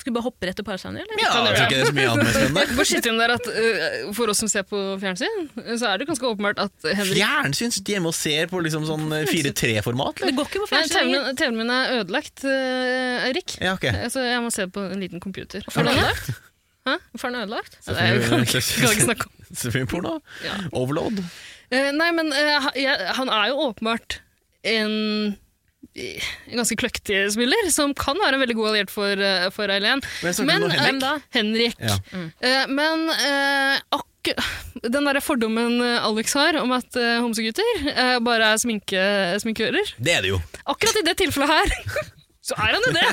[SPEAKER 1] skal vi bare hoppe rett til parasaunia, eller?
[SPEAKER 2] Ja, jeg tror ikke det er så mye annet mer spennende.
[SPEAKER 4] Bare skyt inn der at eh, For oss som ser på fjernsyn, så er det ganske åpenbart at Henrik
[SPEAKER 2] Fjernsyns hjemme og ser på liksom sånn 4-3-format, eller?
[SPEAKER 1] Det går ikke på
[SPEAKER 4] Nei,
[SPEAKER 1] fjernsyn lenger.
[SPEAKER 4] TV-en TV min er ødelagt, eh, Eirik.
[SPEAKER 2] Ja, ok.
[SPEAKER 4] Så jeg må se det på en liten computer.
[SPEAKER 1] Hvorfor er den ødelagt? Hæ? Hvorfor er den ødelagt?
[SPEAKER 4] Nei, jeg kan ikke, kan ikke snakke om
[SPEAKER 2] Streamporno?
[SPEAKER 4] Ja.
[SPEAKER 2] Overload?
[SPEAKER 4] Eh, Nei, men eh, ha- jeg, han er jo åpenbart en eh, en ganske kløktig spiller, som kan være en veldig god alliert for, eh, for Eileen.
[SPEAKER 2] Men jeg snakker om Henrik.
[SPEAKER 4] eh, Henrik.
[SPEAKER 2] Ja.
[SPEAKER 4] Eh, men eh, akku- den derre fordommen eh, Alex har om at eh, homsegutter eh, bare er sminke, sminkører
[SPEAKER 2] Det er det jo.
[SPEAKER 4] Akkurat i det tilfellet her, så er han jo det!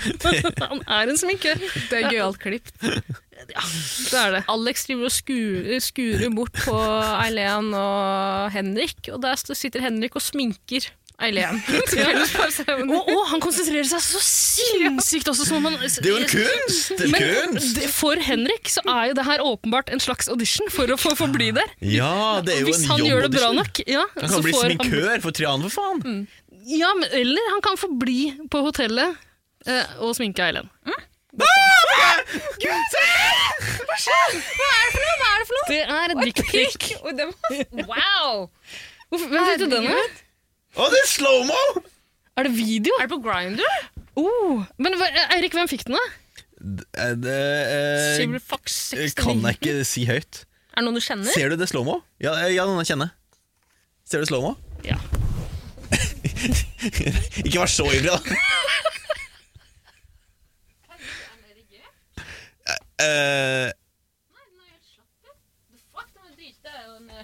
[SPEAKER 4] han er en sminkør. Det er gøyalt klipp. Ja, det er det.
[SPEAKER 1] Alex driver og skurer, skurer bort på Eileen og Henrik, og der st- sitter Henrik og sminker Eileen.
[SPEAKER 4] Og, og han konsentrerer seg så sinnssykt også. Som om han,
[SPEAKER 2] Det er jo en kunst! Det er
[SPEAKER 4] Men
[SPEAKER 2] kunst!
[SPEAKER 4] det- for Henrik så er jo det her åpenbart en slags audition for å få få bli der.
[SPEAKER 2] Ja, det er jo
[SPEAKER 4] Hvis
[SPEAKER 2] en
[SPEAKER 4] han gjør det bra
[SPEAKER 2] jobbaudition.
[SPEAKER 4] nok, ja,
[SPEAKER 2] Han
[SPEAKER 4] så
[SPEAKER 2] kan bli
[SPEAKER 4] får han- Mm.
[SPEAKER 2] sminkør for Trian, for faen!
[SPEAKER 4] Ja, men, eller han kan få bli på hotellet eh, og sminke Eileen. Det er et dickpic.
[SPEAKER 1] Wow!
[SPEAKER 4] Hvorfor- Hvem tenkte den ut?
[SPEAKER 2] Å, det er slow-mo!
[SPEAKER 4] Er det video?
[SPEAKER 1] Er det på Grindr?
[SPEAKER 4] Oh. Men hva- Eirik, hvem fikk den, da?
[SPEAKER 2] Eh, Det eh,
[SPEAKER 1] Cyberfox
[SPEAKER 2] kan
[SPEAKER 1] 69.
[SPEAKER 2] jeg ikke si høyt.
[SPEAKER 1] Er det noen du kjenner?
[SPEAKER 2] Ser du det slow-mo? Ja, eh, ja, noen jeg kjenner. Ser du slow-mo?
[SPEAKER 4] Ja.
[SPEAKER 2] ikke vær så ivrig, da. Eh,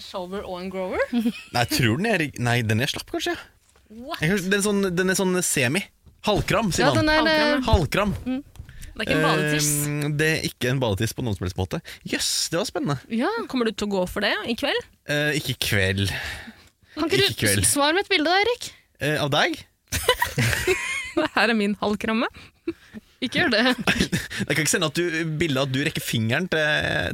[SPEAKER 1] Shower og en grower?
[SPEAKER 2] nei, jeg tror den er Nei, den er slapp, kanskje.
[SPEAKER 1] What?
[SPEAKER 2] Jeg, kanskje- den, er sånn, den er sånn semi. Halvkram, sier
[SPEAKER 4] ja
[SPEAKER 2] man.
[SPEAKER 4] den er, eh,
[SPEAKER 2] Halvkram.
[SPEAKER 1] Det er ikke en badetiss.
[SPEAKER 2] Eh, det er ikke en badetiss på noen som helst måte. Jøss, yes, det var spennende.
[SPEAKER 4] eh, ja.
[SPEAKER 1] Kommer du til å gå for det i kveld?
[SPEAKER 2] Eh, ikke i kveld.
[SPEAKER 4] Kan ikke
[SPEAKER 2] Ikke kveld.
[SPEAKER 4] du svare med et bilde, da, Eirik?
[SPEAKER 2] Eh, av deg?
[SPEAKER 1] Her er min halvkramme.
[SPEAKER 4] Ikke gjør det.
[SPEAKER 2] Jeg kan ikke sende at du, bildet at du rekker fingeren til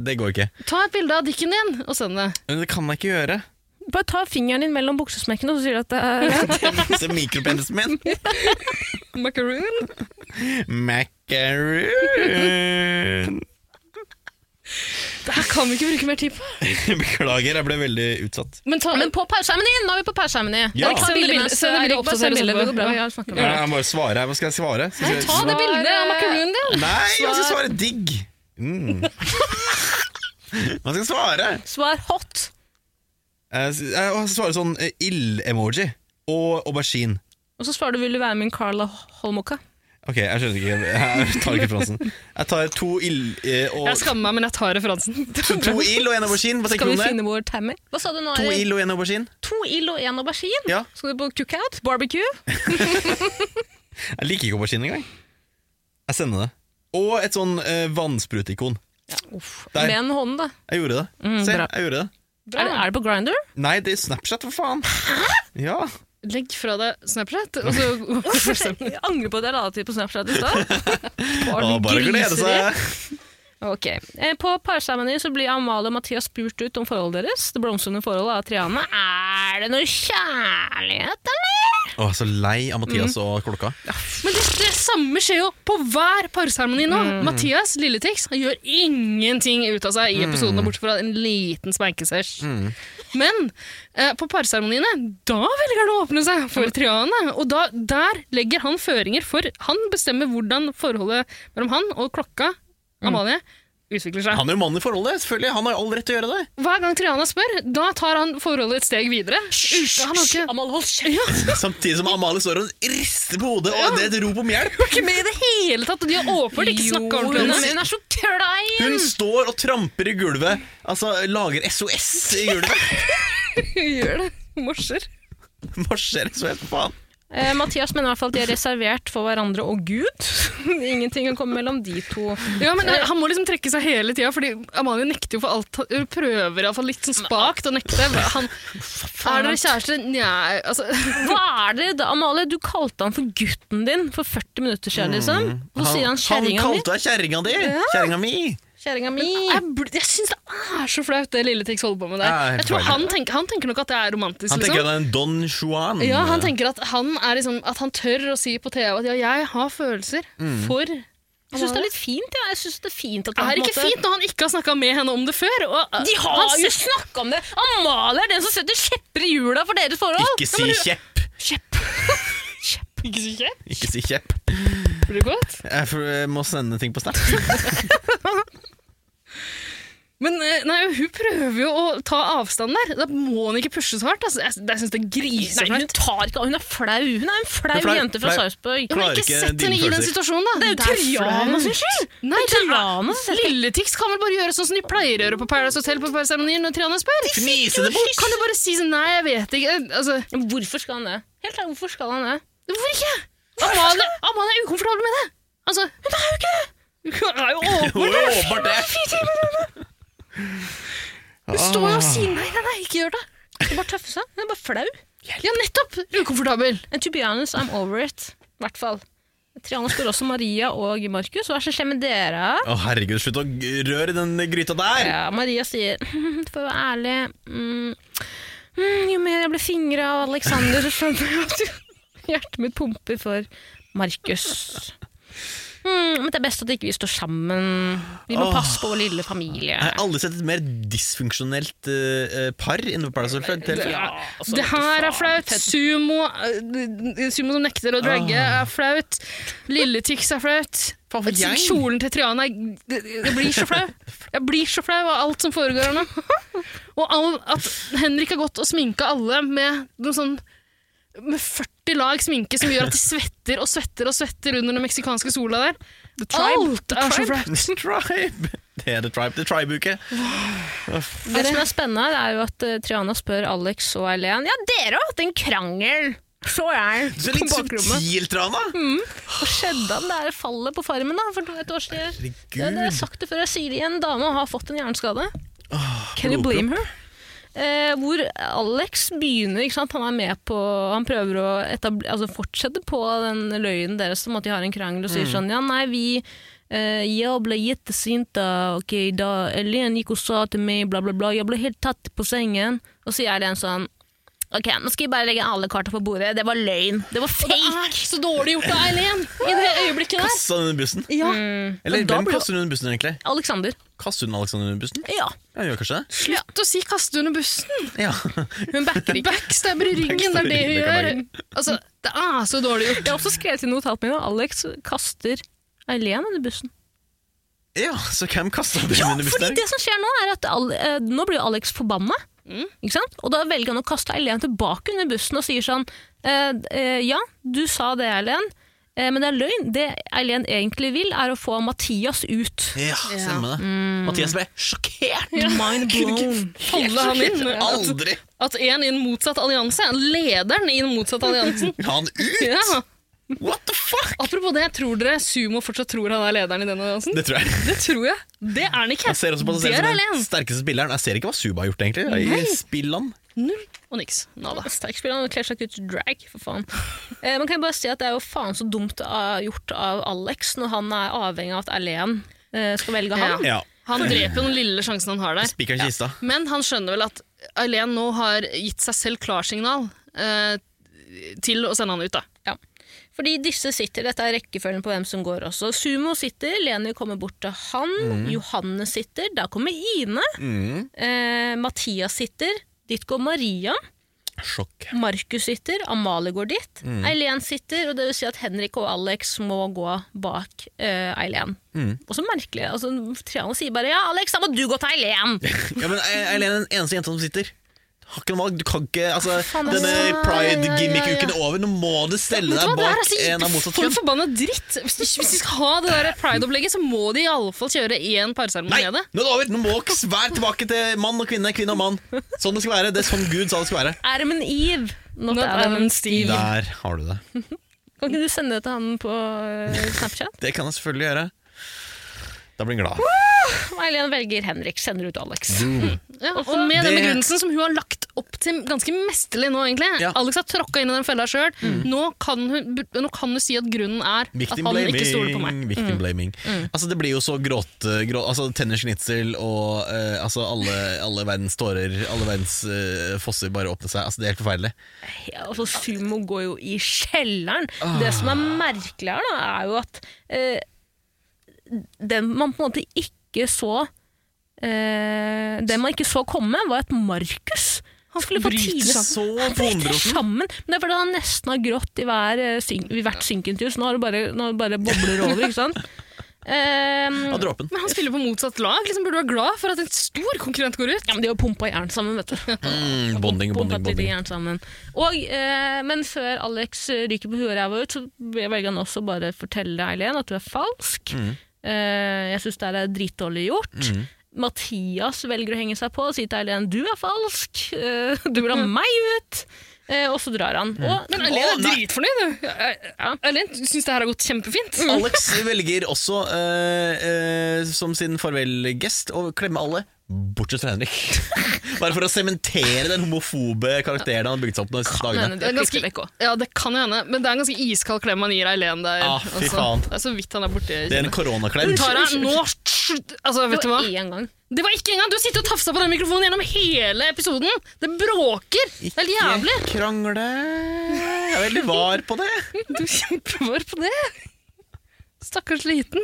[SPEAKER 2] Det går ikke.
[SPEAKER 4] Ta et bilde av dikken din og send det.
[SPEAKER 2] Men det kan jeg ikke gjøre.
[SPEAKER 1] Bare ta fingeren din mellom buksesmekkene og så sier du at det er
[SPEAKER 2] Se mikropenisen min.
[SPEAKER 4] Macaroon.
[SPEAKER 2] Macaroon.
[SPEAKER 4] Det her kan vi ikke bruke mer tid på.
[SPEAKER 2] Beklager, jeg ble veldig utsatt.
[SPEAKER 4] Men ta,
[SPEAKER 1] Men på pausearmen din! Nå er vi på pausearmen din.
[SPEAKER 2] Ja.
[SPEAKER 1] Erik, ta
[SPEAKER 4] Send det
[SPEAKER 1] bildene.
[SPEAKER 4] bildet- send det bildet
[SPEAKER 1] Erik,
[SPEAKER 4] opp
[SPEAKER 1] bare
[SPEAKER 4] til
[SPEAKER 1] send
[SPEAKER 4] dere som
[SPEAKER 1] bildet. Det
[SPEAKER 4] får.
[SPEAKER 1] går bra. Ja, jeg snakker med
[SPEAKER 2] Ja,
[SPEAKER 1] deg.
[SPEAKER 2] Jeg må jo svare her. Hva skal jeg svare? Skal jeg
[SPEAKER 1] Ta det bildet av makaronen din!
[SPEAKER 2] Nei, man skal svare digg. Mm. Man skal svare.
[SPEAKER 1] Svar hot.
[SPEAKER 2] Eh, s- Jeg skal svare sånn eh, ild-emoji og aubergine.
[SPEAKER 1] Og så svarer du 'Vil du være med en Carla Holmoka'?
[SPEAKER 2] Ok, jeg skjønner ikke. Jeg tar ikke fransen. Jeg tar to ild eh,
[SPEAKER 4] jeg
[SPEAKER 2] og
[SPEAKER 4] skammer meg, men jeg tar referansen.
[SPEAKER 2] To, to ild og en aubergine. Hva
[SPEAKER 1] Skal vi
[SPEAKER 2] tenker du om det?
[SPEAKER 1] finne vår tammy? Hva sa du nå?
[SPEAKER 2] To
[SPEAKER 1] Erik?
[SPEAKER 2] ild og en aubergine?
[SPEAKER 1] to ild og én aubergine?
[SPEAKER 2] Ja.
[SPEAKER 1] Skal du på cookout? Barbecue?
[SPEAKER 2] Jeg liker ikke aubergine engang. Jeg sender det. Og et sånn eh, vannsprutikon.
[SPEAKER 1] Uff,
[SPEAKER 2] Der.
[SPEAKER 1] Med en hånd, da.
[SPEAKER 2] Jeg gjorde det.
[SPEAKER 1] Mm,
[SPEAKER 2] Se,
[SPEAKER 1] bra.
[SPEAKER 2] jeg gjorde det.
[SPEAKER 1] Er det, er det på Grinder?
[SPEAKER 2] Nei, det er Snapchat, for faen! Ja.
[SPEAKER 4] Legg fra deg Snapchat, og så
[SPEAKER 1] Jeg angrer på at jeg la det til på Snapchat i stad. Var
[SPEAKER 2] Å,
[SPEAKER 1] den
[SPEAKER 2] bare glede
[SPEAKER 1] griseri?
[SPEAKER 2] seg.
[SPEAKER 1] Ok. Eh, På parseremoni så blir Amalie og Mathias spurt ut om forholdet deres. Det blomstrende forholdet av Triane. Er det noe kjærlighet, eller?
[SPEAKER 2] Å, så lei av Mathias
[SPEAKER 1] Mm.
[SPEAKER 2] og klokka.
[SPEAKER 4] Men det, det samme skjer jo på hver parseremoni nå. Mathias Lilletix han gjør ingenting ut av seg i episodene, bortsett fra en liten spankesesj. Men eh, på parseremoniene, da velger han å åpne seg for Triane. Og da, der legger han føringer for Han bestemmer hvordan forholdet mellom han og klokka, Amalie, utvikler seg.
[SPEAKER 2] Han er jo mann i forholdet, selvfølgelig. Han har jo all rett til å gjøre det.
[SPEAKER 4] Hver gang Triana spør, da tar han forholdet et steg videre. Uten, han har ikke
[SPEAKER 1] Amalie, hold kjeft!
[SPEAKER 4] ja,
[SPEAKER 2] Samtidig som Amalie står og rister på hodet, og det er et rop om hjelp.
[SPEAKER 4] ikke med i det hele tatt, og de har åpenbart ikke snakka
[SPEAKER 1] Jo,
[SPEAKER 4] ordentlig om
[SPEAKER 1] Hun
[SPEAKER 4] det.
[SPEAKER 1] er- hun er så klein!
[SPEAKER 2] Hun står og tramper i gulvet. Altså, lager SOS i gulvet.
[SPEAKER 4] Hun gjør det. Hun Morser.
[SPEAKER 2] Marsjerer SOS, faen.
[SPEAKER 1] Eh, Mathias mener i hvert fall at de er reservert for hverandre og Gud. Ingenting kan komme mellom de to.
[SPEAKER 4] Ja, men eh, Han må liksom trekke seg hele tida, fordi Amalie nekter jo for alt. Hun prøver iallfall litt sånn spakt å nekte. Han, er dere kjærester? Nja altså,
[SPEAKER 1] Hva er det da, Amalie? Du kalte han for gutten din for 40 minutter siden, liksom. Hvor sier han kjerringa
[SPEAKER 2] Mm. Han
[SPEAKER 1] mi?
[SPEAKER 2] kalte deg kjerringa di! Kjerringa mi!
[SPEAKER 1] Kjerringa mi!
[SPEAKER 4] Jeg, bl- jeg syns det er så flaut, det lille Tix holder på
[SPEAKER 2] Ja,
[SPEAKER 4] med der.
[SPEAKER 2] helt
[SPEAKER 4] Jeg tror
[SPEAKER 2] forferdelig.
[SPEAKER 4] han, tenker, han tenker nok at det er romantisk.
[SPEAKER 2] Han
[SPEAKER 1] sånn.
[SPEAKER 4] liksom.
[SPEAKER 2] tenker at det er en Don Juan.
[SPEAKER 4] Ja, han tenker at han, er liksom, at han tør å si på TV at ja, jeg har følelser for
[SPEAKER 1] Jeg syns det er litt fint, ja. jeg. synes det er fint at
[SPEAKER 4] Det
[SPEAKER 1] han,
[SPEAKER 4] Mm. er ikke fint når han ikke har snakka med henne om det før. Og, øh,
[SPEAKER 1] De har
[SPEAKER 4] han,
[SPEAKER 1] jo snakka om det! Amalie er den som setter kjepper i hjula for deres forhold!
[SPEAKER 2] Ikke si kjepp!
[SPEAKER 1] kjepp!
[SPEAKER 4] Ikke så kjekt.
[SPEAKER 2] Ikke si kjepp.
[SPEAKER 4] Blir det godt?
[SPEAKER 2] Jeg får- jeg må sende ting på Snap.
[SPEAKER 4] Men eh, nei, hun prøver jo å ta avstand der. Da må hun ikke pushe så hardt. Altså. Jeg, jeg syns det er
[SPEAKER 1] Nei, hun
[SPEAKER 4] griseflaut.
[SPEAKER 1] tar ikke av. Hun er flau. Hun er en flau,
[SPEAKER 2] Hun er flau,
[SPEAKER 1] jente fra
[SPEAKER 2] flau.
[SPEAKER 1] Sarpsborg.
[SPEAKER 4] Ja, men
[SPEAKER 2] klarer
[SPEAKER 4] ikke
[SPEAKER 2] ikke
[SPEAKER 4] sett
[SPEAKER 2] dine
[SPEAKER 4] henne i den
[SPEAKER 2] følelser.
[SPEAKER 4] situasjonen, da.
[SPEAKER 1] Det er jo Triana sin skyld! Det
[SPEAKER 4] Nei,
[SPEAKER 1] er Triana som setter-
[SPEAKER 4] Lilletix kan vel bare gjøre sånn som de pleier å gjøre på Paradise Hotel på parseremonien når Triana spør?
[SPEAKER 2] Fnise det bort!
[SPEAKER 4] Kan du bare si sånn Nei, jeg vet ikke. eh, Altså,
[SPEAKER 1] Men Hvorfor skal han det? Helt ærlig, hvorfor skal han det?
[SPEAKER 4] Hvorfor ikke? Amalie, Amalie er ukomfortabel med det. Altså, hun er jo ikke det! Hun er jo
[SPEAKER 2] Hun
[SPEAKER 4] åpen.
[SPEAKER 2] er jo åpenbart det! Ah.
[SPEAKER 4] Hun står jo og sier nei, nei, nei, ikke gjør det.
[SPEAKER 1] Skal bare tøffe seg. Hun er bare flau.
[SPEAKER 4] Ja, nettopp! Ukomfortabel.
[SPEAKER 1] And to be honest, I'm over it. I hvert fall. Triana spør også Maria og Markus. Hva er det som skjer med dere?
[SPEAKER 2] Å, herregud, slutt å g- røre i den gryta der!
[SPEAKER 1] Ja, Maria sier, for å være ærlig mm, mm, Jo mer jeg ble fingra av Alexander, så skjønner jeg at jo- hjertet mitt pumper for Markus. Mm, men det er best at ikke vi står sammen. Vi må
[SPEAKER 2] Åh.
[SPEAKER 1] passe på vår lille familie.
[SPEAKER 2] Jeg har aldri sett et mer dysfunksjonelt eh, eh, par innenfor Paradise Hotel.
[SPEAKER 1] altså, vet du
[SPEAKER 4] det her er
[SPEAKER 1] faen.
[SPEAKER 4] flaut. Sumo, eh, sumo som nekter å dragge, er flaut. Lilletix er flaut.
[SPEAKER 2] Faen, for gjeng.
[SPEAKER 4] Kjolen til Triana er- Jeg blir så flau. Jeg blir så flau av alt som foregår her nå. Og all, at Henrik har gått og sminka alle med noe sånn med 40 lag sminke som gjør at de svetter og svetter og svetter under den meksikanske sola der. Alt er så flaut.
[SPEAKER 2] Tribe! Det er The Tribe, The Tribe-uke.
[SPEAKER 1] Det som er spennende, her er jo at eh, Triana spør Alex og Eileen Ja, dere har hatt en krangel! Så jeg
[SPEAKER 2] Så
[SPEAKER 1] på
[SPEAKER 2] litt
[SPEAKER 1] bakrommet. Mm.
[SPEAKER 2] subtilt, Rana!
[SPEAKER 1] Hva skjedde om det her fallet på Farmen da, for et år siden? Det, sånn det har jeg
[SPEAKER 2] Herregud.
[SPEAKER 1] sagt det før, jeg sier det igjen. Dama har fått en hjerneskade. Can you blame her? Eh, hvor Alex begynner, ikke sant? han er med på Han prøver å etabl- altså fortsette på den løgnen deres om at de har en krangel, og sier sånn Ja, nei, vi eh, Jeg ble jettesint da Ok, da Elen gikk og sa til meg bla, bla, bla. Jeg ble helt tatt på sengen. Og sier Elen sånn Ok, nå skal vi bare legge alle karta på bordet. Det var løgn. Det var fake.
[SPEAKER 4] Nei, så dårlig gjort av Eileen Mm. i det øyeblikket der.
[SPEAKER 2] Kasta hun under bussen?
[SPEAKER 3] Ja.
[SPEAKER 2] Eller
[SPEAKER 1] Men da
[SPEAKER 2] hvem
[SPEAKER 1] blir-
[SPEAKER 2] kaster hun under bussen, egentlig?
[SPEAKER 1] Alexander.
[SPEAKER 2] Kaster hun Alexander under bussen?
[SPEAKER 1] Ja.
[SPEAKER 2] Ja, hun gjør kanskje det?
[SPEAKER 4] Slutt å si 'kaste under bussen'.
[SPEAKER 2] Ja.
[SPEAKER 1] Hun backer ikke.
[SPEAKER 4] Backstabber i ryggen, det er det
[SPEAKER 2] Backstabber i
[SPEAKER 4] hun gjør.
[SPEAKER 2] ryggen,
[SPEAKER 4] Altså, Det er så dårlig gjort.
[SPEAKER 1] Jeg har også skrevet i notatene mine at Alex kaster Eileen under bussen.
[SPEAKER 2] ja, så hvem kasta hun under bussen?
[SPEAKER 1] Fordi
[SPEAKER 2] der?
[SPEAKER 1] det som skjer nå, er at Al eh, nå blir jo Alex forbanna. Ikke sant? Og da velger han å kaste Eileen tilbake under bussen og sier sånn eh, eh, Ja, du sa det, Eileen, eh, men det er løgn. Det Eileen egentlig vil, er å få Mathias ut.
[SPEAKER 2] Ja, stemmer det.
[SPEAKER 1] Mm.
[SPEAKER 2] Mathias ble sjokkert!
[SPEAKER 1] Mind blown.
[SPEAKER 4] Holde han inn. At,
[SPEAKER 2] Aldri!
[SPEAKER 4] at en i en motsatt allianse er lederen i den motsatte alliansen.
[SPEAKER 2] Ha han ut!
[SPEAKER 4] Ja.
[SPEAKER 2] What the fuck?!
[SPEAKER 4] Apropos det, tror dere Sumo fortsatt tror han er lederen i den alliansen?
[SPEAKER 2] Det tror jeg.
[SPEAKER 4] Det tror jeg. Det er han ikke.
[SPEAKER 2] Jeg ser også på seg selv
[SPEAKER 4] det er
[SPEAKER 2] som den
[SPEAKER 4] Eileen.
[SPEAKER 2] sterkeste spilleren. Jeg ser ikke hva Suba har gjort, egentlig. I spillene.
[SPEAKER 4] Null og niks. Nada.
[SPEAKER 1] Sterkspilleren kler seg ikke ut som drag, for faen. Eh, man kan jo bare si at det er jo faen så dumt av, gjort av Alex når han er avhengig av at Eileen eh, skal velge han.
[SPEAKER 2] Ja.
[SPEAKER 4] Han dreper jo den lille sjansen han har der.
[SPEAKER 2] Spikeren i kista.
[SPEAKER 4] Men han skjønner vel at Eileen nå har gitt seg selv klarsignal eh, til å sende han ut, da.
[SPEAKER 1] Ja. Fordi disse sitter, dette er rekkefølgen på hvem som går også. Sumo sitter, Leni kommer bort til han, Johanne sitter, da kommer Ine. Eh, Mathias sitter, dit går Maria.
[SPEAKER 2] Sjokk.
[SPEAKER 1] Markus sitter, Amalie går dit. Eileen sitter, og det vil si at Henrik og Alex må gå bak eh, Eileen. Og så merkelig, altså, Triana sier bare 'ja, Alex, da må du gå til Eileen'.
[SPEAKER 2] Ja, men Eileen er den eneste jenta som sitter. Har ikke noe valg. Du kan ikke altså,
[SPEAKER 1] Faen, det er
[SPEAKER 2] Denne
[SPEAKER 4] sant. Ja, ja,
[SPEAKER 2] pride-gimmick-uken
[SPEAKER 4] ja.
[SPEAKER 2] er over. Nå må du stelle
[SPEAKER 4] Vet du
[SPEAKER 2] deg
[SPEAKER 4] hva, det her
[SPEAKER 2] bak
[SPEAKER 4] er så
[SPEAKER 2] en av motsatt
[SPEAKER 4] for
[SPEAKER 2] kjønn.
[SPEAKER 4] forbanna dritt! Hvis de, hvis de skal ha det der pride-opplegget, så må de i alle fall kjøre én
[SPEAKER 2] Nei,
[SPEAKER 4] parseremoni
[SPEAKER 2] nå
[SPEAKER 4] med
[SPEAKER 2] er
[SPEAKER 4] det.
[SPEAKER 2] det over! Nå må ikke være tilbake til mann og kvinne, kvinne og mann. Sånn det skal være. Det er sånn Gud sa det skulle være.
[SPEAKER 1] Adam and Eve. Not,
[SPEAKER 4] Not
[SPEAKER 1] Adam
[SPEAKER 4] Adam
[SPEAKER 1] and
[SPEAKER 4] and
[SPEAKER 1] Steve.
[SPEAKER 2] Der har du det.
[SPEAKER 1] Kan ikke du sende det til han på eh, Snapchat?
[SPEAKER 2] Det kan jeg selvfølgelig gjøre. Da blir han glad.
[SPEAKER 1] Eileen velger Henrik, sender ut Alex.
[SPEAKER 4] Ja, og med den
[SPEAKER 2] Det-
[SPEAKER 4] begrunnelsen som hun har lagt opp til ganske mesterlig nå, egentlig.
[SPEAKER 2] Ja. Mm.
[SPEAKER 4] Alex har tråkka inn i den fella sjøl. Nå, kan hun- nå kan hun si at grunnen er at
[SPEAKER 2] Victim
[SPEAKER 4] han ikke stoler på meg.
[SPEAKER 2] blaming. Victim blaming. Altså, det blir jo så gråt, grå, altså, Tennisschnitzel og eh, altså, alle, alle verdens tårer, alle verdens eh, fosser bare åpner seg. Altså, det er helt forferdelig.
[SPEAKER 1] Ja, altså, sumo går jo i kjelleren. Det som er merkelig her, da, er jo at eh, den man på en måte ikke så eh, Det man ikke så komme, var at Markus han skulle få
[SPEAKER 4] bryter
[SPEAKER 1] tidlig
[SPEAKER 2] Så
[SPEAKER 1] Han bryter
[SPEAKER 2] vonbroten.
[SPEAKER 1] sammen! Men det er fordi han nesten har grått i, hver, eh, syn, i hvert synkintervju, så nå har det bare, nå har det bare bobler over, ikke sant? Eh,
[SPEAKER 2] Av dråpen.
[SPEAKER 4] Men han spiller på motsatt lag. Liksom burde du være glad for at en stor konkurrent går ut.
[SPEAKER 1] ja, men de har pumpa jern sammen, vet du.
[SPEAKER 2] Mm, bonding,
[SPEAKER 1] Bompa
[SPEAKER 2] bonding,
[SPEAKER 1] til de
[SPEAKER 2] bonding.
[SPEAKER 1] jern sammen. Og, eh, men før Alex ryker på huet og ræva ut, så velger han også bare å fortelle Eileen at du er falsk. Eh, jeg syns det her er dritdårlig gjort. Mathias velger å henge seg på og si til Eileen du er falsk, eh, du vil ha meg ut. Eh, og så drar han. Og,
[SPEAKER 4] Men Eileen er
[SPEAKER 2] nei.
[SPEAKER 4] dritfornøyd. du. Ja, Mm. Eileen syns det her har gått kjempefint.
[SPEAKER 2] Alex velger også, eh, eh, som sin farvelgest, å klemme alle. Bortsett fra Henrik. Bare for å sementere den homofobe karakteren han har bygd seg opp de siste
[SPEAKER 1] men,
[SPEAKER 2] dagene.
[SPEAKER 1] det
[SPEAKER 4] Det,
[SPEAKER 1] er
[SPEAKER 4] er
[SPEAKER 1] ganske,
[SPEAKER 4] ganske, ja, det kan jo hende, men det er en ganske iskald klem han gir Eileen der. Altså,
[SPEAKER 2] Ah, fy faen.
[SPEAKER 4] Det er så vidt han er borti.
[SPEAKER 2] Det er en koronaklem.
[SPEAKER 4] Tara, nå altså, vet
[SPEAKER 1] det
[SPEAKER 4] du hva?
[SPEAKER 1] var én gang.
[SPEAKER 4] Det var ikke engang! Du har sittet og tafsa på den mikrofonen gjennom hele episoden! Det bråker! Det er helt jævlig!
[SPEAKER 2] Ikke krangle. Jeg er veldig var på det.
[SPEAKER 4] Du er kjempevår på det! Stakkars liten.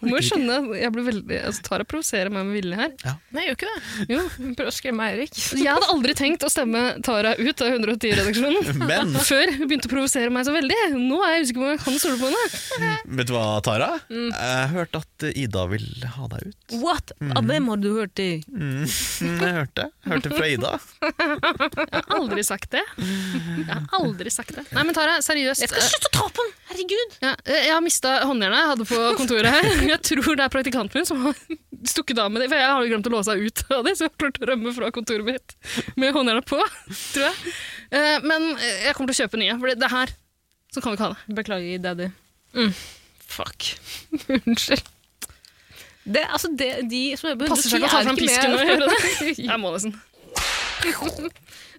[SPEAKER 4] Du må jo skjønne at jeg blir veldig altså, Tara provoserer meg med vilje her.
[SPEAKER 1] Nei, jeg gjør ikke det.
[SPEAKER 4] Jo.
[SPEAKER 1] Prøv å skremme Eirik.
[SPEAKER 4] Jeg hadde aldri tenkt å stemme Tara ut av 110-redaksjonen.
[SPEAKER 2] Men
[SPEAKER 4] Før hun begynte å provosere meg så veldig. Nå er jeg usikker på om jeg kan stole på henne.
[SPEAKER 2] Vet du hva, Tara?
[SPEAKER 1] Mm.
[SPEAKER 2] Jeg hørte at Ida vil ha deg ut.
[SPEAKER 1] What? Av hvem har du hørt det?
[SPEAKER 2] Mm, Jeg hørte Jeg hørte fra Ida.
[SPEAKER 4] Jeg har aldri sagt det. Jeg har aldri sagt det. Nei, men Tara, seriøst.
[SPEAKER 1] Jeg skal slutte å ta på den! Herregud!
[SPEAKER 4] Ja, jeg har mista håndjernet jeg hadde på kontoret her. Jeg tror det er praktikanten min som har stukket av med det. For jeg har jo glemt å låse meg ut av det, så jeg har klart å rømme fra kontoret mitt med håndjernet på. tror jeg. Eh, Men eh, jeg kommer til å kjøpe nye, for det her så kan vi ikke ha det.
[SPEAKER 1] Beklager, daddy. Fuck. Unnskyld. Det, altså det, de som jobber
[SPEAKER 4] Passer seg ikke å ta fram pisken og gjøre det. Jeg må nesten.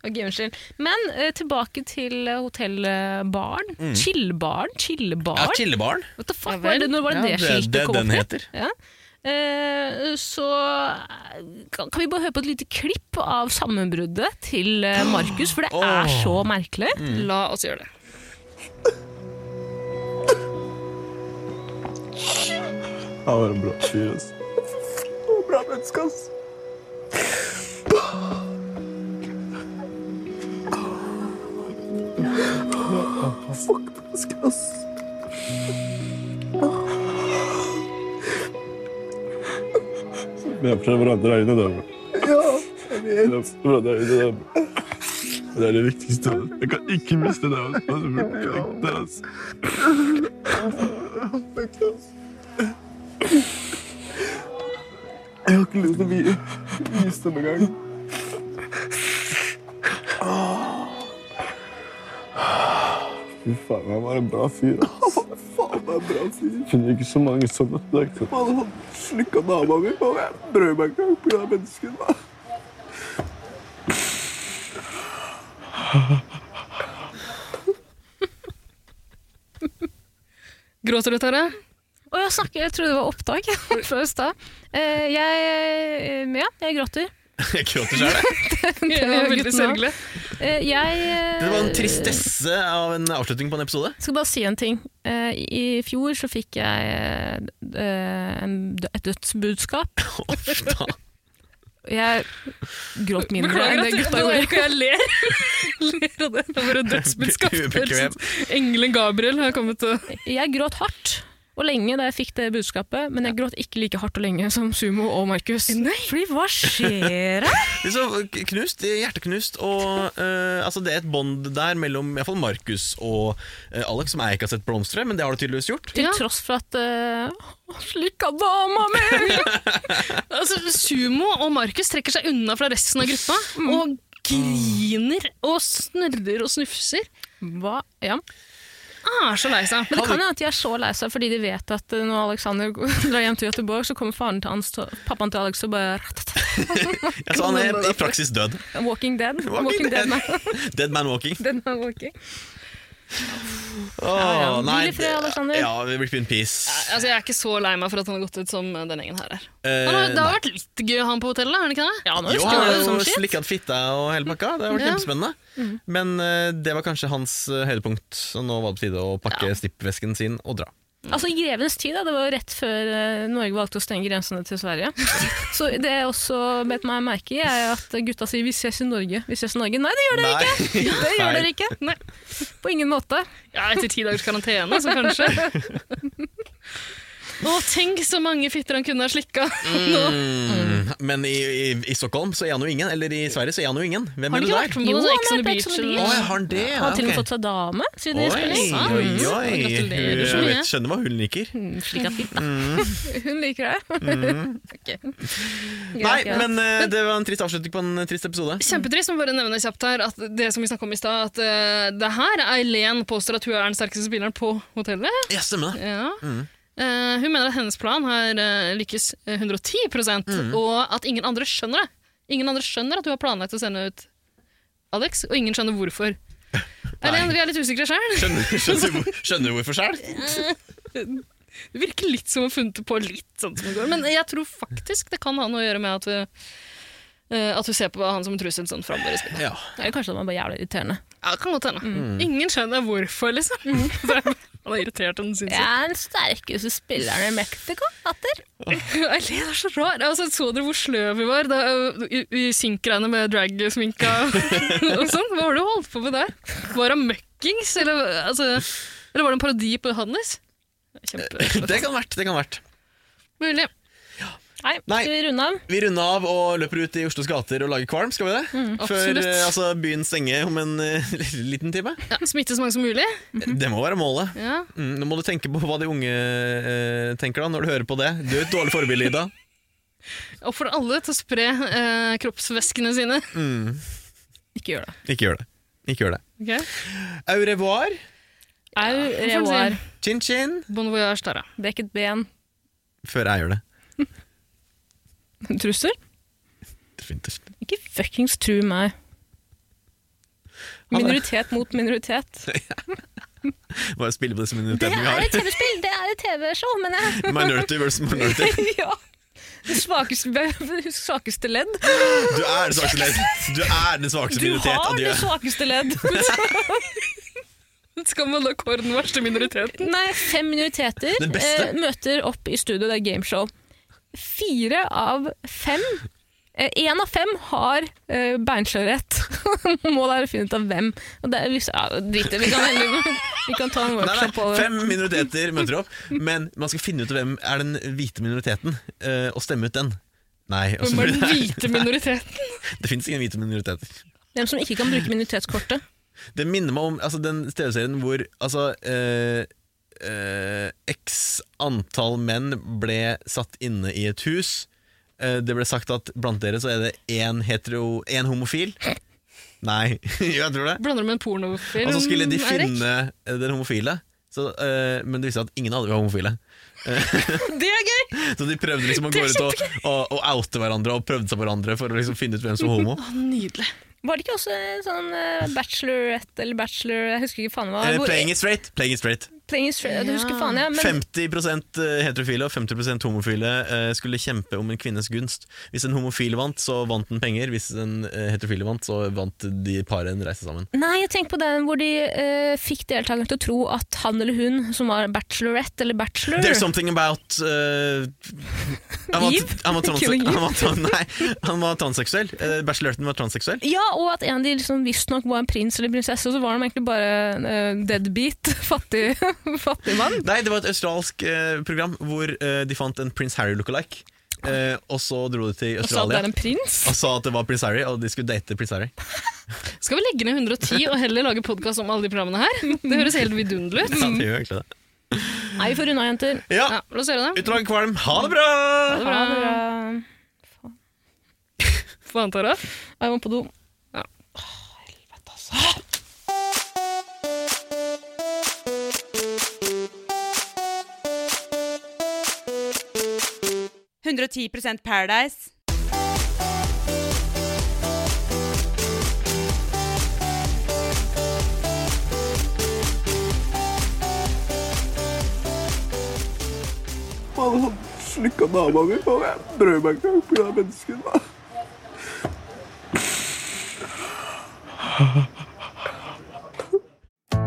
[SPEAKER 1] Ok, unnskyld. Men eh, tilbake til eh, hotellbaren.
[SPEAKER 2] Mm.
[SPEAKER 1] Chillbaren? Chillebaren?
[SPEAKER 2] Chillebarn.
[SPEAKER 1] What the fuck, var det, når var det
[SPEAKER 2] Ja,
[SPEAKER 1] det
[SPEAKER 2] det-
[SPEAKER 1] skiltet
[SPEAKER 2] det
[SPEAKER 1] kom opp?
[SPEAKER 2] den heter.
[SPEAKER 1] Ja. eh, så eh, kan, kan vi bare høre på et lite klipp av sammenbruddet til eh, Markus, for det er så merkelig.
[SPEAKER 2] Mm.
[SPEAKER 4] La oss gjøre det.
[SPEAKER 5] Han var en bra fyr, ass. Og bra menneske, ass. Fuck menneske, ass.
[SPEAKER 7] Vi prøver hverandre øynene, da. Ja, jeg vet. Hverandre øynene, da. Det er det viktigste. Jeg kan ikke miste deg. Altså. Det er altså.
[SPEAKER 5] Jeg har ikke lyst til å vi- vise dem engang.
[SPEAKER 7] Fy faen, han var en bra fyr. ass. Finner ikke så mange sånne. Det er ikke
[SPEAKER 5] Han hadde slikka dama mi, og jeg brød meg ikke på grunn av mennesket. da.
[SPEAKER 4] Gråter du, Tara?
[SPEAKER 1] Og jeg, snakker, jeg trodde det var opptak fra i stad. Eh, jeg, eh, ja, jeg gråter.
[SPEAKER 2] Jeg gråter sjøl, jeg.
[SPEAKER 4] Det var veldig sørgelig.
[SPEAKER 1] Eh, jeg
[SPEAKER 2] Det var en tristesse av en avslutning på en episode.
[SPEAKER 1] Jeg skal bare si en ting. Eh, I fjor så fikk jeg eh, en, et dødsbudskap.
[SPEAKER 2] Uff da.
[SPEAKER 1] Jeg gråt mindre
[SPEAKER 4] Beklager
[SPEAKER 1] enn det
[SPEAKER 4] at
[SPEAKER 1] gutta
[SPEAKER 4] du
[SPEAKER 1] gjorde.
[SPEAKER 4] ikke jeg ler. ler av det. Det var et
[SPEAKER 2] Ubekvem.
[SPEAKER 4] dødsbudskap. Engelen Gabriel har kommet og
[SPEAKER 1] Jeg gråt hardt og lenge da jeg fikk det budskapet, men jeg gråt ikke like hardt og lenge som Sumo og Markus. Fordi hva skjer her?
[SPEAKER 2] Liksom, knust, hjerteknust, og eh, altså det er et bånd der mellom i hvert fall Markus og eh, Alex, som jeg ikke har sett blomstre, men det har du tydeligvis gjort.
[SPEAKER 1] Til
[SPEAKER 4] Ja.
[SPEAKER 1] tross for at uh, Slikka dama mi!
[SPEAKER 4] Altså, Sumo og Markus trekker seg unna fra resten av gruppa og griner og snurrer og snufser.
[SPEAKER 1] Hva? Ja.
[SPEAKER 4] Ah, så lei seg.
[SPEAKER 1] Men det kan hende at de er så lei seg fordi de vet at eh, når Alexander drar hjem til Göteborg, så kommer faren til hans, pappaen til Alex og bare
[SPEAKER 2] Altså, han er i praksis død.
[SPEAKER 1] Walking Dead. Walking, Dead, nei.
[SPEAKER 2] Dead man walking.
[SPEAKER 1] Den er walking.
[SPEAKER 2] Åh,
[SPEAKER 1] ja. Hvil i fred,
[SPEAKER 2] det-
[SPEAKER 1] Alexander.
[SPEAKER 2] Ja, rip in peace.
[SPEAKER 4] Altså, jeg er ikke så lei meg for at han har gått ut som eh, denne gjengen her er.
[SPEAKER 2] Eh,
[SPEAKER 4] Han har, det har
[SPEAKER 2] nei.
[SPEAKER 4] vært litt gøy, han på hotellet? har det ikke det?
[SPEAKER 1] Ja, nå
[SPEAKER 2] jo,
[SPEAKER 1] husker
[SPEAKER 2] han
[SPEAKER 1] jeg
[SPEAKER 2] har
[SPEAKER 1] det
[SPEAKER 2] jo
[SPEAKER 1] som skitt.
[SPEAKER 2] slikket fitta og hele pakka. Det har vært
[SPEAKER 4] Ja.
[SPEAKER 2] kjempespennende.
[SPEAKER 1] Mm.
[SPEAKER 2] Men eh, det var kanskje hans eh, høydepunkt, så nå var det på tide å pakke stippvesken sin og dra.
[SPEAKER 1] Altså, I grevens tid, da, det var jo rett før eh, Norge valgte å stenge grensene til Sverige. Så det jeg også bet meg merke i, er at gutta sier 'vi ses i Norge'. Vi ses i Norge. Nei, det gjør dere ikke!
[SPEAKER 2] Nei,
[SPEAKER 1] Det gjør dere
[SPEAKER 2] feil.
[SPEAKER 1] ikke.
[SPEAKER 4] Nei.
[SPEAKER 1] På ingen måte.
[SPEAKER 4] Ja, etter ti dagers karantene, så kanskje. Å, tenk så mange fitter han kunne ha slikka nå.
[SPEAKER 2] Mm. Men i, i, i Stockholm så er han jo ingen, eller i Sverige så er han jo ingen. Hvem er
[SPEAKER 4] Har han
[SPEAKER 2] det
[SPEAKER 4] ikke
[SPEAKER 2] der?
[SPEAKER 4] vært med
[SPEAKER 1] Jo,
[SPEAKER 4] på noe
[SPEAKER 1] han har
[SPEAKER 4] sånn Ex on the
[SPEAKER 1] vært på Ex on the Beach.
[SPEAKER 4] Beach? Eller?
[SPEAKER 2] Å, jeg har han det?
[SPEAKER 1] Han har til og med fått seg dame siden de spiller.
[SPEAKER 2] Oi, oi, oi.
[SPEAKER 4] Gratulerer så
[SPEAKER 2] Hun
[SPEAKER 4] mye.
[SPEAKER 2] vet- skjønner hva hun liker.
[SPEAKER 1] Slik at fitta.
[SPEAKER 2] Mm.
[SPEAKER 1] Hun liker det. Ok. Greit,
[SPEAKER 2] Nei,
[SPEAKER 1] greit.
[SPEAKER 2] men eh, det var en trist avslutning på en trist episode.
[SPEAKER 4] Kjempetrist, men bare nevne kjapt her at det som vi snakket om i stad, at eh, det her Eileen påstår at hun er den sterkeste spilleren på hotellet.
[SPEAKER 2] Ja, stemmer det.
[SPEAKER 4] Ja. Eh, hun mener at hennes plan har eh, lykkes eh, 110 og at ingen andre skjønner det. Ingen andre skjønner at du har planlagt å sende ut Alex, og ingen skjønner hvorfor. Eileen, vi er litt usikre sjøl.
[SPEAKER 2] Skjønner, skjønner, du hvor- skjønner du hvorfor sjøl?
[SPEAKER 4] Det virker litt som å ha funnet på litt sånn som det går. Men jeg tror faktisk det kan ha noe å gjøre med at, vi, eh, at hun ser på han som en trussel sånn framover i spillet.
[SPEAKER 2] Ja.
[SPEAKER 1] Eller kanskje de er bare jævlig irriterende.
[SPEAKER 4] Ja, det kan godt hende.
[SPEAKER 2] Mm.
[SPEAKER 4] Ingen skjønner hvorfor, liksom. Så er det- Han er irritert, og den syns
[SPEAKER 1] Jeg er den sterkeste spilleren i Mexico, datter.
[SPEAKER 4] Eileen er så rar. Altså, så dere hvor sløv vi var da, ø, i, i synkgreiene med dragsminka og sånn? Hva var det hun holdt på med der? Var hun møkkings, eller, altså, eller var det en parodi på Hannes? Kjempe...
[SPEAKER 2] Det kan vært. det kan vært
[SPEAKER 4] Mulig.
[SPEAKER 1] Nei,
[SPEAKER 2] Nei.
[SPEAKER 1] skal vi runde av?
[SPEAKER 2] Vi runder av og løper ut i Oslos gater og lager kvalm, skal vi det?
[SPEAKER 1] Mm,
[SPEAKER 2] Før
[SPEAKER 4] absolutt.
[SPEAKER 2] eh, altså, byen stenger om en eh, liten time.
[SPEAKER 4] Ja, smitte så mange som mulig.
[SPEAKER 1] Mhm.
[SPEAKER 2] Det må være målet.
[SPEAKER 4] Ja.
[SPEAKER 2] Mm, nå må du tenke på hva de unge eh, tenker da, når du hører på det. Du er et dårlig forbilde, Ida.
[SPEAKER 4] Oppfordrer alle til å spre eh, kroppsvæskene sine.
[SPEAKER 1] Ikke gjør det.
[SPEAKER 2] Mm, Ikke gjør det. Ikke gjør det.
[SPEAKER 4] Ok?
[SPEAKER 2] Au revoir.
[SPEAKER 1] Au
[SPEAKER 4] revoir.
[SPEAKER 1] revoir.
[SPEAKER 2] Chin-chin.
[SPEAKER 4] Bon voyage, Tara.
[SPEAKER 1] Dekket ben.
[SPEAKER 2] Før jeg gjør det.
[SPEAKER 1] Trussel?
[SPEAKER 2] Definitivt.
[SPEAKER 1] Ikke fuckings tru meg. Minoritet mot minoritet.
[SPEAKER 2] Bare spille på det som
[SPEAKER 1] Det
[SPEAKER 2] minoriteten vi
[SPEAKER 1] er et
[SPEAKER 2] har.
[SPEAKER 1] TV-spill, det er et TV-show, men jeg
[SPEAKER 2] Minority versus minority.
[SPEAKER 1] ja. Det svakeste, det svakeste ledd.
[SPEAKER 2] Du er det svakeste ledd. Du er den svakeste
[SPEAKER 1] Du
[SPEAKER 2] minoritet.
[SPEAKER 1] har
[SPEAKER 2] og
[SPEAKER 1] det
[SPEAKER 2] du-
[SPEAKER 1] svakeste ledd.
[SPEAKER 4] Skal man da kåre den verste minoriteten?
[SPEAKER 1] Nei, fem minoriteter
[SPEAKER 2] Den beste.
[SPEAKER 1] eh, møter opp i studio, det er gameshow. Fire av fem Én av fem har eh, beinslørhet. Må da finne ut av hvem. Og det er, hvis- ja, drit i det. Vi kan, heller- vi kan ta en
[SPEAKER 2] Nei, nei,
[SPEAKER 1] workshop på det.
[SPEAKER 2] fem minoriteter møter opp, men man skal finne ut hvem er den hvite minoriteten, eh, og stemme ut den. Nei, og så
[SPEAKER 4] Hvem er
[SPEAKER 2] blir
[SPEAKER 4] den
[SPEAKER 2] det,
[SPEAKER 4] hvite minoriteten?
[SPEAKER 2] det fins ingen hvite minoriteter.
[SPEAKER 1] Hvem som ikke kan bruke minoritetskortet.
[SPEAKER 2] Det minner meg om altså, den TV-serien hvor altså, eh, eh, X antall menn ble satt inne i et hus. Eh, det ble sagt at blant dere så er det én hetero, én homofil. Nei, jeg tror det.
[SPEAKER 4] Blander du med en pornofilm,
[SPEAKER 2] Og så Altså, skulle
[SPEAKER 1] mm,
[SPEAKER 2] de
[SPEAKER 4] Erik?
[SPEAKER 2] finne eh, den homofile, så, eh, men det viste seg at ingen av dem var homofile.
[SPEAKER 1] Det er gøy!
[SPEAKER 2] Så de prøvde liksom å gå ut og, og, og oute hverandre og prøvde seg på hverandre for å liksom finne ut hvem som var homo.
[SPEAKER 4] Å, Nydelig.
[SPEAKER 1] Var det ikke også en sånn eh, bachelorette eller bachelor Jeg husker ikke faen hva.
[SPEAKER 2] Eh,
[SPEAKER 1] hvor-
[SPEAKER 2] playing it straight. Playing it straight.
[SPEAKER 1] playing it straight, Jeg husker faen, ja. Men
[SPEAKER 2] 50 heterofile og 50 homofile eh, skulle kjempe om en kvinnes gunst. Hvis en homofil vant, så vant den penger. Hvis en eh, heterofile vant, så vant de paret en reise sammen.
[SPEAKER 1] Nei, jeg tenker på den hvor de eh, fikk deltakerne til å tro at han eller hun som var bachelorette eller bachelor
[SPEAKER 2] There's something about eh, han, var,
[SPEAKER 1] Eve?
[SPEAKER 2] han, var transe,
[SPEAKER 1] Killing Eve?
[SPEAKER 2] han, var, tran- nei, han var transseksuell. Eh, bacheloretten var transseksuell.
[SPEAKER 1] Ja, og at en av de liksom visstnok var en prins eller prinsesse, og så var de egentlig bare eh, deadbeat, fattig, fattig mann.
[SPEAKER 2] Nei, det var et australsk eh, program hvor eh, de fant en Prince Harry look-alike. Eh, og så dro de til
[SPEAKER 1] Og sa at
[SPEAKER 2] Australia
[SPEAKER 1] det er en prins.
[SPEAKER 2] og sa at det var Prince Harry, og de skulle date Prince Harry.
[SPEAKER 4] Skal vi legge ned 110 og heller lage podkast om alle de programmene her? Det høres helt
[SPEAKER 1] Mm.
[SPEAKER 4] vidunderlig ut.
[SPEAKER 2] Ja, det gjør egentlig det.
[SPEAKER 1] Nei, for unna, jenter.
[SPEAKER 2] Ja,
[SPEAKER 4] Ja, la oss gjøre det.
[SPEAKER 2] Utdrag kvalm, ha det bra!
[SPEAKER 4] Ha det
[SPEAKER 1] Ha det
[SPEAKER 4] bra.
[SPEAKER 1] bra.
[SPEAKER 4] Faen, Tara.
[SPEAKER 1] Jeg må på do.
[SPEAKER 3] Paradise.
[SPEAKER 7] Han slikka dama mi, og jeg brød meg ikke engang pga. menneskene.